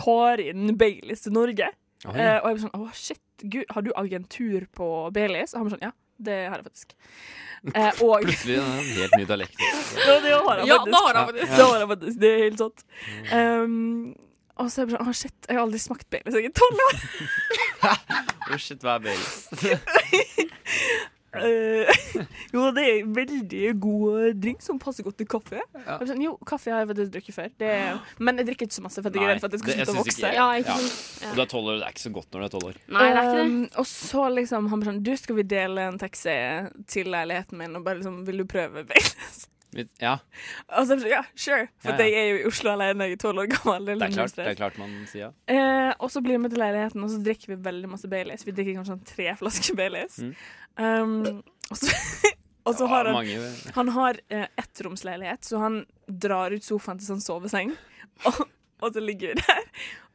Speaker 2: tar inn Baileys til Norge?
Speaker 3: Oi.
Speaker 2: Eh, og jeg ble sånn, åh shit, gud, har du agentur på Baileys? Og han ble sånn, ja, det har jeg faktisk.
Speaker 3: *laughs*
Speaker 2: Eh, og
Speaker 3: Plutselig en helt ny dialekt.
Speaker 2: *laughs* ja, det har jeg
Speaker 4: Ja,
Speaker 2: faktisk.
Speaker 4: da har jeg
Speaker 2: Det har jeg faktisk, det er helt sant. Ehm, og så er jeg bare sånn, åh shit, jeg har aldri smakt Baileys, jeg er tolv år.
Speaker 3: Oh, shit, hva er Baileys?
Speaker 2: Eh, *laughs* jo, det er en veldig god eh, drink som passer godt til kaffe. Jeg ble Sånn, jo, kaffe har jeg faktisk drukket før, det
Speaker 3: *gasps*
Speaker 2: er, men jeg drikker ikke så masse, for jeg er
Speaker 3: Nei,
Speaker 2: redd for at jeg skal
Speaker 3: det-
Speaker 2: slutte å
Speaker 3: jeg synes
Speaker 2: vokse.
Speaker 3: ikke-
Speaker 4: Ja, ikke
Speaker 3: Ja.
Speaker 4: sant.
Speaker 3: Og du er tolv år, det er ikke så godt når du er tolv år.
Speaker 4: Nei, det er ikke det.
Speaker 2: Um, og så liksom han bare sånn, du skal vi dele en taxi til leiligheten min, og bare liksom, vil du prøve Baileys?
Speaker 3: Mitt- Ja,
Speaker 2: Og så er jeg sånn, ja, sure. For
Speaker 3: Ja, ja.
Speaker 2: jeg er jo i Oslo alene, jeg er tolv år gammel.
Speaker 3: det er
Speaker 2: litt
Speaker 3: klart, det er
Speaker 2: stress.
Speaker 3: klart man sier ja.
Speaker 2: Eh, og så blir vi til leiligheten, og så drikker vi veldig masse Baileys. Vi drikker kanskje sånn tre flasker Baileys.
Speaker 3: Mm.
Speaker 2: Um, og så, *laughs* og så
Speaker 3: Ja,
Speaker 2: har han
Speaker 3: mange,
Speaker 2: han har eh, ettromsleilighet, så han drar ut sofaen til sånn soveseng. *laughs* Og, og så ligger vi der,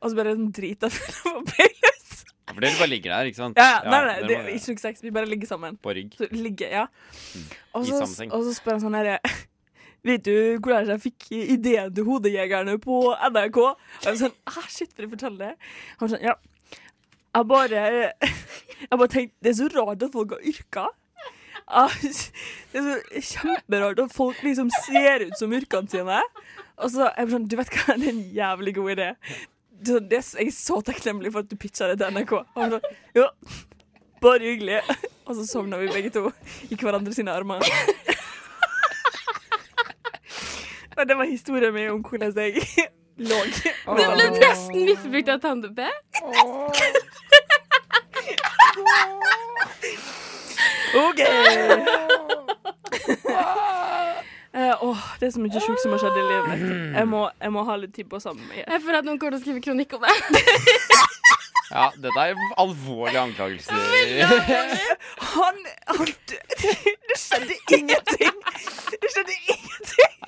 Speaker 2: og så bare sånn drita full av *laughs* Baileys.
Speaker 3: for dere bare ligger der, ikke sant?
Speaker 2: Ja, ja, nei, nei,
Speaker 3: dere
Speaker 2: det
Speaker 3: må-
Speaker 2: er ikke noe sex, vi bare ligger sammen.
Speaker 3: På rygg.
Speaker 2: Så ligge, ja. Og
Speaker 3: I
Speaker 2: så,
Speaker 3: samme seng.
Speaker 2: og så spør han sånn herre *laughs* Vet du hvordan jeg fikk ideen til Hodejegerne på NRK? Og jeg var sånn Hæ, shit, vil du fortelle det? Han var sånn Ja. Jeg bare *laughs* Jeg bare tenkte Det er så rart at folk har yrker. Ah, *laughs* Det er så kjemperart at folk liksom ser ut som yrkene sine. Og så jeg var sånn Du vet hva, *laughs* det er en jævlig god idé. Det er sånn, det er- Jeg er så takknemlig for at du pitcha det til NRK. Og han sånn Ja, bare hyggelig. *laughs* Og så sovna vi begge to i hverandre sine armer. *laughs* Og det var historien min om hvordan jeg *laughs* lå.
Speaker 4: Det ble nesten misbrukt av Tande P.
Speaker 2: OK! *laughs* Eh, Åh, det er så mye sjukt som har skjedd i livet mitt. Jeg må, jeg må ha litt tid på å samle meg.
Speaker 4: Jeg føler Eh, at noen kommer til å skrive kronikk om det. *laughs*
Speaker 3: Ja, dette er alvorlige anklagelser.
Speaker 2: Han, han Det skjedde ingenting! Det skjedde ingenting!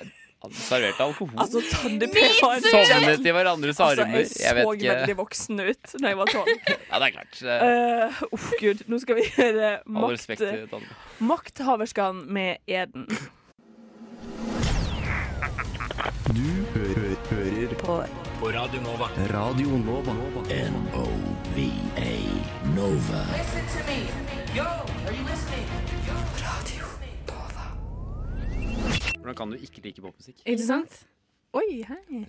Speaker 3: Han serverte alkohol.
Speaker 2: Altså, Tande P var en
Speaker 3: Sovnet i hverandres
Speaker 2: Altså,
Speaker 3: armer.
Speaker 2: jeg
Speaker 3: Jeg
Speaker 2: så
Speaker 3: vet
Speaker 2: veldig
Speaker 3: ikke.
Speaker 2: voksen ut da jeg var tolv.
Speaker 3: Ja, det er klart. Eh,
Speaker 2: Uh, uff, gud. Nå skal vi gjøre
Speaker 3: All respekt
Speaker 2: makt,
Speaker 3: til Tande.
Speaker 2: makthaverskan med eden.
Speaker 9: Du hører på På Radio Nova. Radio Nova.
Speaker 3: Hvordan kan du ikke like popmusikk?
Speaker 2: Ikke sant? Oi, hei.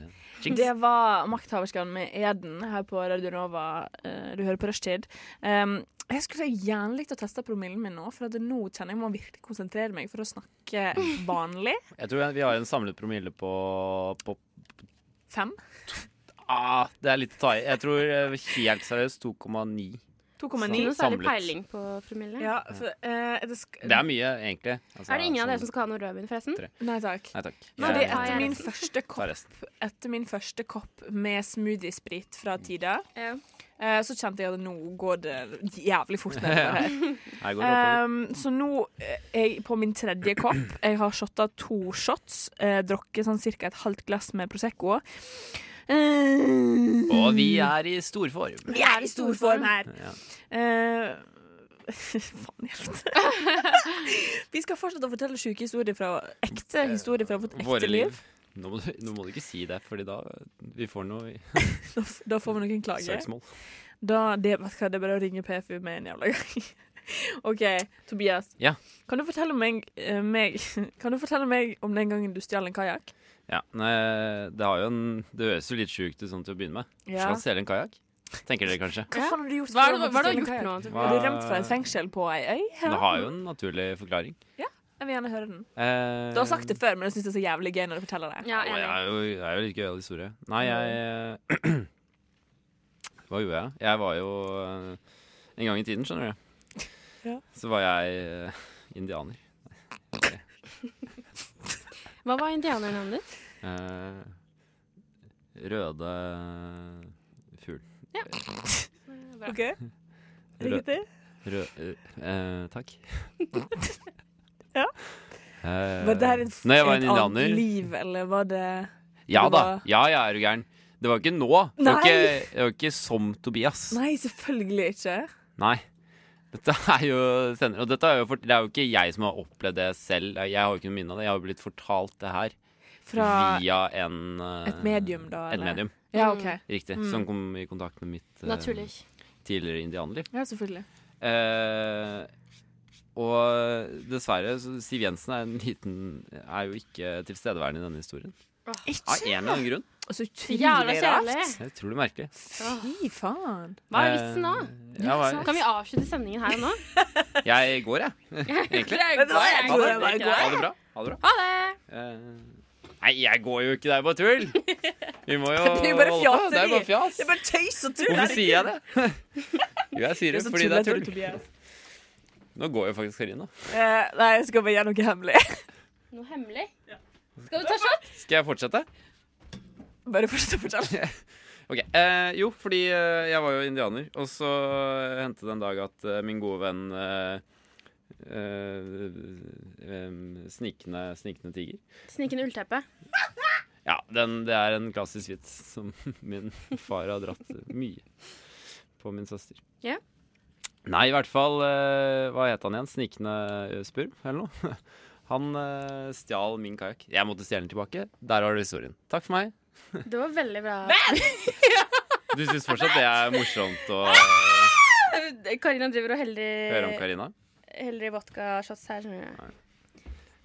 Speaker 2: Det var makthaverskan med Eden her på Radio Nova. Eh, Du hører på Rushtid. Um, jeg skulle så gjerne likt å teste promillen min nå, for at nå kjenner jeg må virkelig konsentrere meg for å *laughs* snakke vanlig.
Speaker 3: Jeg tror vi har en samlet promille på, på
Speaker 2: Fem.
Speaker 3: Ah, det er litt å ta i. Jeg tror eh, helt seriøst 2,9.
Speaker 2: 2,9.
Speaker 4: Ikke noe særlig
Speaker 3: Samlet.
Speaker 4: peiling på promille.
Speaker 2: Ja, for, eh, det sk-
Speaker 3: Det er mye, egentlig. Altså,
Speaker 4: Er det ingen av dere
Speaker 3: sånn-
Speaker 4: som skal ha noe rødvin, forresten?
Speaker 3: Tre.
Speaker 2: Nei takk.
Speaker 3: Nei takk.
Speaker 4: Nei,
Speaker 2: Fordi
Speaker 3: Jeg-
Speaker 4: tar
Speaker 2: etter
Speaker 4: jeg
Speaker 2: min,
Speaker 4: resten.
Speaker 2: første
Speaker 3: Ta
Speaker 2: kopp,
Speaker 3: resten.
Speaker 2: etter min første kopp med smoothiesprit fra Tida,
Speaker 4: Ja.
Speaker 2: eh, så kjente jeg at nå går det jævlig fort
Speaker 4: *laughs*
Speaker 2: nedover her.
Speaker 3: Eh, Her går det oppover.
Speaker 2: Um, så nå eh, er jeg på min tredje kopp. Jeg har shotta to shots. Eh, drukket sånn ca. et halvt glass med Prosecco. Eh,
Speaker 3: Og vi er i storform.
Speaker 2: vi er i stor form her.
Speaker 3: Ja.
Speaker 2: Eh, *laughs* Faen hjelpe. vi skal fortsette å fortelle sjuke historier fra ekte historier fra vårt ekte
Speaker 3: Eh, Våre
Speaker 2: liv.
Speaker 3: liv. Nå må, du, nå må du ikke si det, Fordi da vi får noe i-
Speaker 2: Da, f- da får vi noen klager.
Speaker 3: søksmål.
Speaker 2: Da, det, vet du hva, det er bare å ringe PFU med en jævla gang. *laughs* OK, Tobias.
Speaker 3: Ja.
Speaker 2: Kan du fortelle meg, eh, meg, *laughs* kan du fortelle meg om den gangen du stjal en kajakk?
Speaker 3: Ja, nei, det, har jo en, det høres jo litt sjukt ut sånn til å begynne med.
Speaker 2: Ja.
Speaker 3: Skal stjele en kajakk? Tenker dere kanskje.
Speaker 2: Hva faen har du gjort?
Speaker 4: Hva
Speaker 2: for
Speaker 4: er det
Speaker 2: å
Speaker 4: hva er
Speaker 2: stjele
Speaker 4: det du har
Speaker 2: en
Speaker 4: gjort nå?
Speaker 2: kajakk?
Speaker 4: Tobias?
Speaker 3: Hva-
Speaker 2: Har du rømt fra et fengsel på ei øy?
Speaker 3: Men Det har jo en naturlig forklaring.
Speaker 2: Jeg vil gjerne høre den.
Speaker 3: Eh,
Speaker 2: Du har sagt det før, men jeg syns det er så jævlig gøy når du forteller det.
Speaker 4: Ja,
Speaker 3: Å, jeg
Speaker 4: enig.
Speaker 3: er jo, jeg er jo litt gøyal historie. Nei, jeg *clears throat* Hva gjorde jeg? Jeg var jo eh, En gang i tiden, skjønner du.
Speaker 2: Ja.
Speaker 3: Så var jeg eh, indianer.
Speaker 4: Hva var indianernavnet ditt?
Speaker 3: Eh, røde eh, fugl.
Speaker 2: OK? Riktig?
Speaker 3: Rød, eh, takk.
Speaker 2: *laughs* Ja.
Speaker 3: Eh,
Speaker 2: Var det her et,
Speaker 3: Nei, jeg var
Speaker 2: et
Speaker 3: en
Speaker 2: annet
Speaker 3: indianer.
Speaker 2: liv, eller var det
Speaker 3: Ja
Speaker 2: Det
Speaker 3: da.
Speaker 2: var-
Speaker 3: Ja, jeg er jo gæren. Det var ikke nå. Det var
Speaker 2: Nei.
Speaker 3: ikke, det var ikke som Tobias.
Speaker 2: Nei, selvfølgelig ikke.
Speaker 3: Nei. Dette er jo senere. Og dette er jo fort- det er jo ikke jeg som har opplevd det selv. Jeg har jo ikke noe minne av det. Jeg har jo blitt fortalt det her
Speaker 2: Fra
Speaker 3: via en eh,
Speaker 2: et medium, da?
Speaker 3: Et
Speaker 2: eller?
Speaker 3: medium,
Speaker 2: Ja, OK.
Speaker 3: riktig.
Speaker 2: Mm.
Speaker 3: Som kom i kontakt med mitt eh,
Speaker 4: Naturlig.
Speaker 3: tidligere indianerliv.
Speaker 2: Ja, selvfølgelig.
Speaker 3: Eh, og dessverre, så Siv Jensen er, en liten, er jo ikke tilstedeværende i denne historien. Av en eller annen grunn.
Speaker 2: Og så
Speaker 4: Jævla
Speaker 2: utrolig rart.
Speaker 4: kjedelig.
Speaker 3: Det er Utrolig merkelig.
Speaker 2: Fy faen.
Speaker 4: Hva er vitsen da?
Speaker 3: Eh, ja, hva er-
Speaker 4: Kan vi avslutte sendingen her og *laughs* nå?
Speaker 3: jeg går,
Speaker 4: *laughs*
Speaker 3: jeg. Egentlig.
Speaker 4: Jeg går, jeg
Speaker 3: Ha
Speaker 4: går,
Speaker 3: det.
Speaker 4: jeg
Speaker 3: Ha
Speaker 4: går.
Speaker 3: det bra. Ha det bra.
Speaker 4: Ha det!
Speaker 3: Eh, Nei, jeg går jo ikke, det er bare *laughs* tull! Vi må jo
Speaker 2: Det er jo bare
Speaker 3: holde på, Det er
Speaker 2: fjaseri.
Speaker 3: jo bare fjas.
Speaker 2: Det er bare tøys og tull.
Speaker 3: Hvorfor sier jeg *laughs* det? Jo, jeg sier det fordi det er tull.
Speaker 2: Tobias.
Speaker 3: Nå går jo faktisk Karina.
Speaker 2: Eh, nei, jeg skal bare gjøre noe hemmelig. *laughs*
Speaker 4: Noe hemmelig? Skal du ta shot?
Speaker 3: Skal jeg fortsette?
Speaker 2: Bare fortsett å fortelle.
Speaker 3: Ok, eh, Jo, fordi eh, jeg var jo indianer, og så hendte det en dag at eh, min gode venn eh, eh, em, snikende, snikende tiger
Speaker 4: Snikende ullteppe.
Speaker 3: Ja, den, det er en klassisk vits som *laughs* min far har dratt mye på min søster.
Speaker 4: Ja.
Speaker 3: Nei, i hvert fall eh, Hva het han igjen? Snikende eh, spurv, eller noe? *laughs* Han eh, stjal min kajakk. Jeg måtte stjele den tilbake. Der har du historien. Takk for meg.
Speaker 4: Det var veldig bra.
Speaker 3: Du syns fortsatt det er morsomt å eh,
Speaker 4: Karina driver og
Speaker 3: høre om
Speaker 4: heller,
Speaker 3: Karina?
Speaker 4: heller vodkashots her. skjønner du.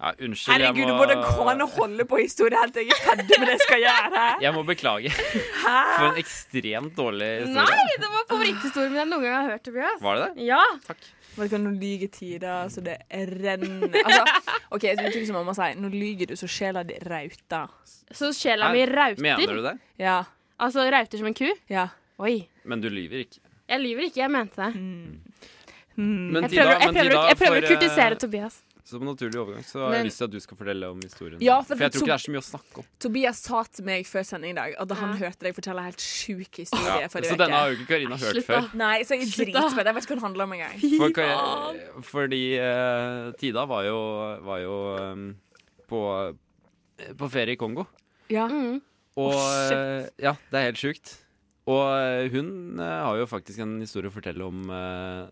Speaker 3: Ja, unnskyld,
Speaker 2: Herregud,
Speaker 3: jeg
Speaker 2: det
Speaker 3: må
Speaker 2: både går an å holde på historie helt til jeg er ferdig med det jeg skal gjøre.
Speaker 3: Jeg må beklage for en ekstremt dårlig historie.
Speaker 4: Nei, det var favoritthistorien min jeg noen gang har hørt. Tobias.
Speaker 3: Var det det?
Speaker 4: Ja,
Speaker 2: Vet du hva, Nå lyver tida så det renner. Altså, OK, så betyr som mamma sier, nå lyver du så sjela di rauter.
Speaker 4: Så sjela mi rauter.
Speaker 3: Mener du det?
Speaker 2: Ja.
Speaker 4: Altså rauter som en ku.
Speaker 2: Ja.
Speaker 4: Oi.
Speaker 3: Men du lyver ikke.
Speaker 4: Jeg lyver ikke, jeg mente det.
Speaker 3: Men
Speaker 4: Mm. Jeg prøver, jeg
Speaker 3: men
Speaker 4: prøver,
Speaker 3: Tida,
Speaker 4: å- jeg prøver
Speaker 3: for,
Speaker 4: å
Speaker 3: eh,
Speaker 4: kurtisere Tobias.
Speaker 3: Som en naturlig overgang så har
Speaker 2: Men-
Speaker 3: jeg lyst til at du skal fortelle om historien.
Speaker 2: Ja, for
Speaker 3: for, jeg
Speaker 2: det
Speaker 3: tror ikke
Speaker 2: tok-
Speaker 3: det er så mye å snakke om.
Speaker 2: Tobias sa til meg før sending i dag at han
Speaker 4: Ja.
Speaker 2: hørte deg fortelle helt sjuk historie forrige
Speaker 3: Så denne
Speaker 2: uke.
Speaker 3: har jo ikke Karina hørt
Speaker 4: Slutt, da.
Speaker 3: før.
Speaker 2: Nei, så jeg
Speaker 4: Slutt,
Speaker 2: driter
Speaker 4: da.
Speaker 2: på det. Jeg vet ikke hva det handler om engang.
Speaker 3: For, Kar- fordi eh, Tida var jo, var jo eh, på, på ferie i Kongo.
Speaker 2: Ja.
Speaker 4: Mm.
Speaker 3: Og
Speaker 2: Å,
Speaker 3: eh, ja, det er helt sjukt. Og eh, hun eh, har jo faktisk en historie å fortelle om eh,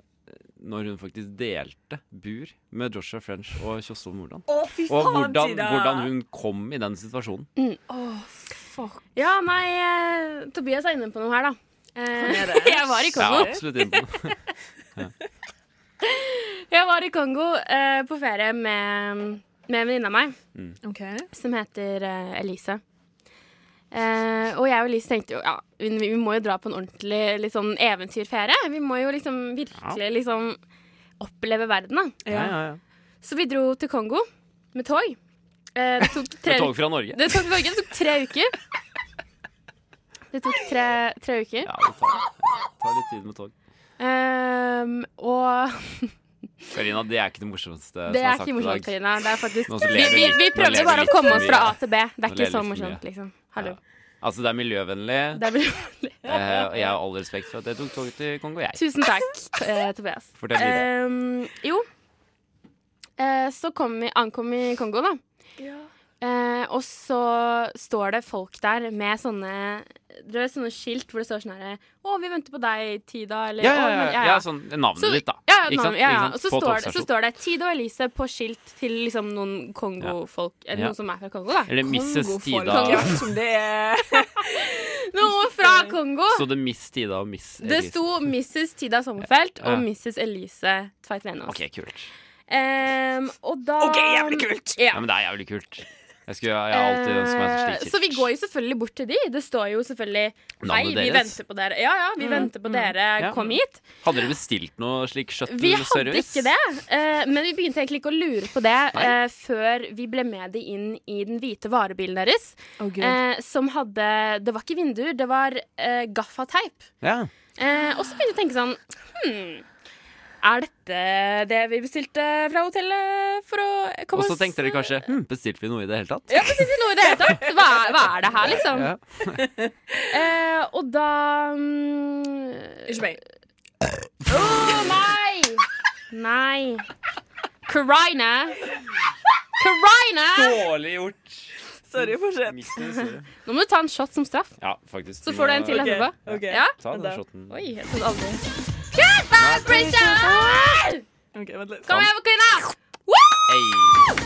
Speaker 3: når hun faktisk delte bur med Joshua French og Kjosvold Moland.
Speaker 2: Å, fy
Speaker 3: Og
Speaker 2: faen,
Speaker 3: hvordan,
Speaker 2: Tida!
Speaker 3: hvordan hun kom i den situasjonen.
Speaker 2: Fuck.
Speaker 4: Ja, nei, eh, Tobias er inne på noe her, da. Eh,
Speaker 2: er det.
Speaker 4: *laughs* jeg var i
Speaker 3: Jeg
Speaker 4: Kongo.
Speaker 3: er absolutt
Speaker 2: *laughs*
Speaker 3: inne på noe.
Speaker 4: Jeg var i Kongo eh, på ferie med, med en venninne av meg
Speaker 2: OK.
Speaker 4: som heter eh, Elise. Eh, og jeg og Elise tenkte jo ja, vi, vi må jo dra på en ordentlig litt sånn eventyrferie. Vi må jo liksom virkelig liksom oppleve verden, da.
Speaker 3: Ja, ja, ja.
Speaker 4: Så vi dro til Kongo med tog. Eh, det tok tre
Speaker 3: Med tog fra Norge.
Speaker 4: Det tok, Norge, det tok tre uker. Det tok tre, tre uker.
Speaker 3: Ja, det tar, det tar litt tid med tog.
Speaker 4: Ehm, og
Speaker 3: Karina, det er ikke det morsomste som
Speaker 4: det er
Speaker 3: er sagt
Speaker 4: ikke morsomt,
Speaker 3: i dag.
Speaker 4: Karina. Det er faktisk
Speaker 3: Nå
Speaker 4: Vi,
Speaker 3: ler
Speaker 4: vi,
Speaker 3: litt.
Speaker 4: vi
Speaker 3: Nå
Speaker 4: prøvde
Speaker 3: ler
Speaker 4: bare
Speaker 3: litt
Speaker 4: å komme
Speaker 3: for
Speaker 4: oss
Speaker 3: mye.
Speaker 4: fra A til B. Det er
Speaker 3: Nå ler vi
Speaker 4: ikke så
Speaker 3: litt for
Speaker 4: morsomt,
Speaker 3: mye.
Speaker 4: liksom. Hallo.
Speaker 3: Altså, det er miljøvennlig,
Speaker 4: Det blir rolig.
Speaker 3: eh, og jeg har all respekt for at jeg tok toget til Kongo, jeg.
Speaker 4: *laughs* Tusen takk, eh, Tobias.
Speaker 3: Fortell videre.
Speaker 4: Ehm, jo, Eh, så kom vi, ankom vi Kongo, da. Eh, og så står det folk der med sånne, dere vet, sånne skilt hvor det står sånn her Å, vi venter på deg, Tida, eller
Speaker 3: Ja, ja,
Speaker 4: «Å,
Speaker 3: ja,
Speaker 4: men-
Speaker 3: ja. sånn, navnet
Speaker 4: Så-
Speaker 3: ditt, da.
Speaker 4: Ja, ja,
Speaker 3: Ikke sant?
Speaker 4: navn- ja, ja.
Speaker 3: Ikke sant?
Speaker 4: Og så
Speaker 3: På
Speaker 4: står, det, så
Speaker 3: togstasjonen.
Speaker 4: står det Tida og Elise på skilt til liksom noen Kongo-folk, eller
Speaker 3: Ja.
Speaker 4: noen som er fra Kongo, da.
Speaker 3: Eller Mrs. Tida.
Speaker 2: Ja, som det er.
Speaker 4: *laughs* Noen fra Kongo!
Speaker 3: Så det Miss Tida og Miss
Speaker 4: Det
Speaker 3: Elise.
Speaker 4: sto Mrs. Tida Sommerfelt
Speaker 3: Ja.
Speaker 4: og Mrs. Elise Tveit Venås.
Speaker 3: OK, kult.
Speaker 4: Ehm, og da
Speaker 2: *laughs* OK, jævlig kult!
Speaker 4: Ja.
Speaker 3: Ja, men det er jævlig kult. Jeg, skulle, jeg har alltid ønsket meg
Speaker 4: Eh,
Speaker 3: et slikt
Speaker 4: Så vi går jo selvfølgelig bort til de. Det står jo selvfølgelig Hei,
Speaker 3: Navnet
Speaker 4: vi
Speaker 3: deres?
Speaker 4: venter på dere. Ja, ja, vi venter på dere.
Speaker 3: Ja. Mm,
Speaker 4: Kom hit.
Speaker 3: Hadde dere bestilt noe slik
Speaker 4: Vi
Speaker 3: kjøttservice?
Speaker 4: hadde ikke det, eh, men vi begynte egentlig ikke å lure på det eh, før vi ble med de inn i den hvite varebilen deres.
Speaker 2: Oh,
Speaker 4: eh, som hadde Det var ikke vinduer, det var eh, gaffateip.
Speaker 3: Ja.
Speaker 4: Eh, og så begynte jeg å tenke sånn hmm, Er dette det vi bestilte fra hotellet for å eh,
Speaker 3: Og
Speaker 4: komme
Speaker 3: så tenkte dere kanskje hm, Bestilte vi noe i det hele tatt?
Speaker 4: Ja, bestilte vi noe i det hele tatt? Hva, er- hva er det her, liksom?
Speaker 3: Ja.
Speaker 4: *laughs* Eh, og da mm,
Speaker 2: Ikke meg.
Speaker 4: Åh, nei! Nei. Karina. Karina!
Speaker 3: Dårlig gjort.
Speaker 2: Sorry, fortsett.
Speaker 4: Nå må du ta en shot som straff.
Speaker 3: Ja, faktisk.
Speaker 4: Så får du en til
Speaker 2: Ok,
Speaker 4: etterpå.
Speaker 2: ok.
Speaker 4: Ja?
Speaker 3: Ta den
Speaker 2: Da.
Speaker 3: shotten.
Speaker 4: Oi, jeg trodde aldri Cut vibration!
Speaker 2: Ok, vent litt.
Speaker 4: Kom igjen, Karina!
Speaker 3: Ei.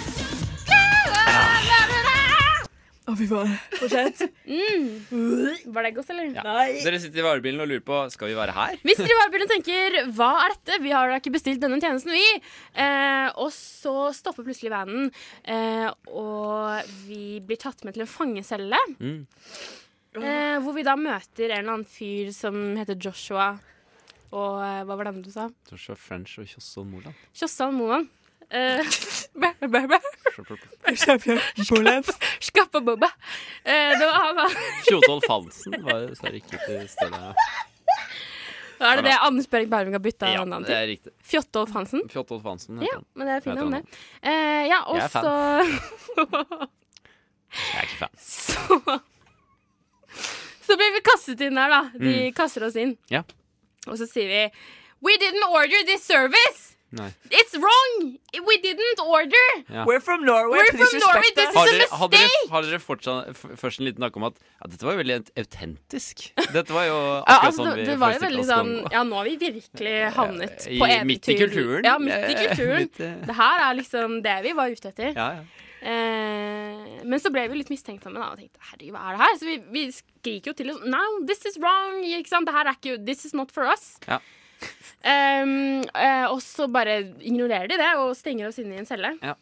Speaker 2: Å, fy faen. Fortsett.
Speaker 4: Var det godt, eller?
Speaker 3: Ja.
Speaker 2: Nei.
Speaker 3: Dere sitter i varebilen og lurer på Skal vi være her.
Speaker 4: Hvis dere bare begynner å tenke 'hva er dette', vi har da ikke bestilt denne tjenesten, vi. Eh, og så stopper plutselig vanen, eh, og vi blir tatt med til en fangecelle.
Speaker 3: Mm.
Speaker 4: Eh, hvor vi da møter en eller annen fyr som heter Joshua. Og eh, hva var det andre du sa?
Speaker 3: Joshua French og Kjossol Moland.
Speaker 4: Kjossan Moan. Eh, *laughs* Skappa Bobba. Eh, det var han, da.
Speaker 3: Fjotolf Hansen var dessverre ikke til stede.
Speaker 4: Da Er det det Anders Børg Berving har bytta
Speaker 3: Ja,
Speaker 4: navn
Speaker 3: det
Speaker 4: til?
Speaker 3: er riktig.
Speaker 4: Fjotolf Hansen.
Speaker 3: Fjotolf Hansen
Speaker 4: Ja,
Speaker 3: heter han.
Speaker 4: men det er fint
Speaker 3: Heter
Speaker 4: navn,
Speaker 3: han
Speaker 4: det. Eh, ja, og
Speaker 3: Jeg er fan.
Speaker 4: så
Speaker 3: Jeg er ikke fan.
Speaker 4: Så Så blir vi kastet inn der, da. De kaster oss inn.
Speaker 3: Ja.
Speaker 4: Og så sier vi We didn't order this service!
Speaker 3: Nei.
Speaker 4: It's wrong! We didn't order!
Speaker 2: We're from Norway.
Speaker 4: We're
Speaker 2: please
Speaker 4: from Norway,
Speaker 2: respect us.
Speaker 4: this
Speaker 3: Har
Speaker 4: is a
Speaker 3: dere, har dere,
Speaker 4: mistake!
Speaker 3: har dere fortsatt, f- først en liten tanke om at ja, dette var jo veldig autentisk? Dette var jo
Speaker 4: Ja,
Speaker 3: akkurat
Speaker 4: altså,
Speaker 3: sånn
Speaker 4: det,
Speaker 3: vi
Speaker 4: det var jo
Speaker 3: forestilte
Speaker 4: veldig
Speaker 3: oss
Speaker 4: sånn
Speaker 3: Kongo.
Speaker 4: Ja, nå har vi virkelig havnet
Speaker 3: I-
Speaker 4: på eventyr.
Speaker 3: midt i kulturen.
Speaker 4: Ja, midt i kulturen.
Speaker 3: Litt, eh,
Speaker 4: Det her er liksom det vi var ute etter.
Speaker 3: ja, ja.
Speaker 4: Eh, men så ble vi litt mistenksomme da, og tenkte herregud, hva er det her? Så vi, vi skriker jo til oss No, this is wrong! Ikke sant? Det her er ikke This is not for us.
Speaker 3: Ja.
Speaker 4: Ehm, eh, og så bare ignorerer de det og stenger oss inne i en celle.
Speaker 3: Ja.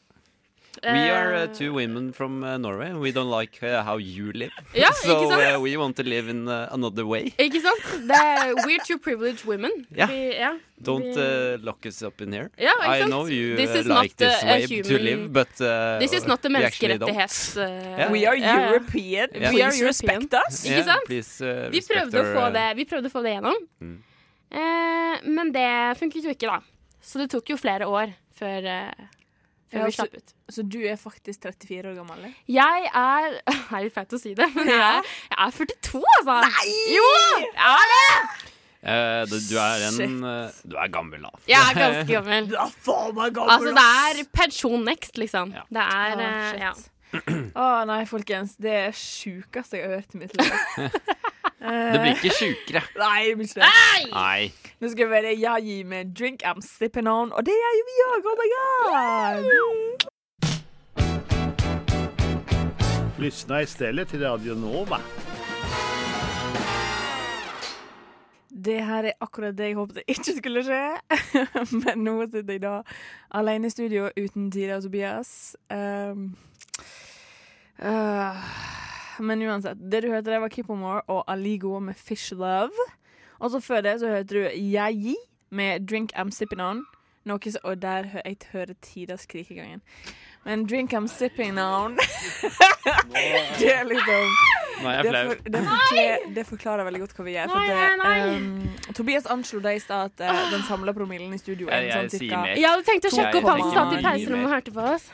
Speaker 3: We are uh,
Speaker 4: Eh,
Speaker 3: two women from uh, Norway. We don't like uh, how you live. *laughs*
Speaker 4: Ja,
Speaker 3: so
Speaker 4: ikke sant?
Speaker 3: uh, we want to live in uh, another way.
Speaker 4: Ikke sant? Det er, we're two privileged women.
Speaker 3: *laughs* Ja.
Speaker 4: Vi, ja.
Speaker 3: Don't
Speaker 4: vi-
Speaker 3: uh, lock us up in here.
Speaker 4: Ja, ikke
Speaker 3: I
Speaker 4: sant?
Speaker 3: know you
Speaker 4: This
Speaker 3: uh,
Speaker 4: is
Speaker 3: like
Speaker 4: not,
Speaker 3: this
Speaker 4: uh, a
Speaker 3: way to
Speaker 4: human-
Speaker 3: live, but uh,
Speaker 4: This is not a
Speaker 3: we actually don't.
Speaker 4: menneskerettighets... eh,
Speaker 3: Ja.
Speaker 2: We are
Speaker 4: ja, ja.
Speaker 2: European.
Speaker 3: Ja.
Speaker 2: Please
Speaker 4: We are
Speaker 2: respect us.
Speaker 4: Ikke
Speaker 3: Yeah,
Speaker 4: sant?
Speaker 3: Please, uh,
Speaker 4: Vi
Speaker 3: respect
Speaker 4: prøvde, å
Speaker 3: our,
Speaker 4: få
Speaker 3: uh,
Speaker 4: det, vi prøvde å få det gjennom,
Speaker 3: Mm.
Speaker 4: eh, men det funket jo ikke, da. Så det tok jo flere år før, eh, før
Speaker 2: Ja, altså,
Speaker 4: vi
Speaker 2: så-
Speaker 4: slapp ut.
Speaker 2: Så du er faktisk 34 år gammel? eller?
Speaker 4: Jeg er *laughs* Det er litt flaut å si det, men jeg er, jeg er 42, altså. Nei! Jo! Jeg er det!
Speaker 3: Eh, du, du er en eh, Du er gammel, da.
Speaker 4: Jeg er ganske gammel.
Speaker 2: *laughs* Du er faen meg gammel,
Speaker 4: Altså, det er pensjon next, liksom.
Speaker 3: Ja.
Speaker 4: Det er
Speaker 2: Å,
Speaker 4: eh,
Speaker 2: shit.
Speaker 4: ja.
Speaker 2: *clears throat* Å nei, folkens. Det er sjukeste jeg har hørt i mitt
Speaker 4: *laughs*
Speaker 2: liv.
Speaker 3: Det blir ikke sjukere.
Speaker 2: Nei, det blir ikke
Speaker 4: Ah!
Speaker 2: det.
Speaker 3: Nei.
Speaker 2: Nå skal jeg være jeg gir meg en drink I'm sipping on, og det gjør jo vi òg! Oh my god!
Speaker 9: Lyssna istället till Radio Nova.
Speaker 2: Det her er akkurat det jeg håpet ikke skulle skje, *laughs* men nå sitter jeg da alene i studio uten Tida og Tobias. Um, øh, men uansett, det du hørte der var Kippomore og Aligo med Fish Love. Og så før det så hørte du Jeg med Drink I'm Sipping On. Noe så, og der hø jeg hører Tida skrike i *laughs* gangen. Men Drink I'm Sipping On Det er liksom
Speaker 3: Nei, jeg er
Speaker 2: Det,
Speaker 3: flau.
Speaker 2: for, det, forkler, det forklarer veldig godt hva vi gjør. For
Speaker 4: Nei,
Speaker 2: det,
Speaker 4: nei, Ah. nei.
Speaker 2: ehm, Tobias anslo det i stad at eh, den samla promillen i studio er
Speaker 3: Jeg, jeg
Speaker 2: sånn
Speaker 3: sier
Speaker 2: cirka
Speaker 3: mer.
Speaker 4: Jeg hadde tenkt å sjekke opp han som satt i
Speaker 3: Nei.
Speaker 4: pauserommet og hørte på oss.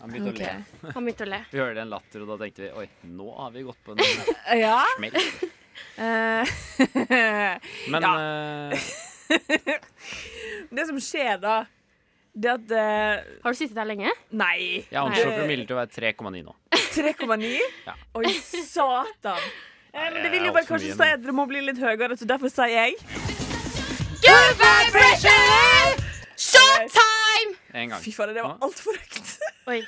Speaker 3: Han begynte å le.
Speaker 4: Han begynte å le.
Speaker 3: Vi hørte en latter, og da tenkte vi oi, nå har vi gått på en
Speaker 2: Ja.
Speaker 4: *laughs*
Speaker 3: smell.
Speaker 2: eh, *laughs*
Speaker 3: Men eh,
Speaker 2: det som skjer da, det at eh,
Speaker 4: Har du sittet der lenge?
Speaker 2: Nei.
Speaker 3: jeg anslår
Speaker 2: Nei.
Speaker 3: promillen til å være 3,9 nå.
Speaker 2: 3,9?
Speaker 3: Ja.
Speaker 2: Oi, satan. Eh, men det vil
Speaker 3: det er
Speaker 2: jo bare
Speaker 3: alt for
Speaker 2: kanskje
Speaker 3: mye
Speaker 2: si
Speaker 3: nå.
Speaker 2: at det må bli litt høyere, så derfor sier jeg
Speaker 4: Good vibration! Showtime!
Speaker 3: En gang.
Speaker 2: Fy fader, det var
Speaker 3: Ja.
Speaker 2: altfor høyt.
Speaker 4: Oi.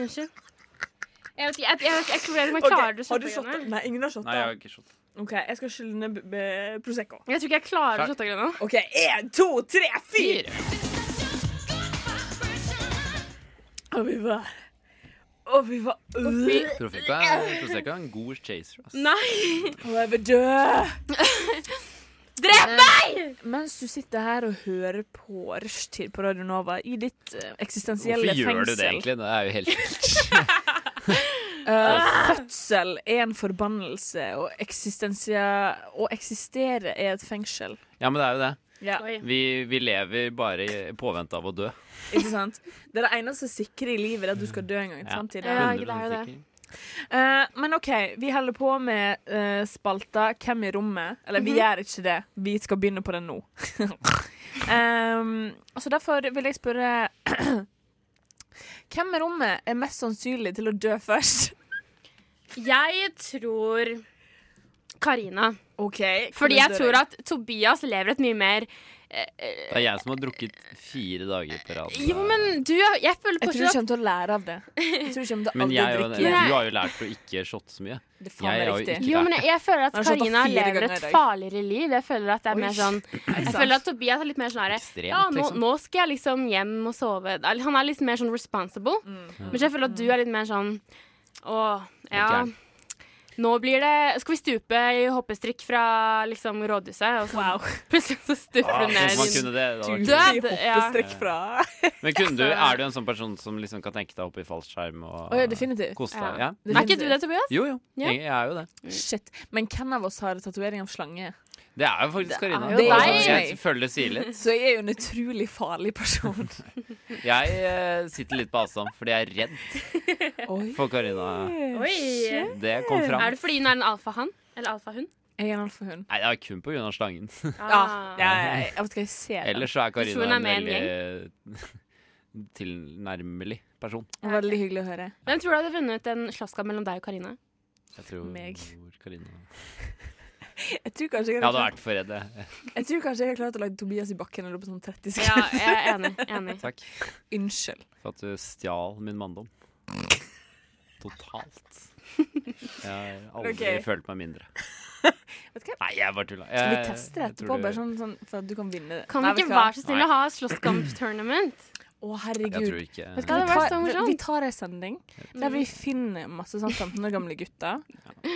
Speaker 4: Unnskyld. Jeg vet ikke, jeg, jeg, jeg klarer man
Speaker 2: Ok,
Speaker 4: klarer det
Speaker 2: har du
Speaker 4: shotta,
Speaker 2: shotta?
Speaker 4: Gunnar.
Speaker 2: Nei, ingen har shotta.
Speaker 3: Nei, jeg har ikke skjønt.
Speaker 2: OK, jeg skal skylle ned b- b- Prosecco.
Speaker 4: Jeg tror ikke jeg klarer shotta, Gunnar.
Speaker 2: OK, én, to, tre, fire! Og vi var Og vi var øh,
Speaker 3: Profeco er, Prosecco er en god chaser. altså. ass.
Speaker 4: Nei!
Speaker 2: Og jeg vil dø!
Speaker 4: *laughs* Drep meg!
Speaker 2: Mens du sitter her og hører på Rushtid på Radio Nova i ditt eh, eksistensielle
Speaker 3: Hvorfor gjør du
Speaker 2: fengsel
Speaker 3: det egentlig? Det er jo helt
Speaker 2: Eh, Fødsel er en forbannelse, og, eksistensia- å eksistere er et fengsel.
Speaker 3: Ja, men det er jo det.
Speaker 2: Ja,
Speaker 4: Oi.
Speaker 3: Vi, vi lever bare i påvente av å dø.
Speaker 2: ikke sant? Det er det eneste sikre i livet, det er at du skal dø en gang.
Speaker 3: Ja.
Speaker 2: samtidig.
Speaker 4: Ja, det er jo
Speaker 3: 100%
Speaker 4: det.
Speaker 3: sikker.
Speaker 2: Eh, men OK, vi holder på med eh, spalta Hvem i rommet? Eller
Speaker 4: Mhm.
Speaker 2: vi gjør ikke det. Vi skal begynne på den nå. *laughs* Ehm, så derfor vil jeg spørre *clears throat* Hvem i rommet er mest sannsynlig til å dø først?
Speaker 4: Jeg tror Karina.
Speaker 2: OK.
Speaker 4: Fordi jeg tror at Tobias lever et mye mer eh, eh,
Speaker 3: Det er jeg som har drukket fire dager på rad.
Speaker 4: Jo, men du Jeg føler
Speaker 2: Jeg tror du
Speaker 4: fortsatt at
Speaker 2: kommer til å lære av det. Jeg tror du kommer til å
Speaker 3: *laughs* Men
Speaker 2: aldri
Speaker 3: jeg, er jo-
Speaker 2: drikke
Speaker 3: du
Speaker 2: igjen.
Speaker 4: Nei.
Speaker 3: har jo lært å ikke shotte så mye.
Speaker 2: Det er faen
Speaker 3: jeg
Speaker 2: meg
Speaker 3: er jo
Speaker 2: riktig.
Speaker 3: ikke-
Speaker 4: jo, men jeg, jeg føler at
Speaker 2: Han har slått av
Speaker 4: Karina
Speaker 2: fire
Speaker 4: lever
Speaker 2: ganger i
Speaker 4: et
Speaker 2: dag.
Speaker 4: farligere liv. Jeg føler at det er
Speaker 2: Oi.
Speaker 4: mer sånn Jeg
Speaker 2: sant.
Speaker 4: føler at Tobias er litt mer sånn herre
Speaker 3: Ekstremt,
Speaker 4: Ja, nå,
Speaker 3: liksom.
Speaker 4: nå skal jeg liksom hjem og sove. Eller, Han er litt mer sånn responsible.
Speaker 2: Mm.
Speaker 4: Mens jeg føler at du er litt mer sånn Å, ja.
Speaker 3: Ok.
Speaker 4: Nå blir det Skal vi stupe i hoppestrikk fra liksom rådhuset? Og så
Speaker 2: *laughs*
Speaker 4: plutselig så stuper
Speaker 3: Ah,
Speaker 4: du
Speaker 3: hvis man
Speaker 4: ned.
Speaker 3: kunne det, det var
Speaker 4: *laughs* Du-
Speaker 3: kult.
Speaker 4: Død,
Speaker 2: Hoppe
Speaker 4: ja.
Speaker 2: strekk fra.
Speaker 3: Men kunne du, er du en sånn person som liksom kan tenke deg å hoppe i fallskjerm og
Speaker 2: Å, ja, definitivt.
Speaker 3: kose deg?
Speaker 4: Ja.
Speaker 3: Ja.
Speaker 4: Er ikke du det, Tobias?
Speaker 3: Jo, jo.
Speaker 4: Ja.
Speaker 3: Jeg, jeg er jo det.
Speaker 2: Shit. Men hvem av oss har tatovering av slange?
Speaker 3: Det er jo faktisk Karina.
Speaker 4: jo deg.
Speaker 3: jeg føler det sier litt.
Speaker 2: Så jeg er jo en utrolig farlig
Speaker 3: *laughs*
Speaker 2: person.
Speaker 3: Jeg eh, sitter litt på avstand fordi jeg er redd
Speaker 2: Oi.
Speaker 3: for Karina.
Speaker 4: Oi.
Speaker 3: Det kom fram.
Speaker 4: Er det fordi hun er en alfahann? Eller alfahund?
Speaker 2: Jeg er en alfahund.
Speaker 3: Nei, det er kun pga. slangen.
Speaker 2: Ja,
Speaker 4: Ah.
Speaker 2: ja, ja, ja. jeg vet ikke, jeg ser den.
Speaker 3: Ellers så er
Speaker 4: tror hun
Speaker 3: Karina
Speaker 4: er
Speaker 3: en
Speaker 4: med i en
Speaker 3: veldig eh, *laughs* tilnærmelig person.
Speaker 2: Det var Veldig hyggelig å høre.
Speaker 4: Hvem tror du hadde vunnet en slåsskamp mellom deg og Karina?
Speaker 3: Jeg tror
Speaker 2: Meg.
Speaker 3: Karina
Speaker 2: Jeg tror kanskje jeg
Speaker 3: Jeg hadde
Speaker 2: hadde,
Speaker 3: vært Eh, for redd, jeg.
Speaker 2: jeg tror kanskje jeg hadde klart å lage Tobias i bakken når du er på sånn 30
Speaker 4: Ja,
Speaker 2: sekunder. *laughs*
Speaker 4: jeg er enig. enig.
Speaker 3: Takk
Speaker 2: Unnskyld.
Speaker 3: for at du stjal min manndom. Totalt. Jeg har aldri
Speaker 2: Ok.
Speaker 3: følt meg mindre.
Speaker 2: *laughs* Vet du hva?
Speaker 3: Nei, jeg bare tulla.
Speaker 2: Skal vi
Speaker 3: Jeg-
Speaker 2: teste det
Speaker 3: jeg tror
Speaker 2: etterpå,
Speaker 3: du-
Speaker 2: bare sånn, sånn for at du kan vinne?
Speaker 4: Kan
Speaker 2: Nei,
Speaker 4: vi
Speaker 2: vet
Speaker 4: ikke
Speaker 2: du hva?
Speaker 4: være så snill å ha slåsskamp-tournament?
Speaker 2: Å,
Speaker 3: Jeg tror
Speaker 2: herregud.
Speaker 3: ikke
Speaker 4: Vet du hva, det var så
Speaker 2: vi, tar, vi
Speaker 4: morsomt.
Speaker 2: tar ei sending der vi finner masse sånn 15 år gamle *laughs* gutter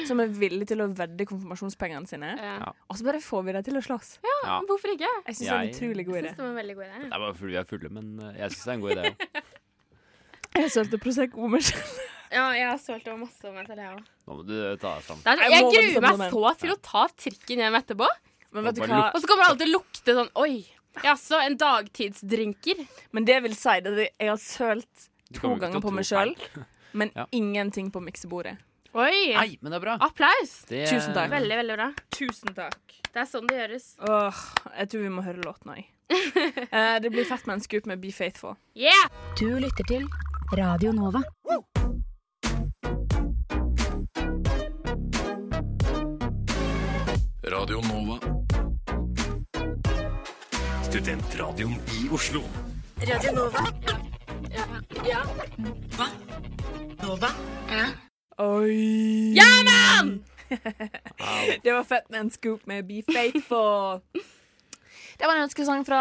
Speaker 2: som er villige til å vedde konfirmasjonspengene sine,
Speaker 4: Ja.
Speaker 2: og så bare får vi dem til å slåss.
Speaker 4: Ja, Mm. Hvorfor ikke? Jeg
Speaker 2: Jeg syns det er en
Speaker 3: Jeg-
Speaker 2: utrolig god
Speaker 4: synes
Speaker 2: idé.
Speaker 4: det var en veldig god idé.
Speaker 3: Det er bare fordi vi er fulle, men eh, jeg syns det er en god idé.
Speaker 2: *laughs*
Speaker 3: også.
Speaker 2: Jeg sølte Prosecco med selv.
Speaker 4: Ja, jeg har sølt over masse om etter det òg.
Speaker 3: Nå må du ta deg sammen.
Speaker 4: Jeg,
Speaker 2: Jeg må
Speaker 4: gruer
Speaker 2: bare
Speaker 4: meg
Speaker 2: samle
Speaker 4: så til å ta trikken hjem etterpå.
Speaker 2: Men vet du
Speaker 3: Bare
Speaker 2: hva?
Speaker 4: Og så kommer det alltid å lukte sånn Oi, jaså, en dagtidsdrinker?
Speaker 2: Men det vil si at jeg har sølt to
Speaker 3: Du kommer ikke til
Speaker 2: ganger
Speaker 3: å
Speaker 2: på
Speaker 3: tro
Speaker 2: meg sjøl, men
Speaker 3: Ja.
Speaker 2: ingenting på miksebordet.
Speaker 4: Oi!
Speaker 3: Nei, men det er bra.
Speaker 4: Applaus!
Speaker 3: Det,
Speaker 2: Ah, Tusen takk.
Speaker 4: Veldig, veldig bra.
Speaker 2: Tusen takk.
Speaker 4: Det er sånn det gjøres.
Speaker 2: Åh, jeg tror vi må høre låten òg. *laughs* det blir fett med en scoop med Be Faithful.
Speaker 4: Yeah!
Speaker 10: Du lytter til Radio Nova.
Speaker 9: Radio Nova. Studentradioen i Oslo.
Speaker 10: Radio Nova.
Speaker 2: Oi!
Speaker 4: Ja, mann!
Speaker 2: *laughs* Det var fett med en scoop med Be Faithful. Det var en ønskesang fra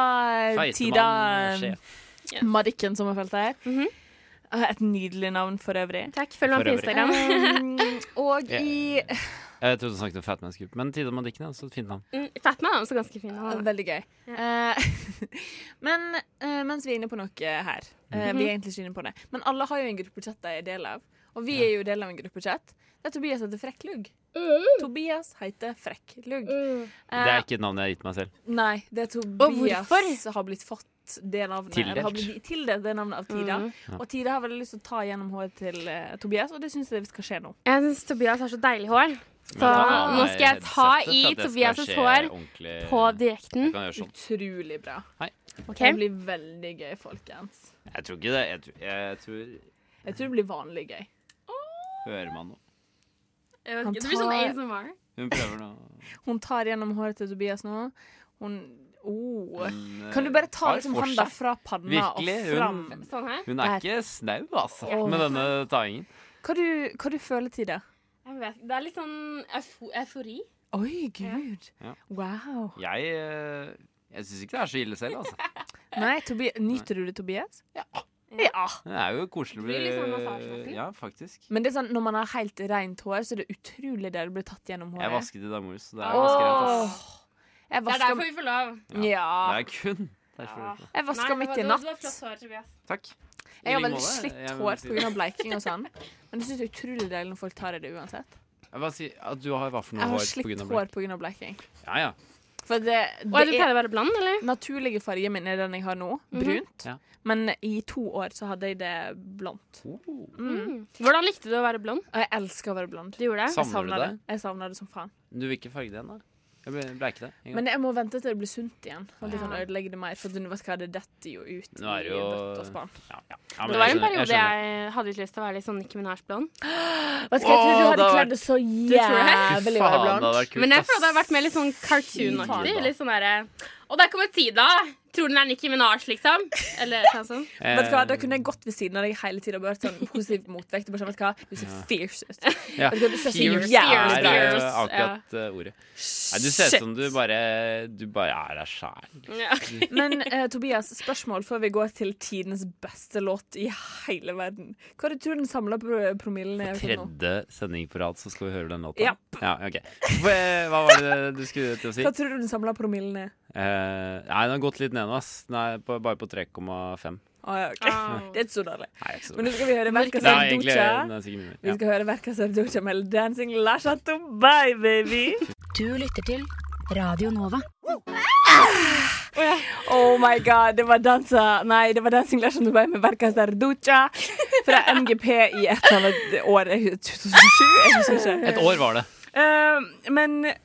Speaker 2: eh,
Speaker 3: Feitemann,
Speaker 2: Tida eh,
Speaker 3: sjef.
Speaker 2: Madikken Sommerfelt her.
Speaker 4: Mhm.
Speaker 2: Eh, Et nydelig navn for øvrig.
Speaker 4: Takk. Følg meg
Speaker 3: For
Speaker 4: på
Speaker 3: øvrig.
Speaker 4: Instagram.
Speaker 2: Um, og i
Speaker 3: Jeg trodde du snakket om Fatman Scoop, men Tida Madikken er også et fint navn.
Speaker 4: Mm, Fatman er også ganske fin.
Speaker 2: Ja,
Speaker 4: Han.
Speaker 2: Veldig gøy. Eh, *laughs* men
Speaker 3: Mhm.
Speaker 2: eh, mens vi er inne på noe her eh, Vi er egentlig ikke inne på det, men alle har jo en gruppechat de er del av. Og vi er jo del av en gruppechat der Tobias heter Frekklugg. Tobias heter Frekklugg.
Speaker 3: Uh.
Speaker 2: Eh,
Speaker 3: Det er ikke et navn jeg har gitt meg selv.
Speaker 2: Nei, det er Tobias
Speaker 4: hvorfor?
Speaker 2: har blitt fått det navnet.
Speaker 3: Tildelt.
Speaker 2: eller Har blitt tildelt det navnet av Tida.
Speaker 4: Mm.
Speaker 3: Ja.
Speaker 2: Og Tida har veldig lyst til å ta gjennom håret til eh, Tobias, og det syns jeg skal skje nå.
Speaker 4: Jeg syns Tobias har så deilig hår.
Speaker 3: Men
Speaker 4: Så
Speaker 3: da har
Speaker 4: nå skal jeg ta
Speaker 3: headsetet for at
Speaker 4: i
Speaker 3: det skal
Speaker 4: Tobias'
Speaker 3: skje
Speaker 4: hår
Speaker 3: ordentlig.
Speaker 4: på direkten.
Speaker 3: Jeg kan gjøre sånn.
Speaker 2: Utrolig bra.
Speaker 3: Hei.
Speaker 4: Ok.
Speaker 2: Det blir veldig gøy, folkens.
Speaker 3: Jeg tror ikke det. Jeg tror, jeg tror
Speaker 2: Jeg tror det blir vanlig gøy.
Speaker 3: Hører man noe?
Speaker 2: Han
Speaker 4: Det blir sånn
Speaker 2: tar-
Speaker 4: ASMR.
Speaker 3: Hun prøver nå.
Speaker 2: Hun tar gjennom håret til Tobias nå. Hun oh.
Speaker 3: Hun, eh,
Speaker 2: Kan du bare ta
Speaker 3: har
Speaker 2: liksom
Speaker 3: for
Speaker 2: hånda
Speaker 3: seg.
Speaker 2: fra panna
Speaker 3: Virkelig,
Speaker 2: og
Speaker 3: hun-
Speaker 2: fram?
Speaker 4: Sånn her.
Speaker 3: Hun er ikke snau, altså,
Speaker 2: Åh.
Speaker 3: med denne taingen.
Speaker 2: Hva du, hva du føler til det?
Speaker 4: Jeg vet, det er litt sånn eufo eufori.
Speaker 2: Oi, gud.
Speaker 3: Ja.
Speaker 2: Wow.
Speaker 3: Jeg, eh, jeg syns ikke det er så ille selv, altså.
Speaker 2: Nei, Tobi Nyter du det, Tobias? Ja. ja.
Speaker 3: Det er jo koselig. å
Speaker 4: Det blir litt sånn
Speaker 3: bli-
Speaker 4: massasjeaktig.
Speaker 3: Ja, faktisk.
Speaker 2: Men det er sånn, når man har helt rent hår, så er det utrolig det å bli tatt gjennom
Speaker 3: Jeg
Speaker 2: håret.
Speaker 3: vasket i dag morges, så det er ganske rent.
Speaker 2: Åh.
Speaker 3: ass.
Speaker 2: Jeg
Speaker 4: Det er
Speaker 2: vasker,
Speaker 4: derfor vi får lov.
Speaker 2: ja.
Speaker 3: Det er kun
Speaker 2: jeg
Speaker 3: derfor.
Speaker 4: Nei,
Speaker 2: vasker
Speaker 4: det var-
Speaker 2: midt i
Speaker 4: det var-
Speaker 2: natt.
Speaker 4: det var flott hår, Tobias.
Speaker 3: Takk. I
Speaker 2: Jeg har
Speaker 3: like
Speaker 2: veldig
Speaker 3: måte.
Speaker 2: slitt
Speaker 3: Jeg vil
Speaker 2: hår
Speaker 3: si det.
Speaker 2: pga. bleiking og
Speaker 3: *laughs*
Speaker 2: sånn. Men jeg syns det er utrolig deilig når folk tar i det uansett.
Speaker 3: Jeg bare sier at du har hva for noe
Speaker 2: Jeg har
Speaker 3: hår på
Speaker 2: slitt
Speaker 3: grunn av
Speaker 2: hår pga. bleiking.
Speaker 3: blikk? Ja, ja.
Speaker 2: For det,
Speaker 4: Og du
Speaker 2: det
Speaker 4: pleier
Speaker 2: er Mhm.
Speaker 4: å være bland, eller?
Speaker 2: naturlige fargen min er den jeg har nå, brunt.
Speaker 3: Ja.
Speaker 2: Men i to år så hadde jeg det blondt.
Speaker 3: Oh,
Speaker 4: Mm. Hvordan likte du å være blond?
Speaker 2: Og jeg elsker å være blond.
Speaker 4: Du gjorde det?
Speaker 3: Savner
Speaker 2: Jeg
Speaker 3: du
Speaker 2: savner det.
Speaker 3: det?
Speaker 2: Jeg savner det som faen.
Speaker 3: Du vil ikke farge den, da? Jeg ble- bleike det. en gang.
Speaker 2: Men jeg må vente til det blir sunt igjen. Og de
Speaker 4: Ja.
Speaker 2: kan ødelegge det mer, for du vet hva, det detter jo ut
Speaker 3: Nå er det
Speaker 2: i
Speaker 3: jo-
Speaker 2: bøtte og spann.
Speaker 3: Ja, ja. Ja, men
Speaker 4: Det var
Speaker 3: jeg
Speaker 4: en
Speaker 3: skjønner, skjønner.
Speaker 4: periode jeg hadde litt lyst til å være litt sånn Nicki Minaj-blond.
Speaker 2: Vet du hva, jeg tror du
Speaker 3: Åh, det
Speaker 2: hadde
Speaker 3: hadde
Speaker 2: kledd det så
Speaker 3: Fy
Speaker 2: jævlig å være
Speaker 3: faen, det hadde
Speaker 2: blond.
Speaker 3: vært kult.
Speaker 4: Men jeg
Speaker 3: ass.
Speaker 4: føler det har vært mer litt sånn
Speaker 3: Fy
Speaker 4: cartoonaktig.
Speaker 3: faen.
Speaker 4: Litt sånn derre Og der kommer Tida! Tror den er Nicki Minaj, liksom. Eller noe sånt.
Speaker 2: Vet du hva, Da
Speaker 3: Eh,
Speaker 2: kunne jeg gått ved siden av deg hele tida og vært sånn positiv motvekt. og Bare sånn, vet Du hva, du ser fierce ut.
Speaker 3: Ja.
Speaker 2: Vet du hva, du ser så jævlig
Speaker 3: Fierce er
Speaker 2: bra ut.
Speaker 3: eh,
Speaker 4: Fierce,
Speaker 3: akkurat eh, ordet. Nei, du ser ut
Speaker 2: Shit.
Speaker 3: som du bare, du bare er deg sjæl.
Speaker 4: Ja.
Speaker 2: Men eh, Tobias, spørsmål før vi går til tidenes beste låt i hele verden. Hva er det du tror den samla pro- promillen er? akkurat nå?
Speaker 3: Tredje sending på rad, så skal vi høre den låta.
Speaker 2: Ja.
Speaker 3: Ja, ok. Hva hva var det du skulle til å si?
Speaker 2: Hva tror du den samla promillen er?
Speaker 3: Eh, nei, den har gått litt ned nå, ass. Den er på, bare på 3,5.
Speaker 2: Ah, ja, ok.
Speaker 4: Ah.
Speaker 2: *laughs* Det er ikke så dårlig.
Speaker 3: Nei, ikke så
Speaker 2: Men nå skal vi høre Verka
Speaker 3: Nei, egentlig
Speaker 2: Serducha.
Speaker 3: den er sikkert mye mer.
Speaker 2: Vi skal høre Verka Serducha med Dancing La Chateau Bye,
Speaker 3: *laughs*
Speaker 2: baby.
Speaker 10: Du lytter til Radio Nova.
Speaker 2: Oh my god, det var dansa Nei, det var Dancing Lash Dubai med Verka Sarducha fra MGP i et eller annet år. Jeg husker- 2007? Jeg husker
Speaker 3: Ja.
Speaker 2: ikke.
Speaker 3: Et år var det.
Speaker 2: Eh, men *sighs*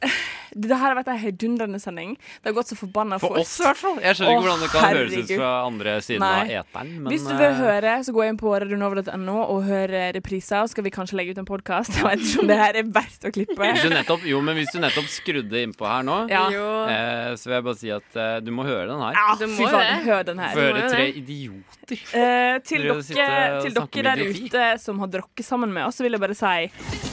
Speaker 2: det her har vært en heidundrende sending. Det har gått så forbanna
Speaker 3: For
Speaker 2: fort.
Speaker 3: oss, i hvert fall. Jeg skjønner ikke
Speaker 2: Å,
Speaker 3: hvordan det kan høres ut
Speaker 2: herregud.
Speaker 3: fra andre siden
Speaker 2: Nei.
Speaker 3: av eteren, men
Speaker 2: Hvis du vil
Speaker 3: eh,
Speaker 2: høre, så gå inn på radionova.no og hør eh, repriser. Og skal vi kanskje legge ut en podkast? *laughs* Jeg vet ikke om det her er verdt å klippe.
Speaker 3: hvis du nettopp, Jo, men hvis du nettopp skrudde innpå her nå,
Speaker 2: Ja.
Speaker 3: eh, så vil jeg bare si at eh, du må høre den her.
Speaker 2: Ja,
Speaker 4: Du
Speaker 2: fy
Speaker 4: må
Speaker 2: faen,
Speaker 4: det.
Speaker 2: hør den her.
Speaker 3: Få
Speaker 4: må
Speaker 3: høre
Speaker 4: jo
Speaker 3: tre
Speaker 4: det.
Speaker 3: idioter.
Speaker 2: Eh, til
Speaker 3: Dere
Speaker 2: dere,
Speaker 3: sitter og
Speaker 2: til
Speaker 3: snakker
Speaker 2: dere
Speaker 3: om
Speaker 2: der
Speaker 3: idioti.
Speaker 2: ute som har drukket sammen med oss, så vil jeg bare si eh,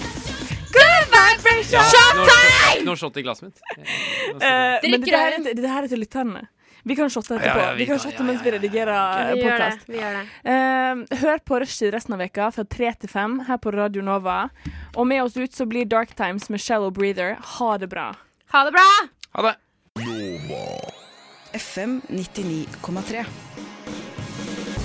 Speaker 3: Ja, nå har jeg shot i glasset mitt. Nå skal jeg-
Speaker 2: Eh, men
Speaker 4: Drikk
Speaker 2: det her,
Speaker 4: rødvin.
Speaker 2: er, det her er til lytterne. Vi kan shotte etterpå.
Speaker 3: Ja, ja, vi
Speaker 2: vi, kan
Speaker 3: kan-
Speaker 2: shotte
Speaker 3: ja,
Speaker 2: mens
Speaker 3: ja,
Speaker 2: vi
Speaker 3: ja, ja.
Speaker 2: redigerer eh,
Speaker 4: Vi gjør det.
Speaker 2: podcast.
Speaker 4: Vi gjør det.
Speaker 2: Eh, hør på Rushtid resten av veka fra tre til fem her på Radio Nova. Og med oss ut så blir Dark Times med Shallow Breather. Ha det bra.
Speaker 4: Ha det bra!
Speaker 3: Ha det.
Speaker 7: FM 99,3.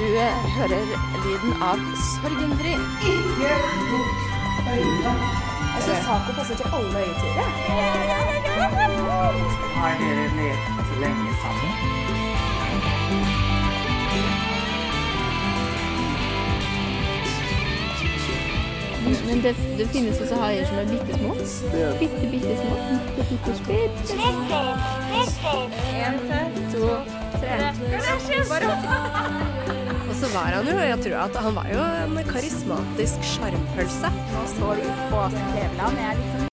Speaker 8: Du eh, hører lyden av sorgenfri. Jeg syns taco passer til alle øyetider. Har dere levd lenge sammen?
Speaker 11: Men det, det finnes også haier som er bitte små. Bitte, bitte små. Bitte, bitte, bitte små. En, to, tre.
Speaker 12: Og så var han jo, jeg tror at han var jo en karismatisk sjarmpølse.
Speaker 13: Nå står du på Kleveland. Jeg er liksom